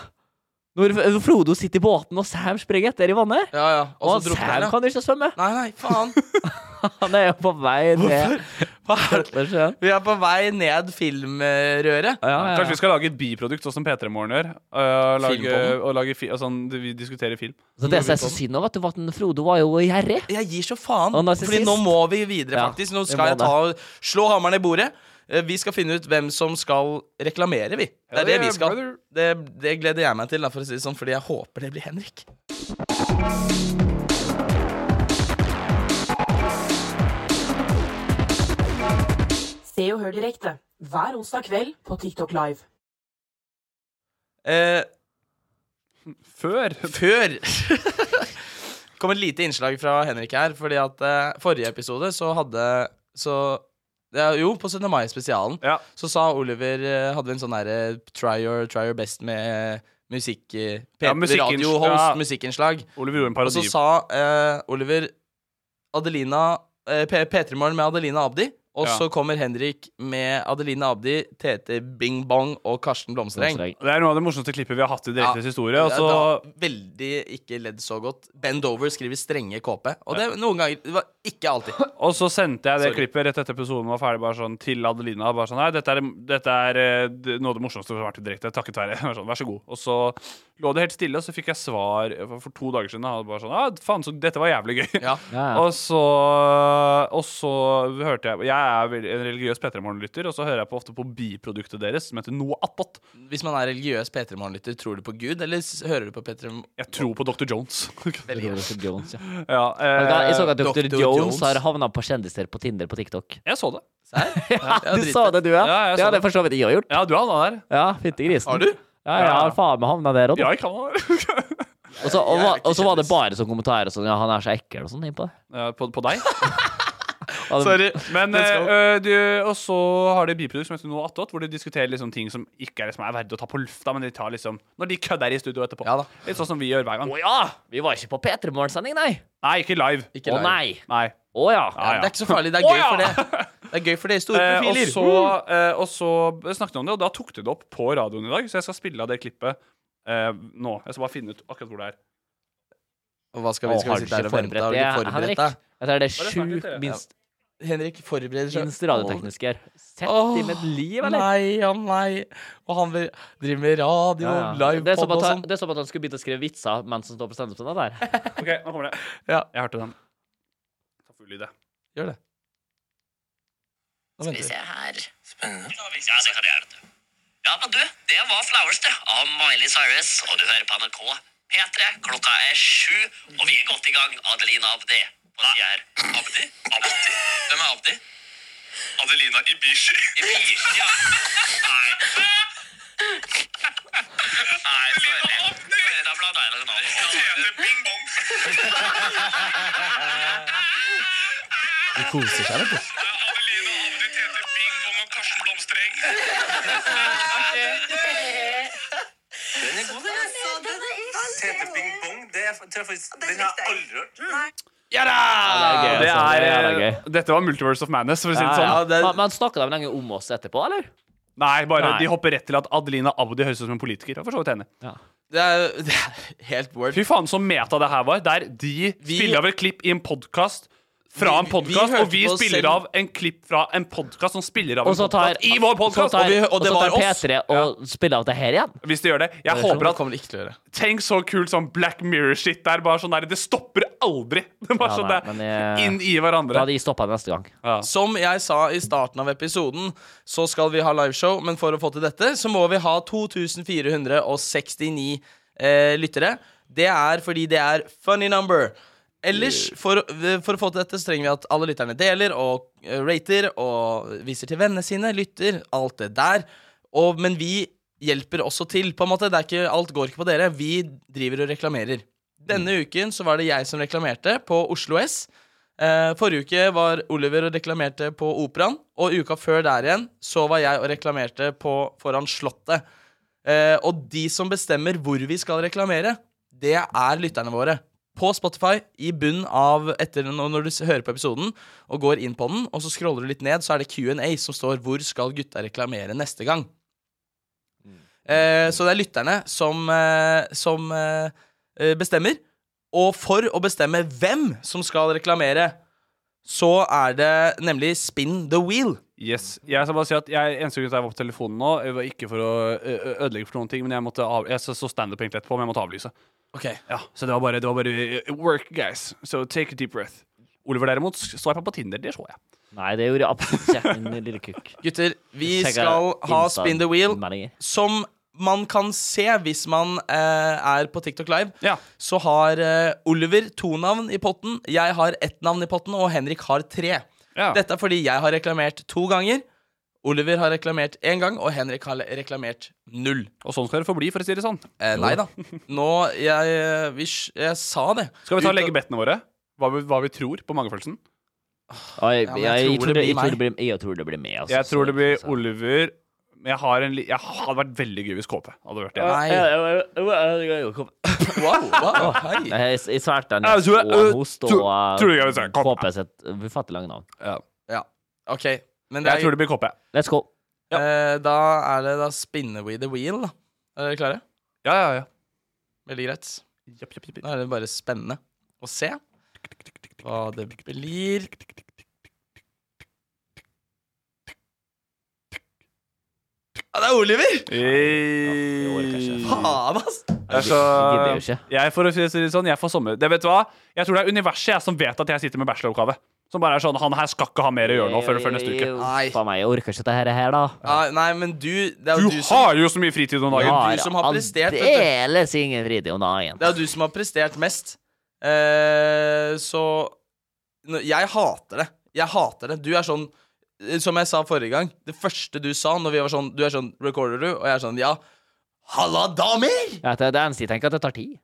F: Når F- Frodo sitter i båten, og Sam springer etter i vannet.
D: Ja, ja.
F: Og
D: Og så drukner
F: Sam
D: jeg.
F: kan ikke svømme.
D: Nei, nei, faen.
F: Han er jo på vei ned
D: Hva er det?
F: Sjøen.
D: Vi er på vei ned filmrøret.
F: Ja, ja, ja.
E: Kanskje vi skal lage et biprodukt, sånn som P3 Morgen gjør. øh, lage,
D: Filmpodden.
E: og lage fi, og sånn, vi diskuterer film.
F: Så det som er så synd nå, vet du, var at den Frodo var jo gjerrig.
D: Jeg gir så faen.
F: Og narsissist.
D: Fordi nå må vi videre,
F: Ja,
D: faktisk. Nå
F: vi må
D: skal jeg ta og slå hammeren i bordet. Eh, Vi skal finne ut hvem som skal reklamere, vi. Det er det vi skal.
E: Brother.
D: Det, det gleder jeg meg til, da, for å si det sånn, fordi jeg håper det blir Henrik.
G: Se og hør direkte hver onsdag kveld på TikTok Live.
D: Eh,
E: Før
D: før kom et lite innslag fra Henrik her, fordi at eh, forrige episode så hadde så ja, Jo, på 17. mai-spesialen
E: Ja.
D: så sa Oliver eh, Hadde vi en sånn derre try, your- try your best med musikk... eh, P3
E: Ja, musikkinns-
D: radiohost,
E: ja.
D: musikkinnslag.
E: Oliver gjorde en
D: Og så
E: parodi.
D: sa eh, Oliver Adelina eh, P- P3morgen med Adelina Abdi. Og
E: Ja.
D: så kommer Henrik med Adelina Abdi, Tete Bing Bong og Karsten Blomstreng.
E: Det er noe av det morsomste klippet vi har hatt i Direktes
D: Ja.
E: historie. Og så
D: Da, veldig ikke ledd så godt. Ben Dover skriver strenge KP. Og det noen ganger det var Ikke alltid.
E: Og så sendte jeg det
D: Sorry.
E: klippet rett etter episoden var ferdig, bare sånn til Adelina. Bare sånn, Nei, dette er, dette er eh, det- noe av det morsomste som har vært i direkte. Takket være. Bare Sånn, Vær så god. Og så lå det helt stille, og så fikk jeg svar for- for to dager siden. Og bare sånn, ah, faen, så dette var jævlig gøy.
D: Ja.
F: Ja, ja.
E: Og så Og så hørte jeg Jeg jeg er vel- en religiøs P3morgen-lytter, og så hører jeg på ofte på biproduktet deres, som heter Noe attåt.
D: Hvis man er religiøs P3 Morgen-lytter, tror du på Gud, eller s- hører du på P3
E: Jeg tror på Dr. Jones.
F: Dr. Jones, ja.
E: ja eh,
F: Vet du hva, jeg så at Dr.
E: Dr.
F: Jones, har havna på kjendiser på Tinder på TikTok.
E: Jeg så det.
F: Ja, du så det, du, ja?
E: jeg
F: det
E: så
F: hadde
E: det.
F: for så vidt jeg òg gjort.
E: Ja, du havna der.
F: Ja, fytti grisen.
E: Har du?
F: Ja, jeg har faen meg havna der òg,
E: Ja, jeg kan ha det.
F: Og så og var- og så var det bare sånn kommentarer og sånn Ja, han er så ekkel og sånn innpå det.
E: Ja, på, på deg?
F: Og det-
E: Sorry. Men,
F: Let's go.
E: eh, du, og så har de et biprodukt som heter Noe attåt, hvor de diskuterer liksom ting som ikke er, liksom, er verdig å ta på lufta, men de tar liksom Når de kødder i studio etterpå. Litt sånn som vi gjør hver gang.
F: Å ja! Vi var ikke på P3 Morgen-sending, nei.
E: Nei, ikke live.
F: Å nei.
E: Nei.
F: Å ja.
E: Ja, ja.
D: Det er ikke så farlig. Det er
E: Å,
D: gøy
E: ja!
D: for det. Det er gøy for det i store
E: Eh, og,
D: profiler.
E: så, eh, og så snakket vi om det, og da tok du det opp på radioen i dag. Så jeg skal spille av det klippet eh, nå. Jeg skal bare finne ut akkurat hvor det er.
D: Og hva skal vi,
F: Å,
D: skal
F: har
D: vi
F: du
D: sitte her
F: ikke
D: og vente? Har du
F: forberedt
D: ikke
F: det, Henrik?
D: forberedt deg?
F: Jeg tror det er
E: Bare snakk litt,
F: sjukt
E: dere.
F: minst
D: Henrik forbereder seg.
F: Minst radioteknisk her. Sett
D: Åh,
F: i mitt liv, eller?
D: Nei, ja, nei. Og han vil- driver med radio,
F: Ja, ja.
D: live
F: Det er som
D: pod og
F: at han-
D: sånn.
F: det er som at han skulle begynne å skrive vitser mens han står på standup. Sånn, der.
E: OK, nå kommer det.
D: Ja.
E: Jeg hørte den. Ta full i det.
D: Gjør det.
K: Skal vi se her Ja, det kan jeg gjøre, vet du. Ja, men du, det var Flowers, det. Av Miley Cyrus. Og du hører på NRK P3. Klokka er sju, og vi er godt i gang. Adelina Abdi. På siden her. Abdi? Abdi? Hvem er Abdi? Adelina Ibishi. Ibishi, ja. Nei. Nei, sorry. Sorry, da blant deg eller noe. Tjene bing bong.
D: De koser seg, vet du.
K: Den er god, den. Tete Bing Bong, det er, tror jeg faktisk, den har jeg aldri hørt.
E: Ja da!
F: Ja, det er gøy, altså.
E: Det er,
F: Det er jævla
E: dette var Multiverse of Madness, for å si det sånn.
F: Ja, ja. Men, men snakka de lenge om oss etterpå, eller?
E: Nei, bare
F: Nei.
E: de hopper rett til at Adelina Abdi høres ut som en politiker. Jeg er for så vidt enig.
D: Det er, det er helt word.
E: Fy faen, så meta det her var. Der de spiller av et klipp i en podkast fra en
D: Vi- vi
E: podkast,
D: hørte
E: og vi
D: på oss
E: spiller
D: selv.
E: av en klipp fra en podkast som spiller av
F: Og
E: en
F: så tar,
E: podkast i vår podkast!
F: så tar,
E: Og, vi-
F: og
E: og det
F: så
E: var
F: tar
E: oss.
F: P3 og spiller av det her igjen.
E: Hvis de gjør det. Jeg
D: Det
E: håper
D: tror jeg
E: at
D: kommer de ikke til å gjøre.
E: Tenk så kult sånn Black Mirror-shit der. Bare sånn der, Det stopper aldri! Det var
F: Ja,
E: sånn
F: nei,
E: der,
F: men jeg-
E: Inn i hverandre.
F: Da hadde jeg stoppa neste gang.
D: Som jeg sa i starten av episoden, så skal vi ha liveshow, men for å få til dette, så må vi ha 2469 eh, lyttere. Det er fordi det er funny number. Ellers, for, eh, for å få til dette, så trenger vi at alle lytterne deler og eh, rater og viser til vennene sine, lytter, alt det der. Og, men vi hjelper også til, på en måte. Det er ikke, alt går ikke på dere. Vi driver og reklamerer. Denne uken så var det jeg som reklamerte på Oslo S. Eh, forrige uke var Oliver og reklamerte på Operaen, og uka før der igjen så var jeg og reklamerte på, foran Slottet. Eh, og de som bestemmer hvor vi skal reklamere, det er lytterne våre. På Spotify, i bunnen av etter nå når du s- hører på episoden, og går inn på den, og så scroller du litt ned, så er det Q&A som står 'Hvor skal gutta reklamere neste gang?' Eh, så det er lytterne som, eh, som eh, eh, bestemmer. Og for å bestemme hvem som skal reklamere, så er det nemlig Spin the Wheel.
E: Yes. Jeg skal bare si at jeg, eneste grunn til at jeg var på telefonen nå, jeg var ikke for å ø, ø, ødelegge for noen ting, men jeg, måtte av, jeg så standup egentlig etterpå, men jeg måtte avlyse.
D: Ok.
E: Ja, Så det var bare, det var bare ø, work, guys. So take a deep breath. Oliver derimot sveipa på Tinder, det så jeg.
F: Nei, det gjorde jeg absolutt ikke, min lille kukk.
D: Gutter, vi
F: Sjekka
D: skal ha
F: Insta-
D: Spin the Wheel,
F: innmeldinger.
D: som man kan se hvis man eh, er på TikTok Live.
E: Ja.
D: Så har eh, Oliver to navn i potten, jeg har ett navn i potten, og Henrik har tre.
E: Ja.
D: Dette er fordi jeg har reklamert to ganger. Oliver har reklamert én gang, og Henrik har reklamert null.
E: Og sånn skal det forbli, for å si det sånn.
D: Eh, nei da. Nå jeg, eh, vi, s- jeg sa det.
E: Skal vi ta og
D: Ut-
E: legge bettene våre? Hva vi, hva vi tror på magefølelsen?
F: Oi,
D: Ja,
F: jeg,
D: men
F: jeg, tror det, jeg,
D: meg.
F: tror det blir, jeg tror det blir med. Altså,
E: Jeg tror det blir
F: Så-
E: Oliver men Jeg har en li... Jeg har- hadde vært veldig gøy hvis KP hadde vært det.
D: Nei. Wow, wow, hei.
F: Nei, Jeg, jeg svært den.
E: Jeg tror-
F: Og host og
E: tror- tror jeg vil si kopp.
F: KP sitt ufattelig lange navn.
E: Ja.
D: Ja, ok. Men det
E: Jeg
D: er,
E: tror det blir KP.
F: Let's go.
D: eh, da er det da spinner we the wheel, da. Er dere klare?
E: Ja, ja, ja.
D: Veldig greit.
E: Japp, japp, japp, japp.
D: Da er det bare spennende å se hva det blir. Ja, det er Oliver! Faen, ass!
E: Jeg, så,
F: gidder
E: Altså,
F: jo ikke.
E: jeg, for å si det sånn, jeg får sommer... Det vet du hva? Jeg tror det er universet jeg som vet at jeg sitter med bacheloroppgave. Som bare er sånn Han her skal ikke ha mer å gjøre nå før, før neste uke.
F: Nei. Faen meg, jeg orker ikke dette her, da.
D: Ja, Ah, nei, men du Det er
E: Du
D: jo du,
E: har jo så mye fritid om dagen.
D: du som har prestert, vet du.
F: Aldeles ingen fritid om dagen.
D: Det er jo du som har prestert mest. Eh, så nå- Jeg hater det. Jeg hater det. Du er sånn eh, Som jeg sa forrige gang, det første du sa når vi var sånn Du er sånn Recorder du? Og jeg er sånn Ja. Halla, damer!
F: Ja, det, det eneste jeg tenker, er at det tar tid.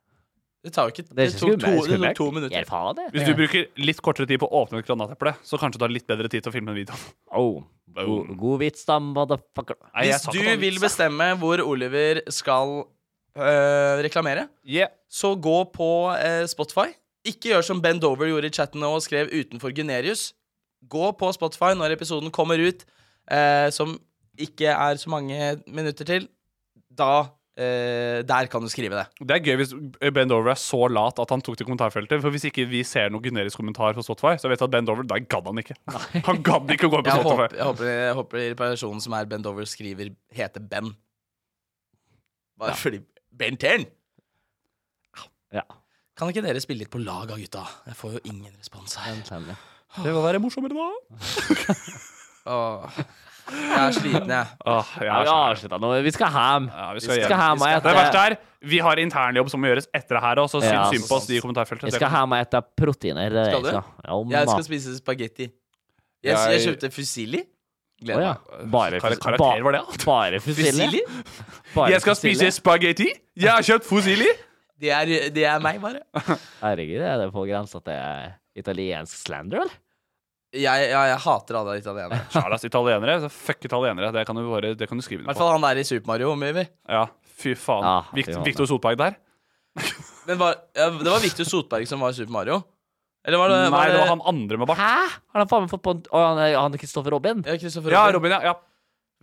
D: Det tar jo ikke
F: Det er
D: Det
F: ikke
D: tok to,
F: skummelt.
D: det tok to minutter.
F: Gjør faen det.
E: Hvis du bruker litt kortere tid på å åpne et granateple, så kanskje du har litt bedre tid til å filme en video.
F: Oh, god, god vits, da, motherfucker.
E: Nei, jeg
D: Hvis
E: sa
D: du
E: ikke noe
D: vil
E: vits,
D: bestemme hvor Oliver skal øh, reklamere, så gå på eh, Spotify. Ikke gjør som Ben Dover gjorde i chatten nå og skrev utenfor Gunerius. Gå på Spotify når episoden kommer ut, eh, som ikke er så mange minutter til. Da eh, Der kan du skrive det.
E: Det er gøy hvis Ben Dover er så lat at han tok til kommentarfeltet. For hvis ikke vi ser noen generisk kommentar på Spotify, så vet jeg at Ben Dover, da gadd han ikke. Han gadd ikke å gå inn på
D: Jeg
E: Spotify.
D: håper, jeg håper, jeg håper personen som er Ben Dover, skriver heter Ben. Bare fordi Ben Tern!
F: Ja.
D: Kan ikke dere spille litt på lag av gutta? Jeg får jo ingen respons her.
E: Det må være morsommere da.
D: Åh. Jeg er sliten, jeg.
E: Åh, jeg
F: Ja,
E: er
F: vi
E: så-
F: avslutter nå. Vi skal hjem.
E: Ja, vi
F: vi
E: skal
F: skal hjem
E: hjem.
F: og
E: Det verste
F: ete
E: er, vi har internjobb som må gjøres etter det her òg, så
F: Ja,
E: synd synd på oss i kommentarfeltet.
F: Vi skal hjem og ete proteiner. det er
D: Skal
F: det jeg
D: du?
F: Ja, ma-
D: Jeg skal spise spagetti. Jeg, jeg
E: Jeg-
D: kjøpte fusilli.
F: Å,
D: Gleder
F: ja.
D: meg.
F: Bare
E: Kar-
F: fus-
E: karakter
F: ba-
E: var det, alt?
F: Bare fusilli?
D: Fusilli?
F: Bare
E: Jeg skal
F: fusilli?
E: spise spagetti. Jeg har kjøpt fusilli.
D: Det er, det er meg, bare.
F: Herregud, er det på grensa til italiensk slander, eller?
D: Jeg, ja, jeg hater alle italienere.
E: Charlas italienere. Så fuck italienere. Det kan du, bare, det kan du skrive
D: I
E: under
D: hvert
E: på.
D: fall han der i Super Mario. Omgiver.
E: Ja, fy faen.
F: Ja, fy
E: Vikt,
F: faen.
E: Victor Solberg der?
D: Men var, ja, det var Victor Sotberg som var Super Mario? Eller var det,
E: Nei,
D: var
E: det var han andre med bart.
F: Hæ? Har han faen meg fått på en Å, han er- han er Kristoffer Robin?
D: Ja, Christopher
E: Ja,
D: Robin.
E: Robin, ja. ja.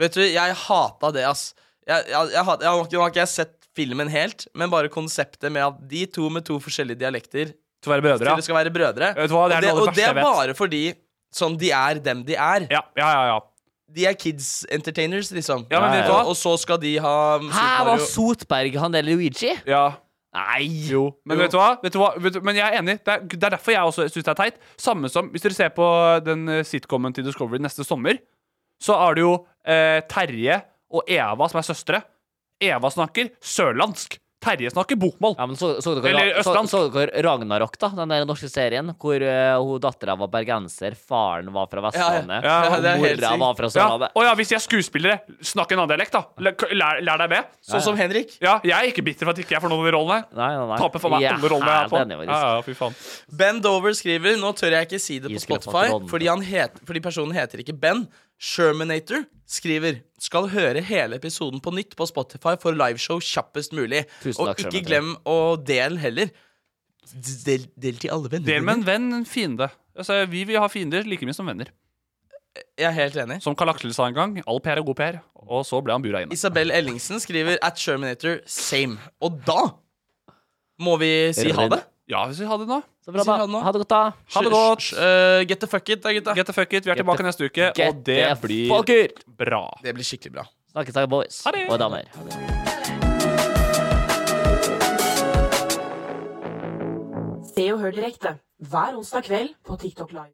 D: Vet du, jeg hata det, ass. Jeg, jeg, jeg, hat- jeg, har ikke- nå har ikke jeg sett filmen helt, men bare konseptet med at de to med to forskjellige dialekter
E: Til å være brødre.
D: til det skal være brødre.
E: Vet du hva,
D: og
E: det er
D: det,
E: det aller
D: og
E: verste
D: det
E: jeg
D: er
E: vet.
D: bare fordi sånn de er dem de er.
E: Ja, ja, ja. ja.
D: De er kids entertainers, liksom.
E: Ja, men vet du hva?
D: Og så skal de ha
F: Hæ,
D: um, Super
F: var
D: Mario.
F: Sotberg han der Luigi?
E: ja.
F: Nei!
E: Jo. Men vet du hva? Vet du hva? Vet du, men jeg er enig. Det er, det er derfor jeg også syns det er teit. Samme som hvis dere ser på den eh, sitcomen til Discovery neste sommer, så er det jo eh, Terje og Eva som er søstre. Eva snakker sørlandsk. Terje snakker bokmål.
F: Ja, men så, så, dere,
E: Eller
F: så,
E: østlandsk.
F: så dere Ragnarok, da? Den der norske serien hvor eh, hun dattera var bergenser, faren var fra Vestlandet,
E: Ja, ja. Ja,
D: det er
F: og
D: helt
F: mora
D: sykt.
F: var fra
E: Ja.
F: Sørlandet.
E: Og ja, hvis de er skuespillere, snakk en annen dialekt, da. Lær, lær, lær deg med.
D: Sånn som Henrik.
E: Ja, jeg er ikke bitter for at ikke jeg får noen av de rollene.
F: Nei, nei, nei.
E: Taper for meg
F: Jeg er
E: alle rollene jeg har
F: helt
E: på.
F: enig, faktisk.
E: Ja, ja, fy faen.
D: Ben Dover skriver Nå tør jeg ikke si det
F: Jeg
D: på
F: skulle fått
D: Spotify,
F: råden.
D: fordi, han het, fordi personen heter ikke Ben. Shermanator skriver Skal høre hele episoden på nytt på Spotify for liveshow kjappest mulig.
F: Tusen
D: og
F: takk,
D: ikke
F: Shermanator.
D: glem å del heller. Del, del til alle vennene
E: Del med en venn en fiende. Altså, vi vil ha fiender like mye som venner.
D: Jeg er helt enig.
E: Som Karl Aksel sa en gang, all PR er god PR. Og så ble han bura inne.
D: Isabel Ellingsen skriver at Shermanator same. Og da må vi si ha det.
E: Ja, hvis vi hadde det nå.
F: Så bra,
D: Sier
F: da.
D: han nå?
F: Ha det godt, da.
E: Ha det godt.
D: Eh, get the fuck it, da, gutta.
E: Get the fuck it. Vi er
F: Get
E: tilbake
F: the-
E: neste uke, og
F: Get
E: det
F: the
E: blir
F: fucker.
E: bra.
D: Det blir skikkelig bra.
F: Snakkes, da, boys
E: Ha det.
F: og damer.
G: Se og hør direkte hver onsdag kveld på TikTok Live.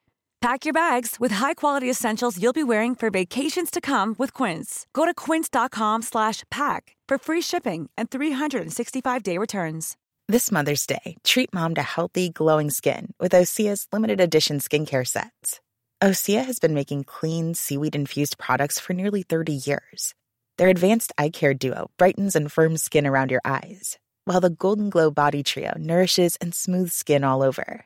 L: Pack your bags with high-quality essentials you'll be wearing for vacations to come with Quince. Go to quince.com/pack for free shipping and 365-day returns.
M: This Mother's Day, treat mom to healthy, glowing skin with Osea's limited edition skincare sets. Osea has been making clean, seaweed infused products for nearly 30 years.
L: Their advanced eye care duo brightens and firms skin around your eyes, while the Golden Glow Body Trio nourishes and smooths skin all over.